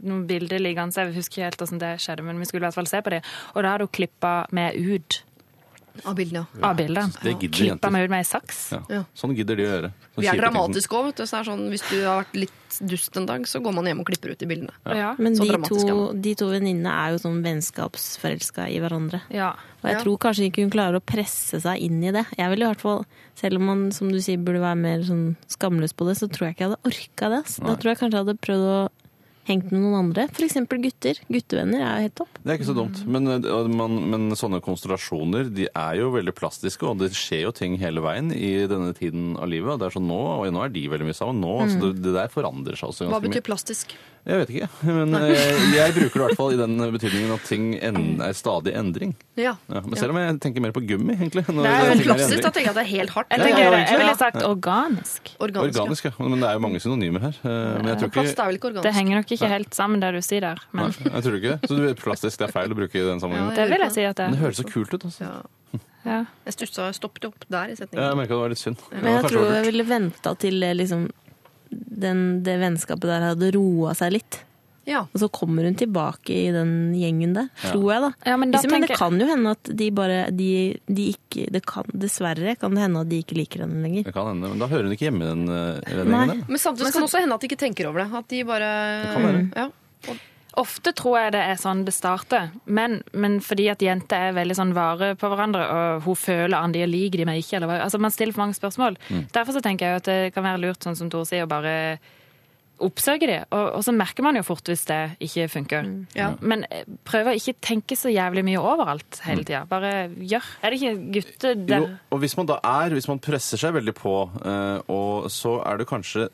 S8: noen bilder liggende. Jeg husker ikke helt hvordan det skjedde, men vi skulle i hvert fall se på det. Og da hadde hun klippa meg ut
S3: Av bildene. ja.
S8: av bildet.
S9: Det gidder
S8: Klippa
S9: jenter.
S8: meg ut med ei saks.
S9: Ja.
S3: Ja.
S9: Sånn gidder de å gjøre. Sånn
S3: Vi er
S9: kjipe ting som-
S3: dramatiske òg, vet du. Så det er sånn, hvis du har vært litt dust en dag, så går man hjem og klipper ut de bildene.
S8: Ja.
S7: Men
S3: Så
S7: de to,
S3: dramatisk er man.
S7: de to venninnene er jo sånn vennskapsforelska i hverandre.
S8: Ja.
S7: Og jeg
S3: Ja.
S7: tror kanskje ikke hun klarer å presse seg inn i det. Jeg ville i hvert fall, Selv om man som du sier, burde være mer sånn skamløs på det, så tror jeg ikke jeg hadde orka det. ass. Da
S9: Nei.
S7: tror jeg kanskje jeg hadde prøvd å henge med noen andre. F.eks. gutter. Guttevenner er jo helt topp.
S9: Det er ikke så dumt. Men, eh, man, men sånne konstellasjoner de er jo veldig plastiske, og det skjer jo ting hele veien i denne tiden av livet. og Det er sånn nå, og nå er de veldig mye sammen. Nå, altså, det, det der forandrer seg også
S3: Mm. Hva
S9: ganske
S3: betyr
S9: mye.
S3: plastisk?
S9: Jeg vet ikke, [laughs] men eh, jeg, jeg bruker det i hvert fall i den betydningen at ting en, er stadig endring.
S3: Ja.
S9: Ja, men selv om jeg tenker mer på gummi, egentlig. når
S3: Det er
S9: ting
S3: veldig
S9: i
S3: plastisk.
S9: endring.
S3: Da tenker jeg at det er helt hardt.
S8: Jeg,
S9: Ja,
S8: tenker,
S9: ja,
S8: jeg
S9: egentlig,
S8: ville sagt organisk.
S3: Organisk. ja.
S9: Organisk, ja. Men det er jo mange synonymer her. eh, Men jeg tror
S3: Plast
S9: ikke
S3: er vel ikke
S8: Det
S3: organisk?
S8: henger nok ikke helt sammen, det du sier der.
S9: Nei,
S8: Men
S9: jeg tror ikke det. Så du- plastisk det er feil å bruke i den sammenhengen.
S8: det vil jeg si at
S9: Men
S8: det
S9: det høres så kult ut, altså.
S3: Ja.
S8: ja.
S3: Jeg stussa, jeg stoppet jo opp der i
S9: Jeg
S3: setningen.
S9: merka det var litt synd.
S7: Men jeg tror jeg ville venta til eh, liksom, den, det vennskapet der hadde roa seg litt.
S3: Ja.
S7: Og så kommer hun tilbake i den gjengen der, tror jeg, da.
S8: Ja, men da
S7: Liksom, men det
S8: tenker-
S7: kan jo hende at de bare de, de ikke, det kan, Dessverre kan det hende at de ikke liker henne lenger.
S9: Det kan hende, men da hører hun ikke hjemme i den eh, den
S7: Nei.
S9: gjengen der.
S3: Men samtidig kan det også hende at de ikke tenker over det. At de bare ja.
S8: Ofte tror jeg det er sånn det starter, men, men fordi at jenter er veldig sånn vare på hverandre, og hun føler an de og liker de meg ikke, eller hva Altså, man stiller for mange spørsmål.
S9: Mm.
S8: Derfor så tenker jeg jo at det kan være lurt, sånn som Tor sier, å bare oppsøke de. Og, og så merker man jo fort hvis det ikke funker.
S3: Mm. Ja.
S8: Men eh, prøv å ikke tenke så jævlig mye overalt hele tida. Bare gjør. Er det ikke gutter der?
S9: Mm. Jo, og hvis man da er, hvis man presser seg veldig på, eh, og så er det kanskje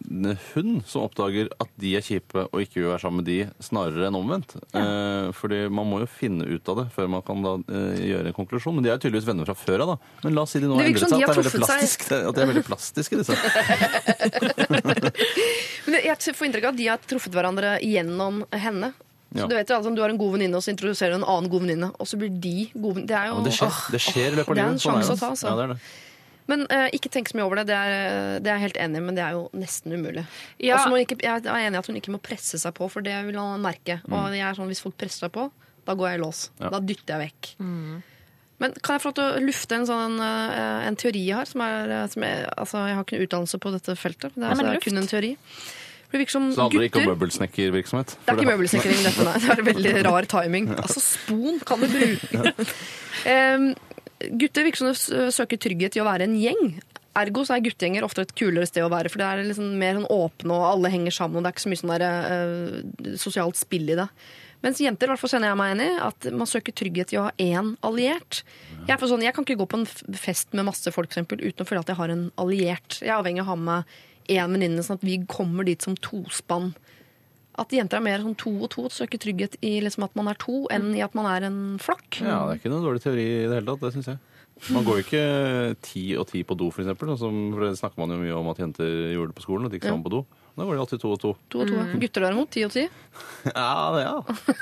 S9: hun som oppdager at de er kjipe og ikke vil være sammen med de, snarere enn omvendt. Eh, fordi man må jo finne ut av det før man kan da eh, gjøre en konklusjon. Men de er jo tydeligvis venner fra før av, da. Men la oss si de nå
S3: Det
S9: har
S3: virker
S9: endret
S3: som
S9: seg,
S3: de
S9: at
S3: har
S9: det er veldig
S3: truffet
S9: plastisk. At de er veldig plastiske, disse.
S3: [laughs] Men det- jeg får inntrykk av at de har truffet hverandre gjennom henne. Så
S9: Ja.
S3: Du vet jo, altså, du har en god venninne, og så introduserer du en annen god venninne. Og så blir de gode venninner. Det er
S9: Ja,
S3: jo
S9: men det skjer,
S3: Åh.
S9: det skjer i løpet av
S3: det er en
S9: livet. Sånn
S3: sjanse
S9: det,
S3: å ta, altså.
S9: Ja, det er det.
S3: Men eh, ikke tenk så mye over det. Det er, eh, det er jeg helt enig i, men det er jo nesten umulig.
S8: Ja.
S3: Og så må hun ikke, jeg er enig i at hun ikke må presse seg på, for det vil han merke. Og jeg er sånn, hvis folk presser seg på, da går jeg i lås.
S9: Mm. Ja.
S3: Da dytter jeg vekk.
S8: Mm.
S3: Men kan jeg få lov til å lufte en, sånn, eh, en teori jeg har? Som er, eh, som er, altså, jeg har ikke noe utdannelse på dette feltet. Det er,
S8: Nei,
S3: så
S8: men
S3: det er
S8: luft.
S3: kun en teori. For det virker som
S9: Så det handler ikke om
S3: gutter
S9: møbelsnekkervirksomhet?
S3: det er
S9: For
S3: ikke møbelsikring, dette, nei. Det er veldig rar timing. Altså, spon kan du bruke. Em, gutter virker som de sø- søker trygghet i å være en gjeng. Ergo så er guttegjenger ofte et kulere sted å være, for det er liksom mer sånn åpne, og alle henger sammen, og det er ikke så mye sånn der, eh, sosialt spill i det. Mens jenter, i hvert fall kjenner jeg meg enig i, at man søker trygghet i å ha én alliert. Jeg, er for sånn, jeg kan ikke gå på en f- fest med masse folk for eksempel, uten å føle at jeg har en alliert. Jeg er avhengig av å ha med én venninne, sånn at vi kommer dit som tospann at jenter er mer sånn to og to, søker trygghet i liksom at man er to, enn i at man er en flokk.
S9: Ja, det er ikke noen dårlig teori i det hele tatt, det syns jeg. Man går jo ikke ti og ti på do, for eksempel. Sånn som- for det snakker man jo mye om at jenter gjorde det på skolen, at de ikke
S3: Ja.
S9: sammen på do. Da går de alltid to og to.
S3: To og to. Gutter derimot, ti og ti.
S9: [laughs] Ja, det, ja.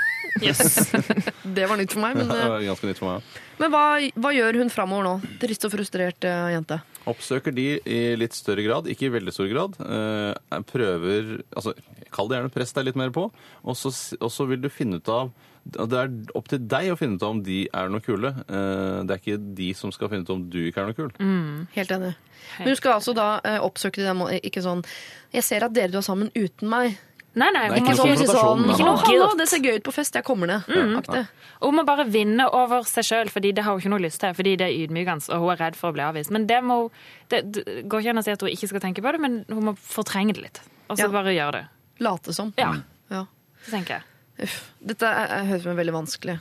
S3: Yes. [laughs] det var nytt for meg.
S9: [laughs] det
S3: Men, eh,
S9: var ganske nytt for meg. ja.
S3: men hva, hva gjør hun framover nå? Trist og frustrert eh, jente.
S9: Oppsøker de i litt større grad, ikke i veldig stor grad. Eh, prøver altså, Kall det gjerne press deg litt mer på, og så, s- og så vil du finne ut av Det er opp til deg å finne ut av om de er noe kule. Eh, det er ikke de som skal finne ut om du ikke er noe kul.
S3: Mm. Helt enig. Men hun skal altså da eh, oppsøke dem, og ikke sånn Jeg ser at dere du er sammen uten meg.
S8: Nei, nei.
S9: Nei,
S8: Hun må,
S9: ikke noe
S3: Ikke
S9: konfrontasjon,
S3: sånn
S9: nei,
S3: Ikke
S9: nei.
S3: noe hallo, det ser gøy ut på fest, jeg kommer ned. Aktig.
S8: hun må bare vinne over seg sjøl, fordi det har hun ikke noe lyst til. Fordi det er ydmykende, og hun er redd for å bli avvist. Men det, må, hun- det, det går ikke an å si at hun ikke skal tenke på det, men hun må fortrenge det litt. Og så
S3: Ja.
S8: bare gjøre det.
S3: Late som.
S8: Ja,
S3: Ja.
S8: så tenker jeg.
S3: Uff. Dette er, er- høres ut som en veldig vanskelig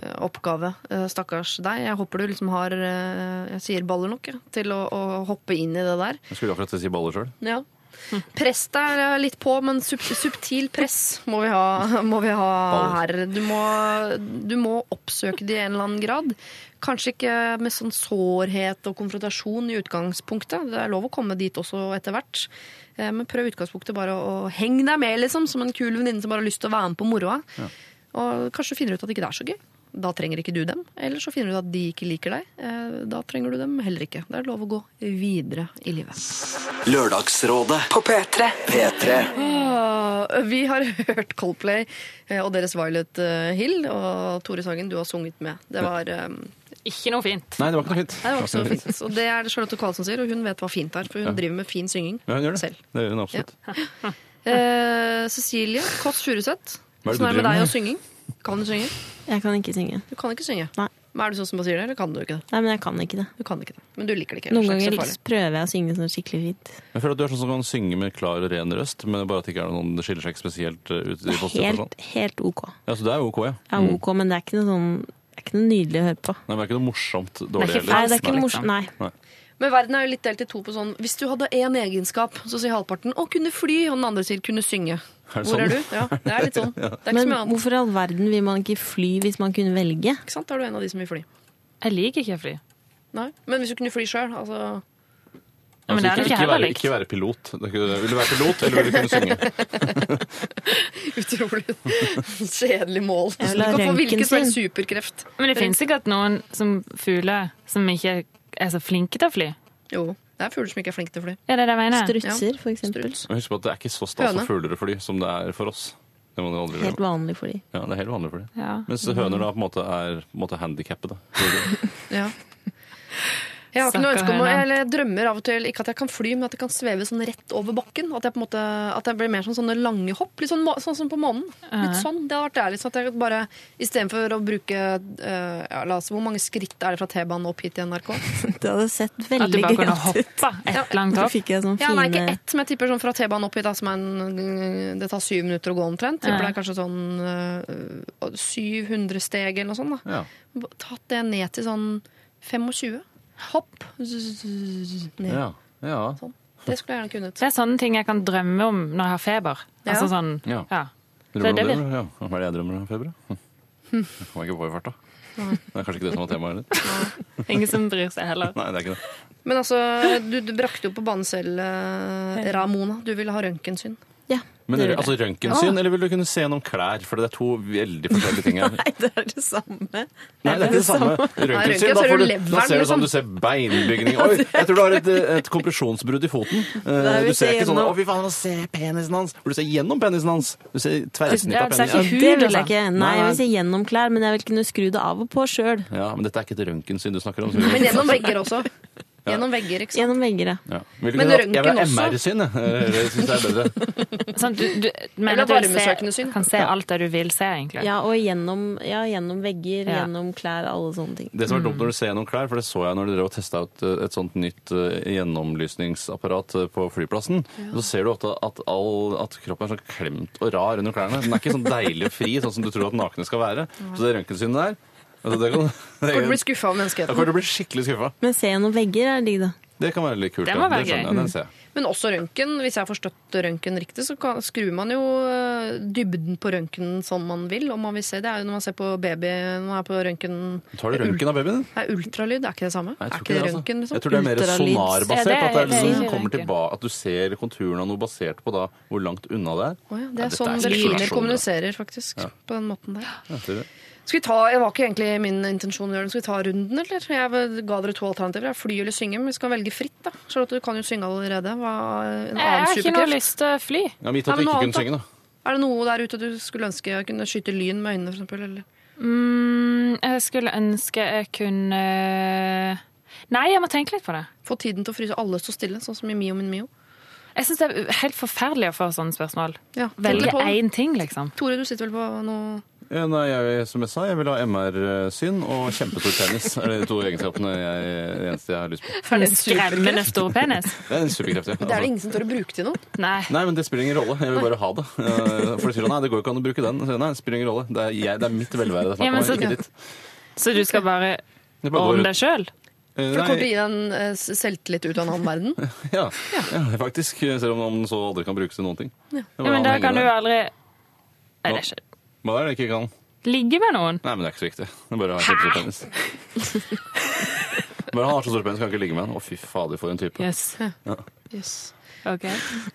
S3: eh, oppgave. Eh, Stakkars deg. Jeg håper du liksom har eh, Jeg sier baller nok jeg, til å, å hoppe inn i det der.
S9: Jeg skulle akkurat til å si baller sjøl.
S3: Ja. Press deg litt på, men sub subtil press må vi ha, må vi ha her. Du må, du må oppsøke det i en eller annen grad. Kanskje ikke med sånn sårhet og konfrontasjon i utgangspunktet. Det er lov å komme dit også etter hvert. Eh, Men prøv i utgangspunktet bare å henge deg med, liksom, som en kul venninne som bare har lyst til å være med på moroa. Og kanskje du finner ut at ikke det er så gøy. Da trenger ikke du dem. Eller så finner du ut at de ikke liker deg. Eh, Da trenger du dem heller ikke. Det er lov å gå videre i livet.
S2: Lørdagsrådet på P3. P3.
S3: Åh, Vi har [laughs] hørt Coldplay eh, og deres Violet eh, Hill, og Tore Sagen, du har sunget med. Det var, eh, nei,
S8: Ikke noe fint.
S9: Nei, det var ikke noe fint.
S3: det var ikke så fint. Og det er det Charlotte Karlsen sier, og hun vet hva fint er, for hun driver med fin synging
S9: Ja, hun gjør det.
S3: selv.
S9: Det gjør hun absolutt.
S3: Eh, Cecilie Kåss Furuseth,
S9: Hva er det
S3: hvordan
S9: du
S3: er det med
S9: driver
S3: deg
S9: med?
S3: og synging? Kan du synge?
S7: Jeg kan ikke synge.
S3: Du kan ikke synge.
S7: Nei.
S3: Men Er du sånn som bare sier det, eller kan du ikke det?
S7: Nei, men jeg kan ikke det.
S3: Du kan ikke det, Men du liker det ikke.
S7: Noen
S3: så det er
S7: ganger
S3: ikke så farlig.
S7: prøver jeg å synge sånn skikkelig fint.
S9: Jeg føler at du er sånn som kan synge med klar og ren røst, men bare at det ikke er noen det skiller seg ikke spesielt eh, ut i postur. og
S7: Helt,
S9: sånn.
S7: helt ok.
S9: Ja, så det er jo ok, ja.
S7: Jeg er ok, men det er ikke noe sånn det er ikke noe nydelig å høre på.
S9: Nei, men Mm. det er liksom. ikke noe morsomt dårlig
S8: ikke
S9: heller.
S7: Nei, det er ikke
S8: Nei.
S7: morsomt. Nei.
S3: Men verden er jo litt delt i to på sånn Hvis du hadde én egenskap, så sier halvparten 'å kunne fly', og den andre sier 'kunne synge'.
S9: Er det
S3: Hvor
S9: sånn?
S3: er du? Ja, det er litt
S9: [laughs]
S3: sånn. Det er ikke så
S7: Men
S3: mye annet.
S7: hvorfor i all verden vil man ikke fly hvis man kunne velge?
S3: Ikke sant? Da er du en av de som vil fly.
S8: Jeg liker ikke fly.
S3: Nei. Men hvis du kunne fly sjøl, altså [laughs]
S8: Men det er
S9: ikke,
S8: ikke heller
S9: være,
S8: likt.
S9: ikke være pilot. Det er ikke- Vil du være pilot, eller vil du kunne synge?
S3: Utrolig kjedelig mål. Du
S7: Jeg vil ha
S3: kan få hvilken som helst
S7: røntgen
S3: superkreft.
S8: Men det finnes sikkert noen som fugler som ikke er så flinke til å fly.
S3: Jo, det er fugler som ikke er flinke til å fly.
S8: Er det det jeg mener?
S7: Strutser, for eksempel.
S9: Og Husk på at det er ikke så stas
S3: Høne.
S9: for fugler å fly som det er for oss. Det må du aldri
S7: Helt
S9: glemme.
S7: vanlig for de.
S9: [laughs] Ja, det er helt vanlig for dem.
S8: Ja.
S9: Mens høner da på en måte er på en måte handikappede. Fugler.
S7: [laughs]
S3: Ja. Jeg har ikke noe
S8: Stakkar
S3: ønske om å,
S8: høne.
S3: eller jeg drømmer av og til ikke at jeg kan fly, men at jeg kan sveve sånn rett over bakken. At jeg, på en måte, at jeg blir mer sånn sånne lange hopp, litt sånn, må- sånn som på månen. Litt sånn, Det hadde vært deilig. Sånn at jeg bare, Istedenfor å bruke eh, ja, la oss, Hvor mange skritt er det fra T-banen opp hit til NRK?
S7: Det hadde sett
S8: At du
S7: veldig
S8: bare
S7: gøy
S8: kunne
S7: ut.
S8: hoppe et langt
S7: Da
S8: hopp.
S7: fikk jeg sånn
S3: Ja, nei, ikke
S7: fine
S3: ett, men jeg tipper sånn fra T-banen opp hit, da, som er en, det tar syv minutter å gå omtrent. Tipper det
S8: Ja.
S3: er kanskje sånn øh, 700 steg eller noe sånt. Da.
S9: Ja.
S3: Tatt det ned til sånn 25. Hopp. Zzz, Ned.
S9: Ja. ja.
S3: Sånn. Det skulle jeg gjerne kunnet.
S8: Det er sånne ting jeg kan drømme om når jeg har feber.
S3: Ja.
S8: Altså sånn,
S9: Ja.
S8: ja.
S9: Drømmer
S8: Det er
S9: du om
S8: det
S9: det? Ja. Hva er det jeg drømmer om, Febre? Hm. Det kommer jeg ikke på i farta. Det er kanskje ikke det som var temaet heller.
S8: Ingen som bryr seg heller.
S9: Nei, det er ikke det.
S3: Men altså, du, du brakte jo på banen selv, øh, Ramona. Du ville ha røntgensyn.
S7: Ja,
S9: Men
S7: det
S9: rø-
S7: gjorde
S9: altså
S7: jeg.
S9: Røntgensyn, eller vil du kunne se gjennom klær? For det er to veldig forskjellige
S7: [laughs]
S9: ting her.
S7: Nei, det er det samme.
S9: Nei, det er ikke det samme. Røntgensyn,
S3: røntgen
S9: da,
S3: ser
S9: får
S3: du
S9: du,
S3: leveren,
S9: da ser du
S3: liksom.
S9: sånn, du ser beinbygning. Oi, jeg tror du har et, et kompresjonsbrudd i foten. Eh,
S7: vil
S9: Du ser
S7: se
S9: ikke sånn,
S7: gjennom.
S9: å fy faen, nå ser jeg penisen hans. For du ser gjennom penisen hans. Du ser tverrsnitt
S8: Ja,
S9: av
S8: du ser
S9: penisen.
S8: ikke-
S7: Det
S8: Hud,
S7: vil
S8: altså.
S7: jeg ikke. Nei,
S9: Nei,
S7: jeg
S9: nei.
S7: vil se gjennom klær, men jeg vil kunne skru det av og på sjøl.
S9: Ja, men dette er ikke et røntgensyn du snakker om.
S3: Men gjennom vegger også. Gjennom vegger, ikke sant.
S7: Gjennom veggene.
S9: Ja. Vil du
S3: Men
S9: kunne hatt- Jeg vil ha
S3: røntgen også.
S9: MR-syn, jeg. Eh, Det syns jeg er bedre.
S8: Sånn, du, du
S3: Eller
S8: mener at du
S3: varmesøkende
S8: se,
S3: syn.
S8: kan se alt det du vil se, egentlig.
S7: Ja, og gjennom, ja, gjennom vegger,
S8: Ja.
S7: gjennom klær, alle sånne ting.
S9: Det som
S3: Mm.
S9: er dumt når du ser gjennom klær, for det så jeg når de drev og testa ut eh, et sånt nytt eh, gjennomlysningsapparat eh, på flyplassen, så ser du ofte at, all, at kroppen er sånn klemt og rar under klærne. Den er ikke sånn deilig og fri, sånn som du tror at nakne skal være. Så det røntgensynet der altså, det kan, [laughs] det,
S3: Kommer til å bli skuffa av
S9: jeg kommer
S3: menneskeheten.
S9: til å bli skikkelig skuffa.
S7: Men se gjennom vegger er digg, da.
S9: Det kan være litt kult.
S8: Det
S9: ja.
S8: må være
S9: skjønner
S8: gøy.
S9: jeg, den ser jeg.
S3: Men også røntgen. Hvis jeg har forstått røntgen riktig, så kan, skrur man jo eh, dybden på røntgen som man vil. Om man vil se. Det er jo når man ser på baby når man er på røntgen
S9: Tar du røntgen av babyen?
S3: Nei, ultralyd er ikke det samme.
S9: Nei,
S3: Mm.
S9: jeg
S3: er ikke
S9: tror ikke
S3: det
S9: altså.
S3: røntgen, liksom?
S9: Jeg tror det er mer
S3: Ultralyds.
S9: sonarbasert.
S3: Ja,
S9: at, det er liksom,
S3: ikke
S9: kommer
S3: røntgen.
S9: tilba- at du ser konturen av noe basert på da, hvor langt unna det er.
S3: Å ja, det
S9: Nei,
S3: er
S9: dette
S3: sånn
S9: spekulasjon,
S3: delfiner
S9: da.
S3: kommuniserer, faktisk.
S9: Ja.
S3: På den måten der.
S9: Ja, ser du.
S3: Skal vi ta, Det var ikke egentlig min intensjon å gjøre det. Skal vi ta runden, eller? Jeg ga dere to alternativer. ja. Fly eller synge. Men vi skal velge fritt, da. Charlotte, du kan jo synge allerede. Hva, en
S8: Jeg
S3: annen
S8: har ikke noe
S3: superkreft.
S8: lyst til å fly.
S9: Ja, Gitt
S3: Ja,
S9: at
S3: men noe
S9: du ikke
S3: annet,
S9: kunne synge, da.
S3: Er det noe der ute du skulle ønske jeg kunne skyte lyn med øynene, for eksempel? Eller?
S8: Mm, jeg skulle ønske jeg kunne eh, Nei, jeg må tenke litt på det.
S3: Få tiden til å fryse alle så stille, sånn som i Mio min Mio.
S8: Jeg syns det er helt forferdelig å få sånne spørsmål.
S3: Ja, tenk litt
S8: Velge
S3: på det.
S8: én ting, liksom.
S3: Tore, du sitter vel på noe
S9: Ja, Eh, nei, jeg, som jeg sa, jeg vil ha MR-syn og kjempestor penis. Det er de to egenskapene jeg, det eneste jeg har lyst på.
S8: Sånn skremmende stor penis.
S9: Det er en superkreft, ja.
S3: Det er det
S9: Altså.
S3: ingen som tør å bruke til noe.
S8: Nei.
S9: Nei, men det spiller ingen rolle. Jeg vil bare ha det. Eh, For de sier nei, det går jo ikke an å bruke den. Så jeg, nei, det spiller ingen rolle. Det er, jeg, det er mitt velvære. Det er
S8: Ja, men
S9: snakk om,
S8: så-
S9: ikke ditt.
S8: Så du skal bare
S9: Det [laughs] bare går
S8: ordne
S9: ut.
S8: deg sjøl?
S9: Eh,
S3: For det kommer til å gi deg en eh, selvtillit ut av en annen verden.
S9: Ja, ja faktisk. Selv om den så aldri kan brukes til noen ting. Ja.
S8: Ja, men da kan du aldri Nei, det er ikke
S9: Hva er det jeg ikke kan?
S8: Ligge med noen?
S9: Nei, men det er ikke så viktig. Det er bare å ha kjempestor penis. Bare han har så stor penis, kan ikke ligge med han. Å, fy fader, for en type.
S8: Jøss.
S9: Ja.
S3: [laughs] Yes.
S8: OK.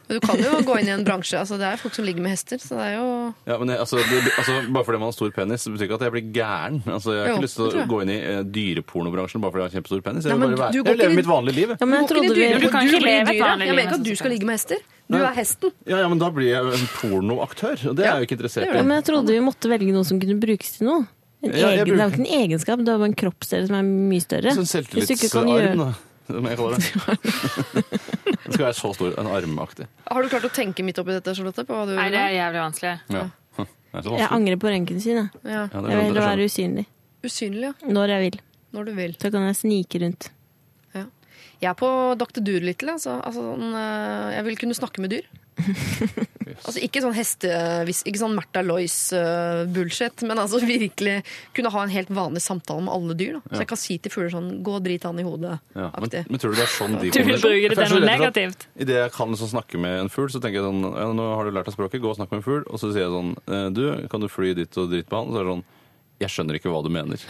S3: Men du kan jo gå inn i en bransje. Altså, det er folk som ligger med hester, så det er jo
S9: Ja, men jeg, altså, det, altså, Bare fordi man har stor penis, det betyr ikke at jeg blir gæren. Altså, Jeg har
S3: Jo,
S9: ikke lyst til
S3: det tror
S9: å
S3: jeg.
S9: gå inn i eh, dyrepornobransjen bare fordi jeg har kjempestor penis. Jeg
S3: Nei,
S9: vil
S3: men
S9: bare
S3: du
S9: være,
S3: går
S9: jeg
S3: ikke
S9: lever
S3: inn-
S9: mitt vanlige liv. jeg.
S7: Ja, men jeg
S3: Du går ikke
S7: trodde
S3: i
S7: vi
S3: dyre-
S8: Du kan
S3: du
S8: ikke
S3: blir
S8: leve et
S3: dyret.
S8: vanlig liv,
S3: Jeg mener ikke at
S8: altså,
S3: du skal
S8: sånn.
S3: ligge med hester. Du
S9: Nei.
S3: er hesten.
S9: Ja, ja, men da blir jeg en pornoaktør, og det er jeg jo ikke interessert
S7: Ja,
S9: i.
S7: men jeg trodde vi måtte velge noe som kunne brukes til noe. En
S9: Ja,
S7: egen, det er
S9: jeg
S7: jo
S9: bruker-
S7: ikke en egenskap, det er bare en kroppsdel som er mye større.
S9: Sånn
S7: Hvis du ikke kan
S9: selvtillitsarm,
S7: gjøre-
S9: da. Som jeg [laughs] kaller det. Den skal være så stor. En armaktig.
S3: Har du klart å tenke midt oppi dette, Charlotte? På hva du
S8: Nei, det er jævlig vanskelig.
S9: Ja. Det er så
S7: Jeg
S9: vanskelig.
S7: angrer på røntgen sin. Jeg.
S3: ja.
S9: Ja, det
S7: jeg vil
S9: er- det
S7: heller
S9: er
S7: være
S9: sånn.
S7: usynlig
S3: Usynlig, ja.
S7: når jeg vil.
S3: Når du vil.
S7: Så kan jeg snike rundt.
S3: Jeg er på Dr. Doolittle. Altså, altså, sånn, eh, jeg vil kunne snakke med
S9: [laughs]
S3: dyr. Altså Ikke sånn hestevis, ikke sånn Märtha Lois-bullshit, men altså [laughs] virkelig kunne ha en helt vanlig samtale med alle dyr. Da. Så jeg kan si til fugler sånn Gå og drit han i
S9: [laughs]
S3: hodet.
S9: Ja, men,
S3: aktig.
S9: men tror du det er sånn de
S8: Du vil bruke det
S9: For jeg er
S8: til noe
S9: så redd for at-
S8: negativt.
S9: Idet jeg kan liksom snakke med en fugl, så tenker jeg sånn ja, Nå har du lært deg språket, gå og snakk med en fugl. Og så sier jeg sånn eh, Du, kan du fly dit og dit på han? Så er det sånn Jeg skjønner ikke hva du mener.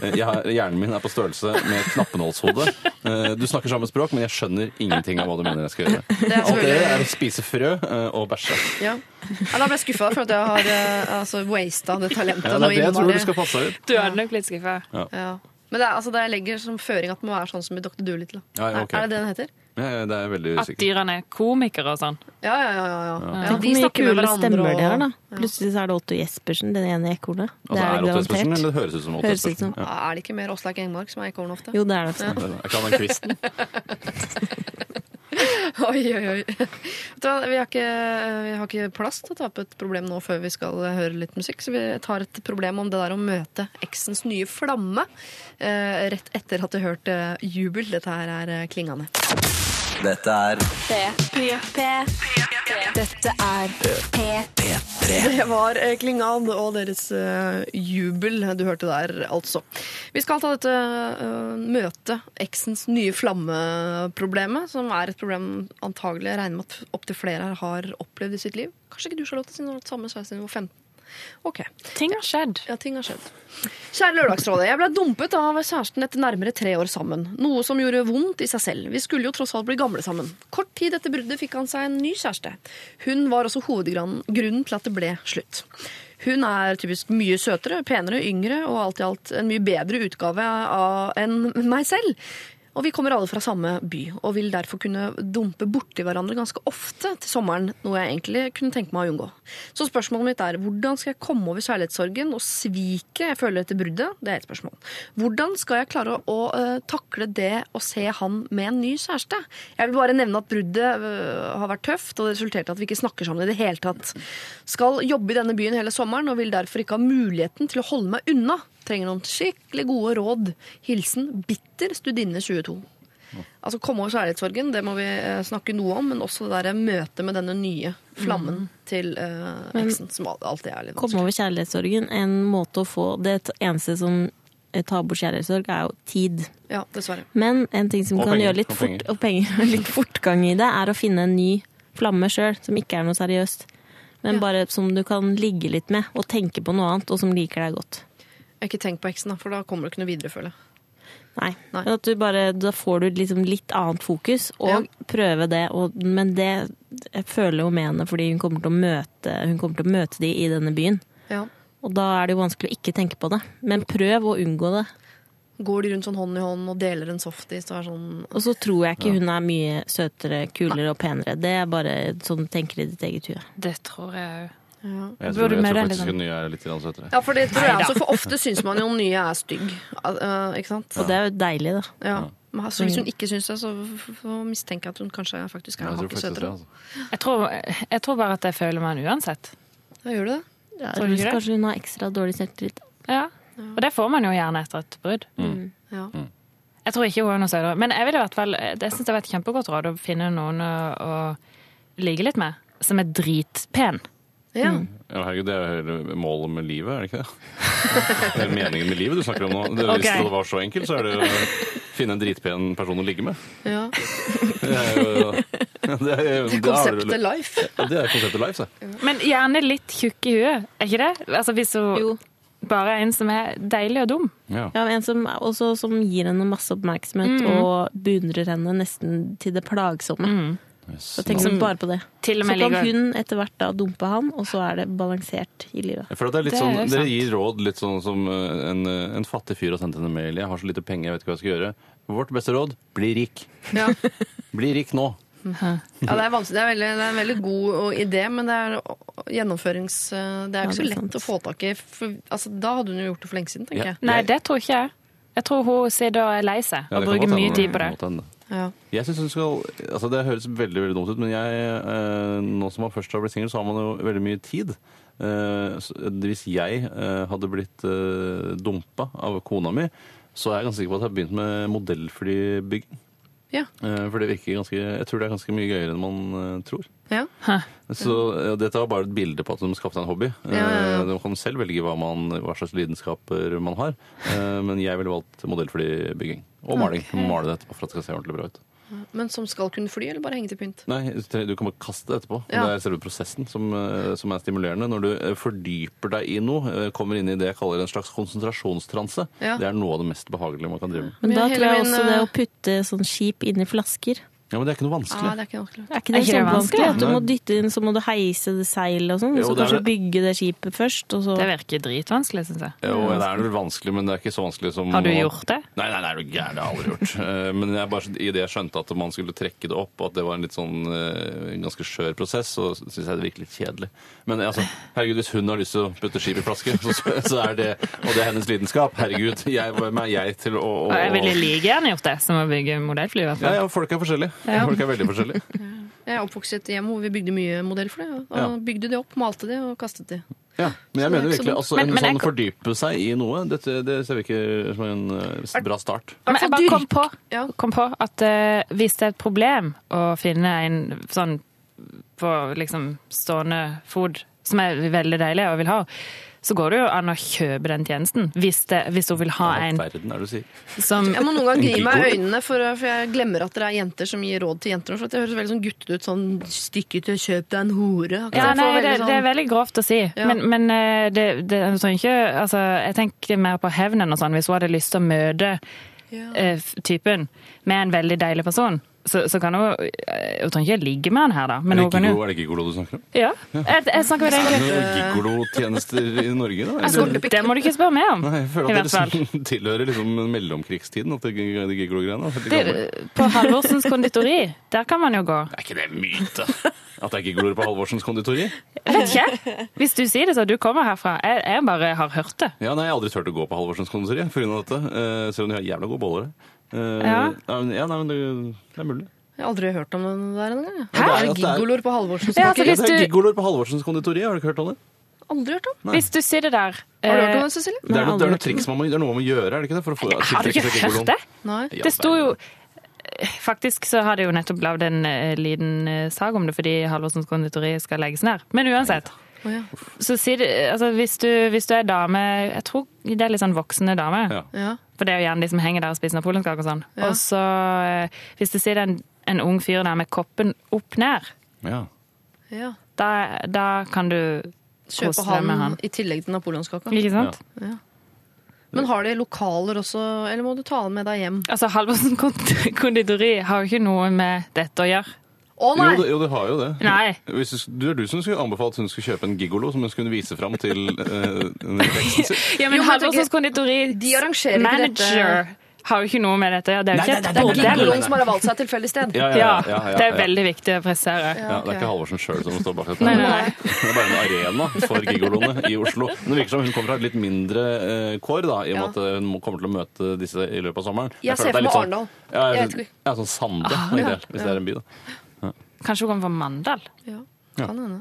S9: Eh, Jeg har, hjernen min er på størrelse med knappenålshodet. Eh, Du snakker samme språk, men jeg skjønner ingenting av hva du mener jeg skal gjøre.
S3: er
S9: Alt det
S3: selvfølgelig-
S9: er å spise frø eh, og bæsje.
S3: Ja. Ja, da ble jeg skuffa, for at jeg har eh, altså, wasta det talentet.
S9: Ja, det
S3: nå
S9: er det jeg tror
S3: innmari.
S9: du skal passe deg ut.
S8: Du hadde nok blitt skuffa.
S3: Ja. Men det er altså det jeg legger som føring at det må være sånn som i Dr. Doolittle.
S9: Ja, ja, ok.
S3: Er det det den heter?
S9: Ja, ja, det er jeg veldig
S8: At
S9: usikkert.
S8: dyrene er komikere og sånn.
S3: Ja, ja, ja. ja, ja. ja.
S7: Tenk
S3: de
S7: hvor mye
S3: snakker med
S7: kule
S3: hverandre
S7: stemmer
S3: og
S7: de har, da. Plutselig så er det Otto Jespersen, den ene ekornet.
S9: Altså, er det Otto Espersen, eller
S7: garantert.
S9: det høres ut som Otto
S7: Høres ut som.
S9: Espersen? Ja.
S3: Er det ikke mer Åslaug Engmark som er ekorn ofte?
S7: Jo, det er det faktisk.
S9: Jeg kan den kvisten.
S3: [laughs] Oi, oi, oi. Vet du hva, Vi har, ikke, eh, vi har ikke plass til å ta opp et problem nå før vi skal eh, høre litt musikk, så vi tar et problem om det der å møte eksens nye flamme eh, rett etter at du hørte eh, jubel. Dette her er eh, klingende.
S2: Dette er
S1: Dette er P3.
S3: [laughs] Det var eh, Klingan og deres eh, jubel du hørte der, altså. Vi skal ta dette eh, møte eksens nye flamme-problemet, som er et problem antagelig jeg regner med at opptil flere her har opplevd i sitt liv. Kanskje ikke du, Charlotte, siden du har hatt samme sveis siden du var 15. Ok,
S8: Ting har skjedd.
S3: ja, ting har skjedd. Kjære Lørdagsrådet. Jeg ble dumpet av kjæresten etter nærmere tre år sammen. Noe som gjorde vondt i seg selv. Vi skulle jo tross alt bli gamle sammen. Kort tid etter bruddet fikk han seg en ny kjæreste. Hun var også hovedgrunnen til at det ble slutt. Hun er typisk mye søtere, penere, yngre og alt i alt en mye bedre utgave av enn meg selv. Og vi kommer alle fra samme by, og vil derfor kunne dumpe borti hverandre ganske ofte til sommeren, noe jeg egentlig kunne tenke meg å unngå. Så spørsmålet mitt er hvordan skal jeg komme over kjærlighetssorgen og sviket jeg føler etter bruddet? Det er et spørsmål. Hvordan skal jeg klare å eh, takle det å se han med en ny kjæreste? Jeg vil bare nevne at bruddet eh, har vært tøft, og det resulterte i at vi ikke snakker sammen i det hele tatt. Skal jobbe i denne byen hele sommeren og vil derfor ikke ha muligheten til å holde meg unna. Trenger noen skikkelig gode råd. Hilsen bitter studinne 22. Altså Komme over kjærlighetssorgen, det må vi eh, snakke noe om. Men også det der møtet med denne nye flammen til eh, eksen, som al- alltid er litt
S7: Komme
S3: vanskelig.
S7: over kjærlighetssorgen, en måte å få Det eneste som eh, tabuskjærelsesorg er jo tid.
S3: Ja, dessverre.
S7: Men en ting som
S9: Og
S7: kan
S9: penger,
S7: gjøre litt,
S9: og
S7: fort,
S9: penger.
S7: og penger, [laughs] og litt fortgang i det, er å finne en ny flamme sjøl, som ikke er noe seriøst. Men bare som du kan ligge litt med, og tenke på noe annet, og som liker deg godt.
S3: Ikke tenk på eksen, da, for da kommer du ikke noe videre, føler jeg.
S7: Nei.
S3: Nei.
S7: Men at du bare, da får du liksom litt annet fokus, og prøve det. Og, men det jeg føler jo med henne, fordi hun kommer til å møte, hun kommer til å møte de i denne byen.
S3: Ja.
S7: Og da er det jo vanskelig å ikke tenke på det. Men prøv å unngå det.
S3: Går de rundt sånn hånd i hånd og deler en softis og er sånn
S7: Og så tror jeg ikke hun er mye søtere, kulere og penere. Det er bare sånn hun tenker i ditt eget hue.
S8: Det tror jeg òg.
S9: Jeg
S8: Burde
S9: tror, jeg
S8: mer
S9: tror
S8: eller
S9: faktisk
S8: sånn.
S9: hun nye er litt grann søtere.
S3: Ja, for det tror jeg også, for ofte syns man jo om nye er stygg. eh, ikke sant?
S7: Og det er jo deilig, da.
S3: Ja. Men her- Så hvis hun ikke syns det, så f- f- mistenker jeg at hun kanskje faktisk er
S9: Jeg tror
S3: hakket
S9: faktisk det,
S3: søtere.
S9: altså.
S8: Jeg tror, jeg tror bare at jeg føler meg uansett.
S3: Ja, gjør du det?
S7: Ja,
S8: Tror du ikke det?
S7: kanskje hun har ekstra dårlig selvtillit.
S8: Ja. Og det får man jo gjerne etter et brudd.
S9: Mm.
S3: Ja.
S8: Jeg tror ikke hun er noe søtere. Men jeg vil i hvert fall, jeg synes det var et kjempegodt råd å finne noen å, å ligge litt med, som er dritpen.
S3: ja.
S9: Ja, herregud, det er jo hele målet med livet, er det ikke det? Det er meningen med livet du snakker om nå. Det,
S8: Ok.
S9: Hvis det var så enkelt, så er det jo å finne en dritpen person å ligge med.
S3: ja.
S9: Det er
S8: [laughs]
S9: jo det er, jo- det har du-
S3: Konseptet life.
S9: Ja, Det er konseptet life, det.
S8: Men gjerne litt tjukk i huet, er ikke det? Altså hvis hun
S7: Jo.
S8: bare er en som er deilig og dum.
S9: Ja.
S7: Ja, men en som, også, som gir henne masse oppmerksomhet og beundrer henne nesten til det plagsomme. Så tenk
S8: Som
S7: bare på det.
S8: til og med
S7: så kan
S8: ligger-
S7: hun etter hvert da dumpe han, og så er det balansert i livet.
S9: Jeg føler at det er litt
S8: Det er
S9: sånn,
S8: jo
S9: Dere
S8: sant.
S9: gir råd litt sånn som eh, en, eh, en fattig fyr har sendt en mail. 'Jeg har så lite penger, jeg vet ikke hva jeg skal gjøre'. Vårt beste råd bli rik.
S3: [laughs] Ja.
S9: Bli rik nå.
S3: Ja, det er vanskelig. Det er, veldig, det er en veldig god og- idé, men det er å- gjennomførings... eh, Det er jo ikke
S7: Ja,
S3: så
S7: det er
S3: lett å få tak i. For, altså, da hadde hun jo gjort det for lenge siden, tenker
S9: Ja.
S3: jeg.
S8: Nei,
S9: Jeg-
S8: det tror ikke jeg. Jeg tror hun sitter og er lei seg
S9: Ja,
S8: og
S9: det kan
S8: bruker
S9: godt
S8: mye
S9: hende.
S8: tid på det.
S9: Godt hende.
S3: Ja.
S9: Jeg synes hun skal, altså Det høres veldig veldig dumt ut, men jeg, eh, nå som man først har blitt singel, så har man jo veldig mye tid. Eh, så hvis jeg eh, hadde blitt eh, dumpa av kona mi, så er jeg ganske sikker på at jeg har begynt med modellflybygging.
S3: Ja.
S9: Eh, for det virker ganske, jeg tror det er ganske mye gøyere enn man eh, tror.
S3: Ja.
S9: Så eh, dette var bare et bilde på at de skaffet seg en hobby. Eh,
S3: ja, ja.
S9: De kan selv velge hva, man, hva slags lidenskaper man har, eh, men jeg ville valgt modellflybygging. Og maling. Male det etterpå for at det skal se ordentlig bra ut.
S3: Men som skal kunne fly, eller bare henge til pynt?
S9: Nei, du kan bare kaste det etterpå.
S3: Ja.
S9: Det er selve prosessen som, eh, som er stimulerende. Når du eh, fordyper deg i noe, eh, kommer inn i det jeg kaller en slags konsentrasjonstranse,
S3: Ja.
S9: det er noe av det mest behagelige man kan drive med.
S7: Men
S3: Men
S7: da
S3: hele
S7: tror jeg
S3: min,
S7: også det
S3: eh,
S7: å putte sånn skip inni flasker
S3: Mm.
S9: Ja, Men det er ikke noe
S3: Ja, Ah,
S9: vanskelig.
S3: det er ikke vanskelig.
S7: Er ikke
S8: Er
S7: det
S8: ikke det
S7: kjempevanskelig?
S8: vanskelig?
S7: At du må
S9: Nei.
S7: dytte inn, så må du heise det seil og sånn,
S9: Jo,
S7: så
S9: det er
S7: kanskje
S9: det.
S7: bygge det skipet først, og så
S8: Det virker dritvanskelig, syns jeg.
S9: Jo, det er vel vanskelig, men det er ikke så vanskelig som
S8: Har du gjort det?
S9: Nei, nei, nei, det er du gæren, det har jeg aldri
S8: [laughs]
S9: gjort. Eh, Men jeg bare, i det jeg skjønte at man skulle trekke det opp, og at det var en litt sånn eh, en ganske skjør prosess, så syns jeg det virker litt kjedelig. Men altså, herregud, hvis hun har lyst til å putte skip i flaske, så, så er det Og det er hennes lidenskap. Herregud, jeg, hvem er jeg til å, å,
S8: Og jeg ville
S9: å
S8: like gjerne gjort det, som å bygge modellfly. i hvert
S9: ja,
S8: fall.
S9: ja, folk er forskjellige. Folk er veldig forskjellige.
S3: Jeg er oppvokst i et hjem hvor vi bygde mye modellfly. Og
S9: Ja.
S3: bygde de opp, malte de og kastet de.
S9: Ja. Men
S3: Så det
S9: jeg
S3: er
S9: mener
S3: ikke så
S9: virkelig
S3: dumt.
S9: altså,
S8: Men-
S9: en
S8: men jeg
S9: sånn
S8: kan-
S9: fordype seg i noe, det, det ser vi ikke som en eh, bra start.
S8: Men jeg Altså, bare kom på,
S3: Ja.
S8: kom på at eh, hvis det er et problem å finne en sånn på liksom stående fot som er veldig deilig og vil ha, så går det jo an å kjøpe den tjenesten hvis, det, hvis hun vil ha
S9: Hva i
S8: en
S9: verden er det du sier?
S8: som
S3: Jeg må noen ganger gni
S9: Ikke
S3: meg i
S9: god.
S3: øynene, for, for jeg glemmer at dere er jenter som gir råd til jenter. For at det høres veldig sånn guttete ut. Sånn 'stykke til å kjøpe deg en hore'. Akkurat
S8: Ja,
S3: jeg får
S8: nei, det,
S3: veldig
S8: det er
S3: sånn-
S8: veldig grovt å si. Men, men eh, det, det, jeg, tror ikke, altså, jeg tenker mer på hevnen og sånn. Hvis hun hadde lyst til å møte eh, f- typen med en veldig deilig person, så, så kan hun eh, Hun trenger ikke ligge med han her, da. Men
S9: Er det
S8: hun kan jo
S9: gigolo- er det gigolo du snakker om?
S8: ja. jeg, jeg snakker med
S9: Er
S8: deg.
S9: det noen gigolotjenester i Norge, da?
S3: Jeg skulle-
S8: Det må du ikke spørre meg om.
S9: Nei,
S8: Altså,
S9: jeg
S8: I
S9: føler
S8: hvert
S9: at
S8: fall.
S9: det liksom tilhører liksom mellomkrigstiden, at det det gigolo-greiene. at det
S8: Det,
S9: gammel.
S8: på Halvorsens konditori, der kan man jo gå.
S9: Er ikke det en myte? At det er gigoloer på Halvorsens konditori?
S8: Jeg vet ikke. Hvis du sier det, så du kommer herfra. Jeg, jeg bare har hørt det.
S9: Ja, nei, jeg har aldri turt å gå på Halvorsens konditori på grunn av dette. eh, selv om de har jævla gode boller. Eh,
S8: Ja.
S9: nei, men- ja, nei, men det, det er mulig.
S3: Jeg har aldri hørt om den der engang. jeg.
S9: Hæ?
S3: Det
S9: Ja,
S3: er
S9: det er-
S3: Gigolor på Halvorsen som
S8: Ja,
S3: snakker.
S8: for
S9: Ja,
S8: hvis
S9: det er
S8: du,
S9: gigoloer på Halvorsens konditori, har du ikke hørt om det?
S3: Aldri hørt om.
S8: hvis du sier det
S3: Har
S8: der
S3: du
S8: eh,
S3: hørt om den, Cecilie?
S9: Det er, noe- det
S7: aldri
S9: er noe triks man må, det er noe man må gjøre, er det ikke det? For å få,
S8: Har du ikke hørt det?
S3: Nei.
S9: Ja,
S8: Det sto jo Faktisk så har det jo nettopp lagd en eh, liten eh, sag om det fordi Halvorsens konditori skal legges ned. Men uansett. Så sier, det- altså, hvis, du, hvis du er dame Jeg tror det er litt sånn voksne dame.
S9: Ja.
S3: Ja.
S8: For det er jo gjerne de som henger der og spiser napoleonskake og sånn.
S3: Ja.
S8: Og så eh, hvis du sier det er en, en ung fyr der med koppen opp ned,
S9: Ja.
S3: Ja.
S8: da, da kan du
S3: Kjøpe
S8: Kose deg
S3: han,
S8: med han.
S3: i tillegg til napoleonskaka.
S8: Ikke sant?
S3: Men har de lokaler også, eller må du ta han med deg hjem?
S8: Altså, Halvorsen kond- konditori har jo ikke noe med dette å gjøre.
S3: Å
S9: Jo, det,
S3: nei!
S9: jo, det har jo det.
S8: Nei.
S9: Hvis du, du er du som skulle anbefalt at hun skulle kjøpe en gigolo som hun skulle vise fram til eh, den teksten sin.
S8: Ja,
S3: Jo,
S8: men
S3: men jeg
S8: Halvorsens konditori
S3: de arrangerer ikke
S8: manager har jo ikke noe med dette å gjøre. Det er jo ikke et
S3: Det er
S8: bordell.
S3: gigoloen som har valgt seg et tilfeldig sted.
S9: [laughs] Ja,
S8: Ja,
S9: ja,
S8: det er
S9: ja.
S8: veldig viktig å presisere.
S9: Ja, det er ikke Halvorsen sjøl som står bak dette.
S8: Nei, nei, nei.
S9: Det er bare en arena for gigoloene i Oslo. Men det virker som hun kommer fra et litt mindre eh, kår, da, i og med
S3: Ja.
S9: at eh, hun må- kommer til å møte disse i løpet av sommeren.
S3: Jeg ser
S9: føler at det er
S3: for meg
S9: litt sånn-
S3: Arendal.
S9: Ja,
S3: Jeg
S9: jeg
S3: vet Ah, ikke.
S9: ja, sånn Sande, ideelt, hvis det er en by, da.
S8: Kanskje hun kommer fra Mandal?
S3: Ja, kan hende.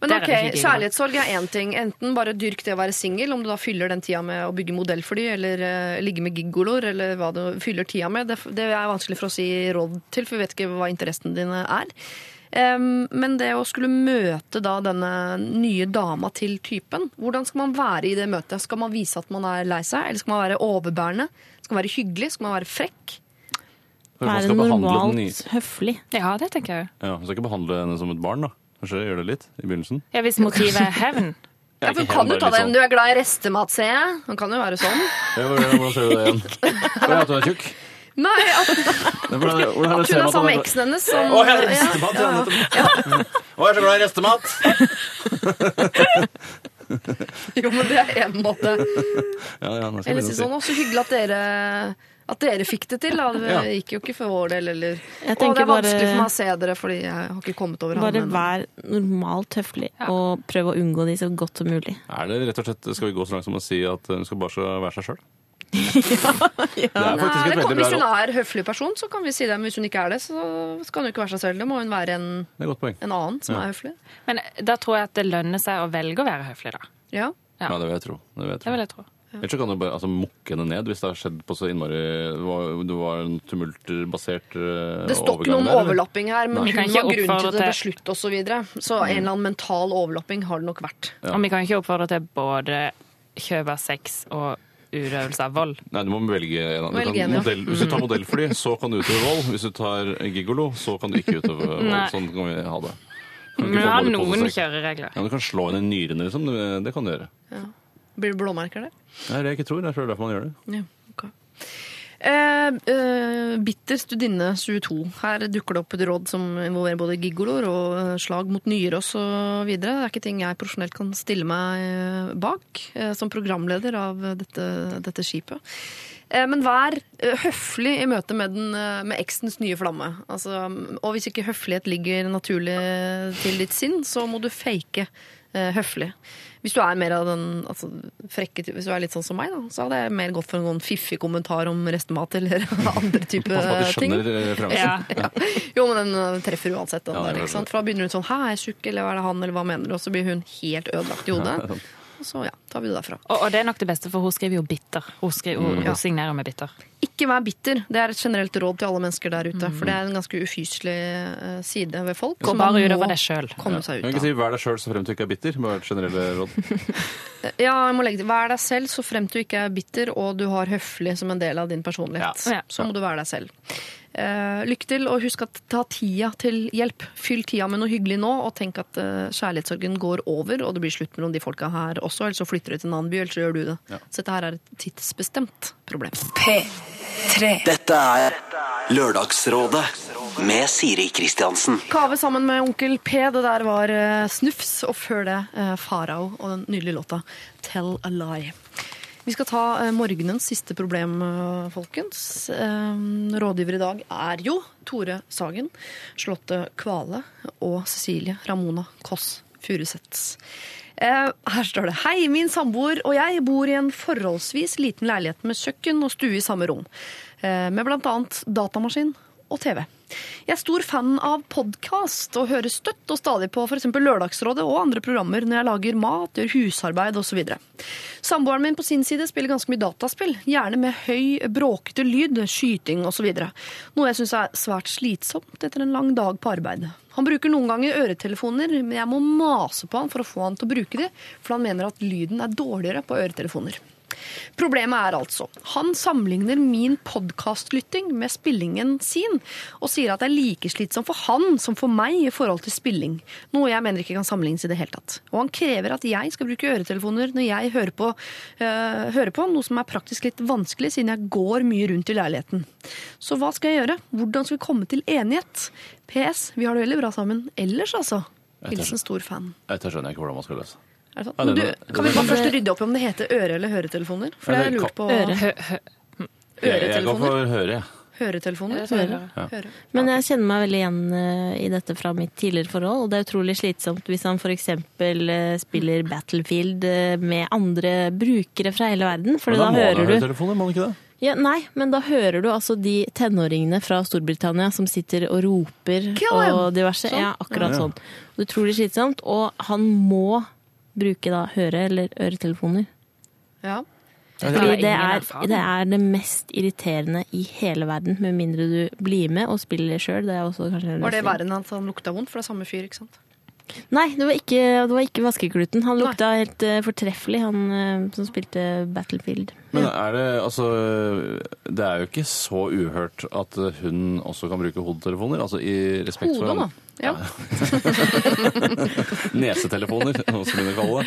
S3: Men
S8: Der er
S3: ok,
S8: det ikke gigolo.
S3: kjærlighetssorg er én ting. Enten bare dyrk det å være singel, om du da fyller den tida med å bygge modellfly, eller eh, ligge med gigoloer, eller hva du fyller tida med. Det, det er vanskelig for oss å gi råd til, for vi vet ikke hva interessene dine er. Em, men det å skulle møte da denne nye dama til typen, hvordan skal man være i det møtet? Skal man vise at man er lei seg, eller skal man være overbærende? Skal man være hyggelig? Skal man være frekk?
S9: Kanskje man
S7: Være
S9: skal behandle den
S7: normalt høflig.
S8: Ja, det tenker jeg jo.
S9: i- ja, Hun skal ikke behandle henne som et barn, da. Kanskje gjøre det litt i begynnelsen.
S8: Ja, hvis motivet er hevn.
S3: Ja, for Hun kan jo ta
S9: sånn-
S3: den. Du er glad i restemat, ser jeg. Hun kan jo være sånn.
S8: [laughs]
S9: Hvordan ser du
S3: [laughs]
S9: det igjen? Hvordan er det at hun er tjukk?
S3: Nei, at
S9: Hvordan, hvordan
S3: At hun er sammen med eksen hennes. Som,
S9: Å, jeg er restemat, ja, nettopp. Å, jeg er så glad i restemat!
S3: Jo, men det er én
S9: [laughs]
S3: måte.
S9: Ja, ja, nå skal
S3: Eller
S9: jeg
S3: si
S9: begynne
S3: sånn, «Å, så hyggelig at dere at dere fikk det til. Da. Det
S9: Ja.
S3: gikk jo ikke for vår del, eller Å,
S7: Jeg
S3: det
S7: tenker
S3: er vanskelig
S7: bare-
S3: for meg å se dere, fordi jeg har ikke kommet over
S7: Bare
S3: ham ennå.
S7: vær normalt høflig, og prøv å unngå de så godt som mulig.
S9: å si. Er det rett og slett, skal vi gå så langt som å si at hun skal bare så være seg
S3: [laughs]
S9: sjøl? Det
S3: Nei,
S9: er faktisk
S3: det
S9: et
S3: kan,
S9: veldig bra
S3: hvis hun
S9: råd.
S3: er høflig person, så kan vi si det. Men hvis hun ikke er det, så skal hun jo ikke være seg selv. Da må hun være en,
S9: Det er et godt poeng.
S3: en annen som er høflig.
S8: [laughs] Men da tror jeg at det lønner seg å velge å være høflig, da.
S3: Ja.
S8: Ja.
S9: Ja, det vil jeg tro. Det vil jeg
S8: Det
S9: tro.
S8: vil jeg tro.
S9: Ellers så kan du bare altså, mukke henne ned hvis det har skjedd på så innmari Det var, det var en tumulterbasert eh,
S3: Det står ikke
S9: overgang
S3: noen
S9: der, eller?
S3: overlapping her, men
S8: Vi kan
S3: hun
S8: ikke
S3: var grunn til
S8: oppfordre
S3: det
S8: til-
S3: til slutt osv. Så, videre. så
S9: Mm.
S3: en eller annen mental overlapping har det nok vært.
S8: Og vi kan ikke oppfordre til både kjøpe sex og utøvelse av vold.
S9: Nei, du må velge en av
S3: Velge
S9: du
S3: en,
S9: kan
S3: ja.
S9: modell, Hvis du tar modellfly, så kan du utøve vold. Hvis du tar gigolo, så kan du ikke utøve vold.
S8: Nei.
S9: Sånn kan vi ha det. Du kan ikke
S8: Men vi
S9: få
S8: har
S9: både
S8: noen
S9: pose og sekk.
S8: kjøreregler.
S9: Ja, Du kan slå henne i nyrene, liksom. Det, det kan du gjøre.
S3: Blir det blåmerker der?
S9: Det er det jeg ikke tror. Jeg tror det er derfor man gjør det.
S3: Ja, ok. Eh, eh, bitter studinne 22. Her dukker det opp et råd som involverer både gigoloer og eh, slag mot nyrer osv. Det er ikke ting jeg profesjonelt kan stille meg eh, bak eh, som programleder av eh, dette, dette skipet. Eh, men vær eh, høflig i møte med, den, eh, med eksens nye flamme. Altså, og hvis ikke høflighet ligger naturlig til ditt sinn, så må du fake eh, høflig. Hvis du er mer av den altså, frekke ty- Hvis du er litt sånn som meg, da, så hadde jeg mer gått for en sånn fiffig kommentar om restemat [laughs] eller andre type
S9: Pass på at du
S3: ting. [laughs]
S9: skjønner eh, referansen.
S8: Ja.
S3: Jo, men den eh, treffer uansett. Den
S9: Ja, det er
S3: der, ikke
S9: klart.
S3: sant? For da begynner hun sånn Hæ, er jeg tjukk, eller hva er det han, eller hva mener du? Og så blir hun helt ødelagt i hodet. Og så ja, tar vi det derfra.
S8: Og, og det er nok det beste, for hun skriver jo bitter. Hun, skriver, hun, hun signerer med bitter.
S3: Ikke vær bitter. Det er et generelt råd til alle mennesker der ute. For det er en ganske ufyselig eh, side ved folk.
S8: Gå
S3: som man
S8: bare
S3: må
S8: utover deg sjøl.
S3: Komme seg
S9: Jeg kan
S3: ut
S9: ikke
S3: av.
S9: si 'vær deg sjøl' så fremt du ikke er bitter. Bare et generelle råd.
S3: Ja, jeg må legge til. Vær deg selv så fremt du ikke er bitter og du har høflig som en del av din personlighet.
S8: Ja. Ja.
S3: Så må du være deg selv. Eh, lykke til, og husk at ta tida til hjelp. Fyll tida med noe hyggelig nå, og tenk at eh, kjærlighetssorgen går over, og det blir slutt mellom de folka her også, eller så flytter du til en annen by, eller så gjør du det. Så dette her er et tidsbestemt problem.
S1: P3
S2: Dette er Lørdagsrådet med Siri Kristiansen.
S3: Kave sammen med Onkel P. Det der var eh, Snufs, og før det eh, Farao og den nydelige låta Tell a Lie. Vi skal ta eh, morgenens siste problem, eh, folkens. Eh, rådgiver i dag er jo Tore Sagen, Slåtte Kvale og Cecilie Ramona Kåss Furuseths. Eh, her står det Hei, min samboer og jeg bor i en forholdsvis liten leilighet med kjøkken og stue i samme rom, eh, med bl.a. datamaskin og TV. Jeg er stor fan av podkast og hører støtt og stadig på f.eks. Lørdagsrådet og andre programmer når jeg lager mat, gjør husarbeid osv. Samboeren min på sin side spiller ganske mye dataspill, gjerne med høy, bråkete lyd, skyting osv. Noe jeg syns er svært slitsomt etter en lang dag på arbeid. Han bruker noen ganger øretelefoner, men jeg må mase på han for å få han til å bruke de, for han mener at lyden er dårligere på øretelefoner. Problemet er altså, han sammenligner min podcastlytting med spillingen sin, og sier at det er like slitsom for han som for meg i forhold til spilling, noe jeg mener ikke kan sammenlignes i det hele tatt. Og han krever at jeg skal bruke øretelefoner når jeg hører på, øh, hører på noe som er praktisk litt vanskelig siden jeg går mye rundt i leiligheten. Så hva skal jeg gjøre? Hvordan skal vi komme til enighet? PS, vi har det veldig bra sammen ellers, altså.
S9: Jeg tar-
S3: Hilsen stor fan.
S9: Dette skjønner jeg ikke hvordan man skal
S3: Er
S9: løse.
S3: det sant?
S9: Ja,
S3: Men
S9: det-
S3: du,
S9: det-
S3: kan vi bare først rydde opp i om det heter øre- eller høretelefoner? For det
S9: Ja,
S3: har
S9: det
S3: jeg lurt på.
S7: Øre.
S8: Hø, hø,
S9: Jeg, jeg går
S3: Øretelefoner?
S9: for høre, jeg.
S3: Høretelefoner?
S8: hører.
S3: Høre.
S7: Men jeg kjenner meg veldig igjen eh, i dette fra mitt tidligere forhold. og Det er utrolig slitsomt hvis han f.eks. spiller Battlefield eh, med andre brukere fra hele verden. For
S9: Men da
S7: da,
S9: må man ha
S7: hører du
S9: høretelefoner, må man ikke det?
S7: ja, Nei, men da hører du altså de tenåringene fra Storbritannia som sitter og roper
S3: Kill him!
S7: og diverse. Ja, akkurat sånn. Og det er utrolig slitsomt. Og han må bruke da høre- eller øretelefoner.
S3: Ja.
S7: Fordi
S8: ingen
S7: det er,
S8: erfaring.
S7: det er det mest irriterende i hele verden, med mindre du blir med og spiller sjøl. Det er også kanskje en
S3: Var det
S7: løsning.
S3: verre enn at han lukta vondt? For det er samme fyr, ikke sant?
S7: Nei, det var ikke, det var ikke vaskekluten. Han lukta helt eh, fortreffelig, han eh, som spilte Battlefield.
S9: Men er det altså Det er jo ikke så uhørt at hun også kan bruke hodetelefoner. Altså i respekt for
S3: Hodet, da.
S9: han-
S3: Ja.
S9: [laughs] Nesetelefoner, som vi kaller det.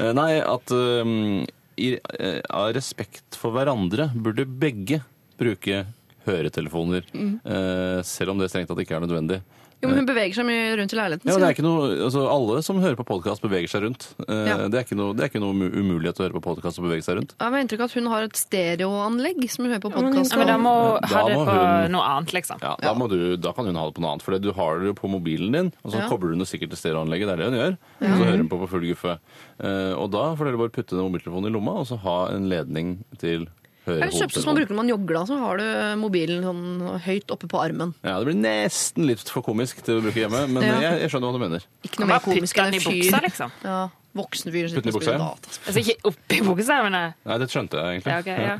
S9: Eh, Nei, at um, i, eh, av respekt for hverandre burde begge bruke høretelefoner. eh, selv om det strengt tatt ikke er nødvendig.
S3: Jo, men hun beveger seg mye rundt i leiligheten.
S9: Ja, men det
S3: sier
S9: er ikke noe, altså Alle som hører på podkast, beveger seg rundt. Eh,
S3: Ja.
S9: Det er ikke noe, det er ikke noe mu- umulighet å høre på podkast og bevege seg rundt.
S3: hun. Jeg har inntrykk av at hun har et stereoanlegg som hun hører på
S7: men
S3: podkast.
S8: Ja, men da må
S9: Da
S8: ha det
S9: må
S8: på
S9: hun-
S8: noe annet, liksom.
S9: Ja, da, må du, da kan hun ha det på noe annet, for det- du har det jo på mobilen din, og så
S3: Ja. Mhm.
S9: kobler hun det sikkert til stereoanlegget, det er det hun gjør, og så hører hun på på full guffe. Eh, og da får dere bare putte den mobiltelefonen i lomma, og så ha en ledning til
S3: Det er det kjøpeste man
S9: hørehodetelefonen.
S3: bruker når man jogger, da, så har du eh, mobilen sånn høyt oppe på armen.
S9: Ja, det blir nesten litt for komisk til å bruke hjemme, men
S3: Ja.
S9: jeg, jeg skjønner hva du mener.
S3: Ikke
S8: Kan
S3: noe
S8: bare
S3: mer komisk
S8: putte
S3: enn
S8: den i
S3: en
S8: buksa,
S3: fyr.
S8: liksom.
S3: Ja, voksen fyr som
S9: Putte
S3: sitter og
S9: den i buksa,
S3: spiller
S9: ja.
S3: data.
S8: Altså ikke oppi buksa, men eh,
S9: Nei, det skjønte jeg egentlig.
S8: ja, ok, ja.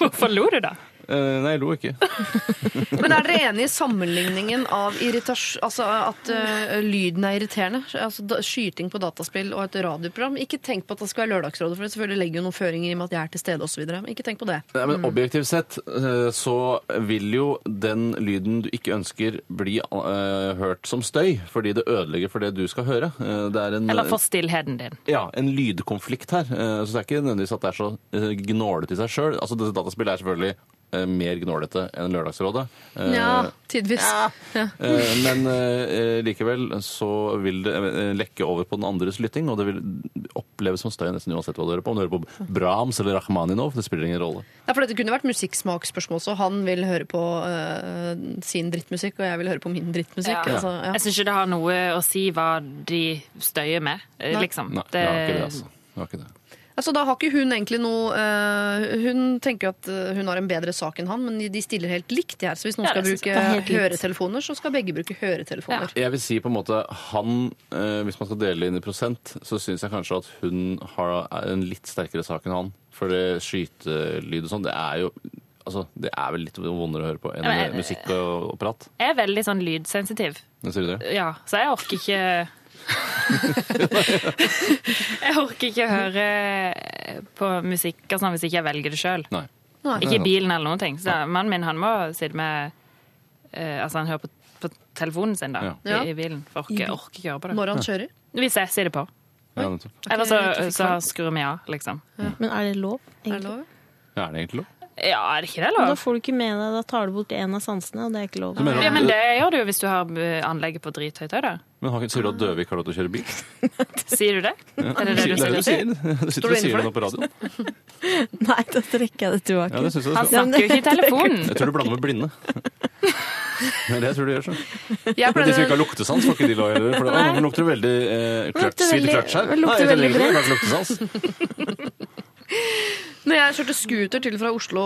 S8: Hvorfor lo du, da?
S9: Eh, nei, jeg lo ikke.
S3: [laughs] Men er dere enig i sammenligningen av irritasjon Altså at øh, lyden er irriterende? Altså da, Skyting på dataspill og et radioprogram. Ikke tenk på at det skal være Lørdagsrådet, for det selvfølgelig legger jo noen føringer i og med at jeg er til stede osv. Ikke tenk på det.
S9: Nei, men Objektivt sett eh, så vil jo den lyden du ikke ønsker, bli eh, hørt som støy, fordi det ødelegger for det du skal høre. Eh, det er en,
S8: Eller for stillheten din.
S9: ja, en lydkonflikt her. Eh, Så det er ikke nødvendigvis at det er så eh, gnålete i seg sjøl. Altså, dette dataspillet er selvfølgelig eh, mer gnålete enn Lørdagsrådet. Eh,
S3: Ja, tidvis.
S9: [laughs] eh, Men eh, eh, likevel så vil det eh, lekke over på den andres lytting, og det vil oppleves som støy nesten uansett hva du hører på. Om du hører på Brahms eller Rakhmaninov, det spiller ingen rolle.
S3: Ja, for dette kunne vært musikksmaksspørsmål, så han vil høre på øh, sin drittmusikk, og jeg vil høre på min drittmusikk.
S8: Ja.
S3: Altså, ja.
S8: Jeg syns ikke det har noe å si hva de støyer med, eh, liksom.
S9: Nei, det var ikke det, altså. Det var ikke det.
S3: Altså, da har ikke hun egentlig noe øh, Hun tenker jo at øh, hun har en bedre sak enn han, men de stiller helt likt de her. Så hvis noen
S8: Ja,
S3: skal
S8: det synes jeg
S3: bruke
S7: er helt likt.
S3: høretelefoner, så skal begge bruke høretelefoner.
S9: Jeg vil si på en måte han, eh, hvis man skal dele inn i prosent, så syns jeg kanskje at hun har en litt sterkere sak enn han. For det skytelyd og sånn, det er jo Altså, det er vel litt vondere å høre på enn
S8: Men-
S9: musikk og, og prat.
S8: Jeg er veldig sånn lydsensitiv,
S9: Men Sier du det?
S8: ja, så jeg orker ikke Jeg orker ikke høre på musikk og sånn hvis ikke jeg velger det sjøl.
S9: Nei.
S8: Ikke i bilen eller noen ting. Så mannen min han må sitte med eh, Altså han hører på, på telefonen sin da,
S3: Ja.
S8: i, i bilen. For jeg orker, jeg orker ikke høre på det.
S3: Når han kjører.
S8: Hvis jeg sier det på.
S9: Ja, nettopp.
S8: Eller så, så skrur vi av, liksom.
S7: Men er det lov?
S3: Er det
S7: egentlig?
S3: lov?
S9: Ja, er det egentlig lov?
S8: Ja, er det ikke det
S7: Men Da
S8: lov?
S7: får du ikke med deg, da tar du bort en av sansene, og det er ikke lov.
S9: mener-
S8: Ja, men det gjør du jo hvis du har eh, anlegget på drithøyt òg, da.
S9: Men har ikke- sier du at døve ikke har lov til å kjøre bil?
S8: Sier [laughs] du det? Er det det du
S9: Sier-
S8: sier?
S9: du sier? Du sitter og
S3: inne
S9: sier
S3: for
S9: det nå på radioen.
S7: [laughs] Nei, da trekker jeg det
S9: Ja,
S7: tilbake.
S9: det syns jeg du
S8: Han
S9: skal.
S8: snakker jo ikke i telefonen.
S9: Jeg tror du blander med
S8: [laughs]
S9: blinde. Det er det jeg tror du gjør, så.
S3: Jeg
S9: Men de som
S3: pleide-
S9: ikke har luktesans, får ikke de lov heller. For det å, nå lukter det veldig eh, kløtsj.
S7: Lukter
S9: Svidd
S7: veldig-
S9: kløtsj her.
S7: lukter
S9: Nei, jeg
S7: veldig
S9: trenger ikke luktesans.
S3: Når jeg kjørte scooter til fra Oslo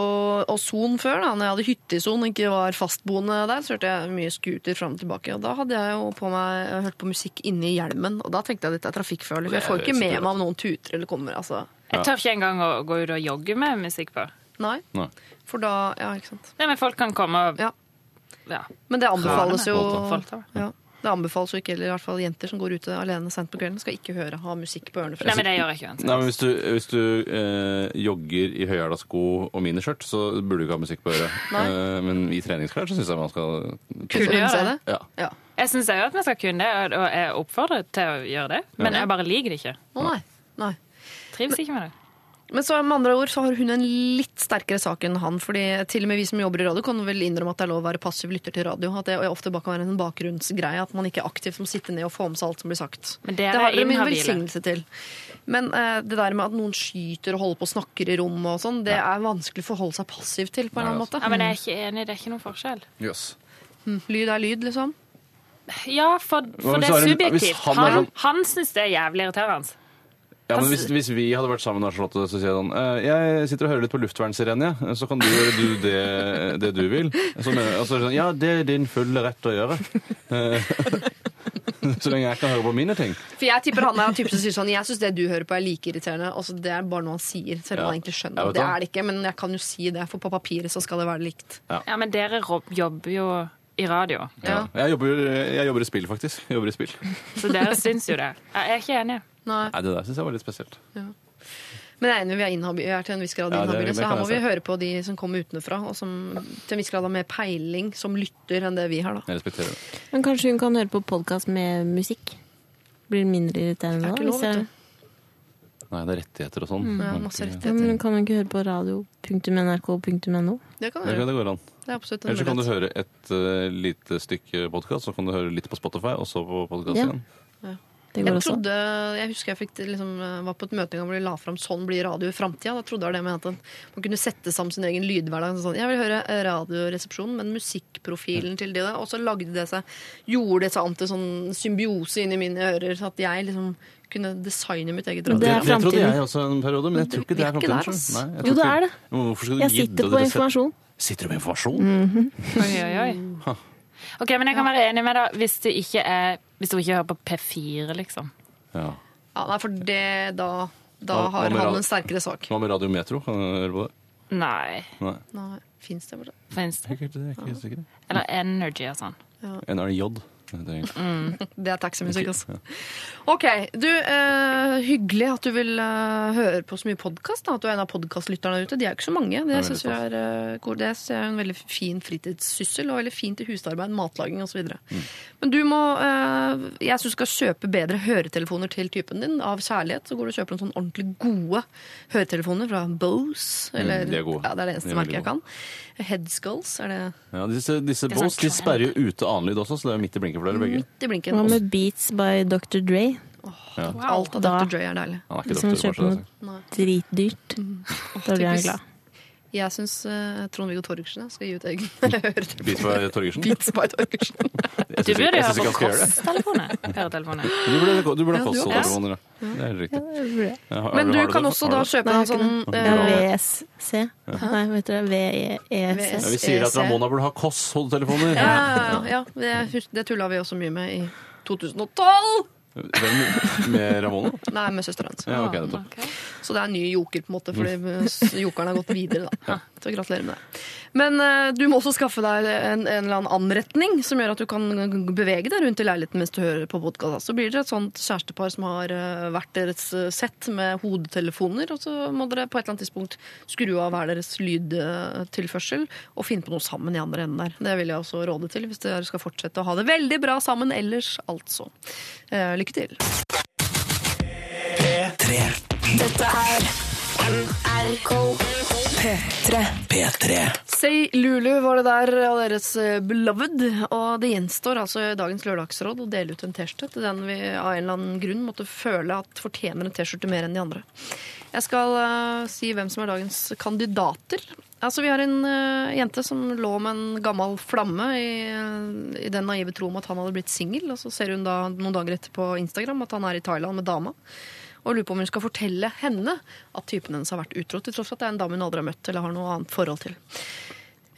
S3: og Son før, da når jeg hadde hytte i Son og ikke var fastboende der, så hørte jeg mye scooter fram og tilbake. Og da hadde jeg jo på meg, jeg hørt på musikk inni hjelmen, og da tenkte jeg at dette er trafikkfarlig. For jeg får ikke med meg om noen tuter eller kommer, altså.
S8: Jeg tør ikke engang å gå ut og jogge med musikk på.
S3: Nei.
S9: Nei.
S3: For da Ja, ikke sant.
S8: Nei, men folk kan komme og
S3: Ja.
S8: ja.
S3: Men det anbefales jo.
S8: Folk tar det.
S3: Ja. Det anbefales jo ikke, eller i hvert fall jenter som går ute alene sent på kvelden, skal ikke høre ha musikk på ørene.
S8: Nei, [laughs] men det gjør jeg ikke uansett.
S9: Nei, men Hvis du, hvis du eh, jogger i høyhæla sko og miniskjørt, så burde du ikke ha musikk på øret.
S3: Nei.
S9: Eh, men i treningsklær så syns jeg man skal
S8: Kunne gjøre det.
S9: ja.
S3: Ja.
S8: Jeg syns òg at vi skal kunne det, og- og jeg oppfordrer til å gjøre det. Men jeg bare liker det ikke.
S3: Å nei. nei.
S8: Trives ikke med det.
S3: Men så med andre ord så har hun en litt sterkere sak enn han. fordi til og med vi som jobber i radio, kan vel innrømme at det er lov å være passiv lytter til radio. At det ofte bare kan være en bakgrunnsgreie. At man ikke aktivt må sitte ned og få med seg alt som blir sagt.
S8: Men dere
S3: det har
S8: er
S3: dere min
S8: inhabile.
S3: velsignelse til. Men eh, det der med at noen skyter og holder på og snakker i rommet og sånn, det er vanskelig å forholde seg passiv til på en
S9: Nei,
S3: eller annen
S9: altså.
S3: måte.
S8: Ja, men jeg er ikke enig, det er ikke noen forskjell.
S9: Jøss.
S3: Lyd er lyd, liksom.
S8: Ja, for, for
S9: Men
S8: det
S9: så
S8: er
S9: er det-
S8: subjektivt.
S9: hvis han er
S8: Han,
S9: sånn-
S8: han syns det er jævlig irriterende.
S9: Ja, men
S7: Altså-
S9: hvis, hvis vi hadde vært sammen, da, Charlotte, så sier jeg sånn eh, Jeg sitter og hører litt på luftvernsirene, jeg. så kan du gjøre du det, det du vil. Så mener, jeg- og så er det sånn, ja, det er din fulle rett å gjøre. Eh, [laughs] så lenge jeg kan høre på mine ting.
S3: For jeg tipper han er en type som sier sånn Jeg syns det du hører på er like irriterende. Altså, det er bare noe han sier, selv om
S9: Ja.
S3: han egentlig
S9: Ja,
S3: skjønner
S9: vet
S3: at det
S9: du.
S3: er det ikke. Men jeg kan jo si det, for på papiret så skal det være likt.
S8: Ja, men dere rob- jobber jo i radio,
S3: Ja.
S9: Jeg, jobber, jeg jobber i spill, faktisk. Jeg jobber i spill.
S8: så dere syns jo det. Jeg er ikke enig.
S3: Nei.
S9: Nei, Det der syns jeg var litt spesielt.
S3: Men jeg er enig, vi er, inhabi- vi er til en viss grad
S9: Ja, det-
S3: inhabile,
S9: det
S3: så
S9: kan
S3: her må
S9: jeg
S3: vi
S9: se.
S3: høre på de som kommer utenfra, og som til en viss grad har mer peiling som lytter enn det vi har, da.
S9: Jeg respekterer det.
S7: Men kanskje hun kan høre på podkast med musikk? Blir det mindre irriterende
S3: Det er
S7: da?
S3: ikke lov,
S7: hvis jeg-
S3: vet du.
S9: Nei, det er rettigheter og sånn.
S3: Det er Mm, masse
S7: Ja, men hun
S3: rettigheter.
S7: kan jo ikke høre på radio.nrk.no.
S3: Det kan du
S9: Det,
S3: gjøre.
S9: det går an.
S3: Det er absolutt en
S9: Eller så kan du
S3: mulighet.
S9: høre et eh, lite stykke podkast, så kan du høre litt på Spotify, og så på podkast
S7: Ja.
S9: igjen.
S7: Det går
S3: Jeg
S7: også.
S3: trodde, jeg husker jeg fikk, det liksom, eh, var på et møte en gang hvor de la fram 'Sånn blir radio i framtida'. Da trodde jeg det mente at man kunne sette sammen sin egen lydhverdag. Sånn, jeg vil høre eh, Radioresepsjonen, men musikkprofilen til de der. Og så lagde det seg, gjorde det seg om til sånn symbiose inni mine ører, så at jeg liksom kunne designe mitt eget radio.
S7: Det er
S9: jeg trodde
S7: fremtiden.
S9: jeg også en periode, men jeg tror ikke det
S3: Vi er
S9: er
S3: ikke der,
S9: fremtiden.
S3: ass.
S9: tror jeg. Nei, jeg
S7: Jo,
S9: tror
S7: det
S9: ikke-
S7: er det.
S9: Men hvorfor skal du
S7: Jeg
S9: gidde
S7: sitter
S9: å
S7: på
S9: dresse-
S7: informasjon.
S9: Sitter du med informasjon?
S8: Oi, oi, oi. Ok, men jeg kan være enig med deg hvis det ikke er Hvis du ikke hører på P4, liksom.
S9: Ja.
S3: Ja, nei, for det, da, da
S9: Hva- hva
S3: har
S9: med
S3: han
S9: radio-
S3: en sterkere sak.
S9: Hva med Radio Metro? Kan du høre på det?
S8: Nei.
S9: Nei.
S3: Nei, finnes det fortsatt?
S8: Finnes
S9: Jeg
S8: det?
S9: er ikke- jeg er ikke helt sikker.
S8: Eller Energy og sånn.
S9: NRJ. Det er egentlig-
S3: Det er taximusikk, altså. Ok, du, eh, hyggelig at du vil eh, høre på så mye podkast. At du er en av podkastlytterne der ute. De er jo ikke så mange. Det
S9: er
S3: syns
S9: veldig
S3: jeg er, eh, god- det synes jeg er en veldig fin fritidssyssel, og veldig fint til husarbeid, matlaging osv. videre
S9: Mm.
S3: Men du må eh, Jeg syns du skal kjøpe bedre høretelefoner til typen din. Av kjærlighet så går du og kjøper noen sånn ordentlig gode høretelefoner fra Bose. Eller,
S9: Mm, de er gode.
S3: Ja, det er det
S9: De
S3: eneste
S9: er
S3: merket
S9: veldig
S3: jeg kan. Headskulls er det
S9: Ja, disse disse
S8: Det er sånn
S9: Bose de sperrer jo ute annen lyd også, så det er midt i blinken for dere begge.
S3: midt i blinken.
S7: Hva med Beats by Dr. Dre?
S3: Alt av
S7: Da-
S3: Dr. Joy er deilig.
S9: Han er ikke
S7: Hvis man
S9: doktor,
S7: kjøper
S9: kanskje.
S7: noe dritdyrt, da blir
S3: Mm.
S7: han
S3: Typisk.
S7: glad.
S3: Jeg syns eh, Trond-Viggo Torgersen jeg, skal gi ut [laughs] egen høretelefoner.
S9: Bit fra Torgersen.
S3: Beats by Torgersen.
S9: Jeg
S8: Du
S9: syns ikke
S8: burde
S9: jeg
S8: jo høre
S9: syns ikke han
S8: på
S9: skal gjøre
S8: Kåss-telefoner.
S9: det.
S8: [laughs] Høretelefoner.
S9: Du burde, du burde ha
S3: Ja, du
S9: kost
S3: også.
S9: telefoner, ja. Det er helt riktig. Ja, har-
S3: Men
S9: har
S3: du
S9: det
S3: kan
S9: for-
S3: også
S9: har
S3: da
S9: du det?
S3: kjøpe
S7: Nei,
S3: en
S7: jeg har
S3: sånn
S7: ikke
S3: eh,
S7: Ja, VSC. E Nei, vet dere, VEC.
S9: Ja, vi sier at Ramona burde ha Koss-hodetelefoner.
S3: ja, Eh, ja, ja, det, hus- det tulla vi også mye med i 2012!
S9: [laughs] Hvem med Ramona?
S3: Nei, med søsteren hans.
S9: Ja, ok, nettopp.
S3: Så det er en ny joker, på en måte, fordi [laughs] eh, jokeren har gått videre. da. Så gratulerer med det. Men eh, du må også skaffe deg en, en eller annen anretning som gjør at du kan bevege deg rundt i leiligheten mens du hører på podkast. Så blir dere et sånt kjærestepar som har eh, hvert deres eh, sett med hodetelefoner, og så må dere på et eller annet tidspunkt skru av hver deres lydtilførsel og finne på noe sammen i andre enden der. Det vil jeg også råde til hvis dere skal fortsette å ha det veldig bra sammen ellers, altså. Eh, Lykke til.
S1: Dette er NRK P3.
S2: P3.
S3: Say Lulu var det der av deres eh, Beloved. Og det gjenstår altså i dagens lørdagsråd å dele ut en T-skjorte til den vi av en eller annen grunn måtte føle at fortjener en T-skjorte mer enn de andre. Jeg skal eh, si hvem som er dagens kandidater. Altså, Vi har en eh, jente som lå med en gammel flamme i, eh, i den naive tro om at han hadde blitt singel, og så ser hun da noen dager etter på Instagram at han er i Thailand med dama. Og lurer på om hun skal fortelle henne at typen hennes har vært utro, til tross for at det er en dame hun aldri har møtt eller har noe annet forhold til.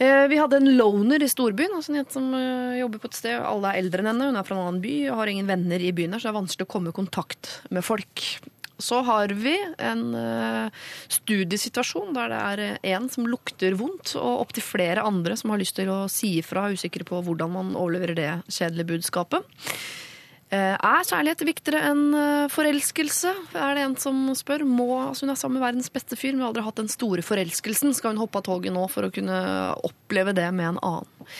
S3: Eh, Vi hadde en loner i storbyen, altså en jente som eh, jobber på et sted. Alle er eldre enn henne, hun er fra en annen by og har ingen venner i byen her, så det er vanskelig å komme i kontakt med folk. Så har vi en eh, studiesituasjon der det er eh, en som lukter vondt, og opptil flere andre som har lyst til å si ifra, er usikre på hvordan man overleverer det kjedelige budskapet. Eh, Er kjærlighet viktigere enn eh, forelskelse? Er det en som spør. Må, altså hun er sammen med verdens beste fyr, men har aldri hatt den store forelskelsen. Skal hun hoppe av toget nå for å kunne oppleve det med en annen?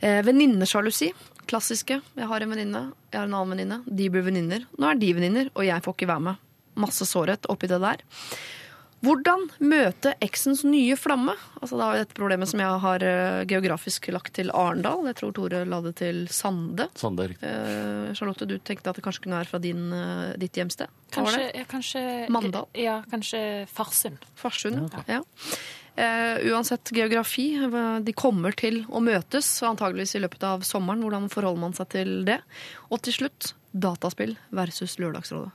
S3: Eh, Venninnesjalusi. Klassiske. Jeg har en venninne, jeg har en annen venninne. De blir venninner. Nå er de venninner, og jeg får ikke være med. Masse sårhet oppi det der. Hvordan møte eksens nye flamme? Altså, det er jo dette problemet som jeg har eh, geografisk lagt til Arendal. Jeg tror Tore la det til Sande.
S9: Sånn der.
S3: Eh, Charlotte, du tenkte at det kanskje kunne være fra din, eh, ditt hjemsted? Hva var
S8: Kanskje,
S3: det?
S8: ja, kanskje
S3: Mandal?
S8: Ja, kanskje Farsund.
S3: Farsund? Ja. Eh, uansett geografi, hva- de kommer til å møtes, og antageligvis i løpet av sommeren. Hvordan forholder man seg til det? Og til slutt, dataspill versus Lørdagsrådet.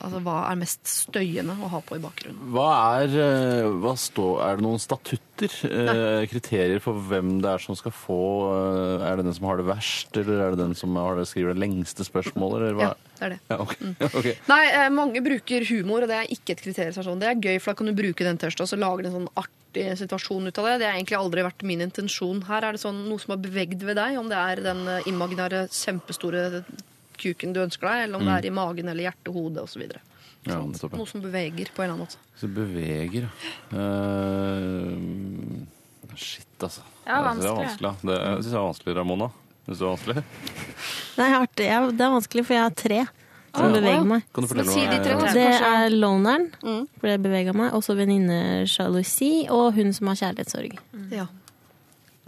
S3: Altså, Hva er mest støyende å ha på i bakgrunnen?
S9: Hva er, eh, hva står, er det noen statutter? eh, Kriterier for hvem det er som skal få eh, Er det den som har det verst, eller er det den som har det, skriver det lengste spørsmålet? Eller hva?
S3: Ja, det er det.
S9: Ja, ok. ok.
S3: Nei, eh, mange bruker humor, og det er ikke et kriterium. som er Sånn. Det er gøy, for da kan du bruke den tørsta og så lage en sånn artig situasjon ut av det. Det har egentlig aldri vært min intensjon. Her er det sånn noe som har bevegd ved deg, om det er den eh, imaginære, kjempestore kuken du ønsker deg, eller om det er i magen eller hjertet, hodet osv.
S9: Mm. Ja, nettopp, ja.
S3: Noe som beveger på en eller annen måte.
S9: Så beveger, ja. Eh, shit, altså.
S8: Ja,
S9: Jeg synes Det er
S8: vanskelig.
S9: vanskelig. da. Det, jeg syns det er vanskelig, Ramona. Synes du det er vanskelig?
S7: Nei, artig. Jeg, det er vanskelig, for jeg har tre som beveger meg.
S9: Kan du fortelle
S3: si de tre, da.
S9: meg?
S7: Det er loneren, for det beveger meg. Også venninnesjalusi, og hun som har kjærlighetssorg.
S3: Ja.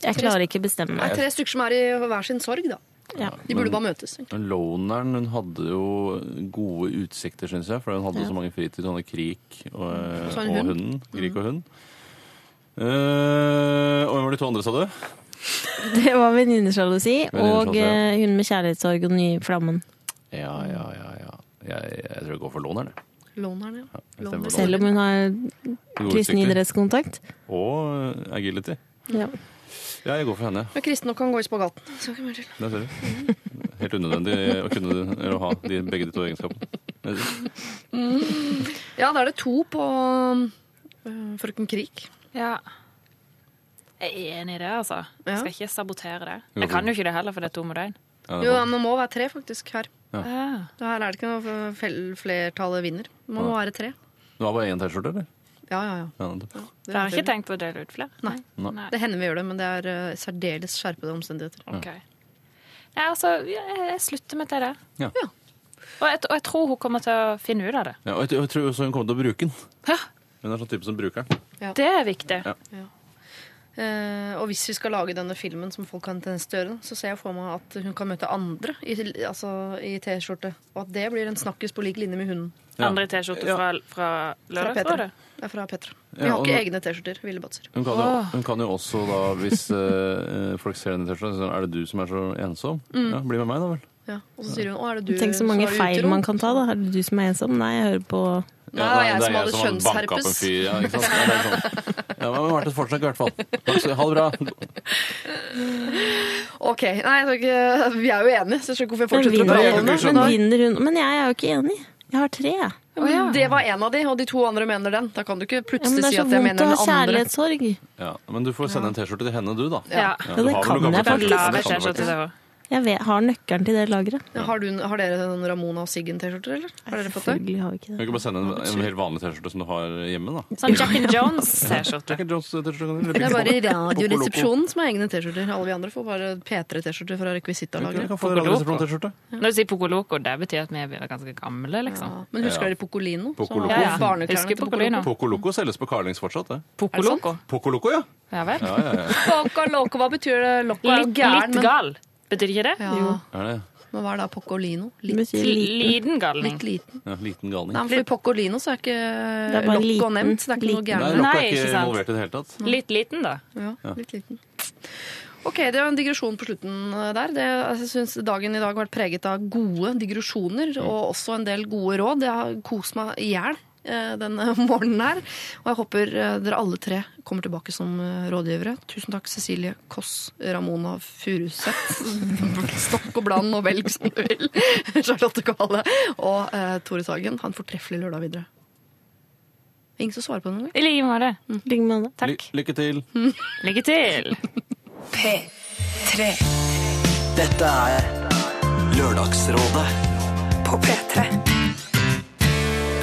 S7: Jeg klarer ikke bestemme
S3: Det
S7: meg. [laughs]
S3: er tre stykker som er i hver sin sorg, da.
S7: Ja.
S3: De burde bare møtes. egentlig.
S9: Loneren hun hadde jo gode utsikter, syns jeg. For hun hadde
S7: Ja.
S9: så mange fritid. Hun hadde krik og,
S3: så en
S9: og
S3: hund.
S9: hunden. Krik og hund. Eh, og hvem var de to andre, sa du?
S7: Det var venninnesjalusi og
S9: Venninnesjalusi, ja.
S7: eh, hun med kjærlighetssorg og den nye flammen.
S9: Ja, ja, ja. ja. Jeg, jeg tror jeg går for låneren. jeg.
S3: Låneren, ja.
S9: Jeg stemmer for
S7: Selv om hun har
S9: Gode
S7: kristen
S9: utsikter.
S7: idrettskontakt.
S9: Og agility.
S7: Ja.
S9: Ja, jeg går for henne.
S3: Men kristne kan gå i spagaten. Skal ikke mer til.
S9: Det ser du. Helt unødvendig å kunne eller å ha de, begge de to egenskapene.
S3: Ja, da er det to på øh, Frøken Krik.
S8: Ja. Jeg er enig i det, altså.
S3: Ja.
S8: Jeg skal ikke sabotere det.
S9: Jo,
S8: Jeg kan
S9: for-
S8: jo ikke det heller, for det er to mot én.
S9: Ja,
S3: Jo, ja, men det må være tre, faktisk, her.
S8: Ah.
S3: Det Her er det ikke noe fel- flertallet vinner. Man må være tre.
S9: Det var bare én T-skjorte, eller?
S3: Ja, ja, ja.
S9: Ja, nettopp.
S3: Det,
S8: Dere har ikke
S3: det.
S8: tenkt på å dele ut flere?
S3: Nei.
S8: Nei.
S3: det hender vi gjør det, men det er eh, særdeles skjerpede omstendigheter.
S8: Ok. Nei, altså, jeg, jeg slutter meg til det.
S9: Ja.
S3: Ja.
S8: Og, jeg, og jeg tror hun kommer til å finne ut av det.
S9: Ja, og jeg, jeg tror også hun kommer til å bruke den.
S8: Hæ?
S9: Hun er sånn type som bruker den.
S8: Det er viktig.
S9: Ja.
S3: Eh, og hvis vi skal lage denne filmen som folk kan tendens til å gjøre, så ser jeg for meg at hun kan møte andre i, altså, i T-skjorte. Og at det blir en snakkis på lik linje med hunden.
S9: Ja.
S8: Andre T-skjorte
S9: Ja.
S8: fra, fra
S3: Fra Petra.
S8: Lørdagsrådet?
S3: Det er fra Petra. Vi
S9: Ja,
S3: har
S9: og-
S3: ikke egne T-skjorter. Ville Batser.
S9: Hun kan, jo, hun kan jo også da, hvis eh, folk ser henne i T-skjorta, så sier hun, er det du som er så ensom?
S3: Mm.
S9: Ja, bli med meg da vel.
S3: Ja. Og så sier hun 'Å, er det du
S7: Tenk så mange
S3: som er
S7: feil
S3: utro?»
S7: man kan ta, da. Er det du som er ensom? Nei, jeg hører på
S3: Nei,
S9: det er-
S3: jeg
S9: det
S3: som
S9: er
S3: hadde
S9: har banka opp en
S3: kjønnskjerpes.
S9: fyr, Ja, ikke sant? Ja, det er sånn. ja, men hun har vært et forsøk i hvert fall. Takk skal- Ha det bra.
S3: Ok, nei, jeg tror ikke, [laughs] Vi er jo enige, så jeg skjønner ikke hvorfor jeg
S7: Men
S3: fortsetter å
S7: vinner,
S3: prate om det.
S7: men vinner hun Men jeg er jo ikke enig. Jeg har tre.
S3: Ja,
S7: jeg.
S3: Men Det var en av de, og de to andre mener den. Da kan du ikke
S7: Ja, men
S3: plutselig
S7: det er
S3: si
S7: så
S3: at jeg
S7: vondt
S3: mener
S7: å ha
S3: den andre.
S7: kjærlighetssorg.
S9: Ja, men du får sende en T-skjorte til henne du da.
S8: Ja.
S9: Ja,
S7: det
S9: du har vel
S7: kan
S9: noen
S7: jeg
S9: gamle
S7: faktisk.
S9: T-skjorter,
S8: Lave
S9: det kan du
S8: T-skjorte.
S9: faktisk.
S8: til henne.
S7: Jeg vet, har nøkkelen til det lageret.
S3: Ja, Har, du, har dere sånn Ramona og Siggen-T-skjorter, eller? Har dere fått det?
S7: Selvfølgelig har vi ikke
S9: Du
S7: det.
S9: kan bare sende en, en helt vanlig T-skjorte som du har hjemme da.
S8: Sånn Jack and Jones-T-skjorte.
S9: Jack and Jones eh, T-skjorte kan du
S3: Det er bare i
S9: Poco
S3: Radioresepsjonen som har egne T-skjorter. Alle vi andre får bare P3-T-skjorter fra
S9: Loco. Du
S3: rekvisittalageret.
S9: kan få radioresepsjon T-skjorte.
S8: Når du sier Pocoloco, det betyr at vi er ganske gamle, liksom.
S3: Ja. Men husker
S9: Ja.
S3: dere Pocolino?
S9: Poco
S3: Som var
S8: Ja,
S9: Loco.
S8: ja.
S3: barneklærne
S8: Husker
S3: til Poco
S8: Pocolino.
S3: Loco.
S9: Poco Loco selges på Carlings fortsatt, det.
S8: Pocoloco.
S9: Poco Loco, ja.
S8: Ja vel.
S9: Ja, ja, ja.
S3: Poco Loco, hva betyr det? Loco er jo
S8: Litt,
S3: gæren,
S8: litt
S3: men
S8: gal. Betyr ikke det?
S3: ja.
S9: Er det?
S3: Men hva er da Pocolino? Litt,
S7: Det betyr
S8: L-
S7: liten.
S8: Liten galning.
S3: litt liten?
S9: Ja, liten galning.
S3: Nei, for i Pocolino så er ikke
S7: er bare
S3: Loco
S7: liten,
S3: nevnt. så Det er ikke noe
S7: liten.
S9: Nei,
S3: gærent.
S9: Loco
S8: Nei,
S9: er
S8: ikke
S9: ikke
S8: sant.
S9: involvert i det hele tatt.
S8: Litt liten, da.
S3: Ja, litt liten. Ok, det var en digresjon på slutten eh, der. Det, jeg synes dagen i dag har vært preget av gode digresjoner, og også en del gode råd. Jeg har kost meg i hjel eh, [laughs] denne morgenen her. Og jeg håper eh, dere alle tre kommer tilbake som eh, rådgivere. Tusen takk, Cecilie Koss, Ramona Furuseth. Stokk og bland og velg som du vil. [laughs] Charlotte Kvale og eh, Tore Sagen. Ha en fortreffelig lørdag videre. Ingen som svarer på det engang.
S8: I like måte.
S3: Mm.
S7: Ligg med det.
S8: Takk.
S9: Ly- Lykke til.
S8: Lykke til!
S1: P3.
S2: Dette er Lørdagsrådet på P3.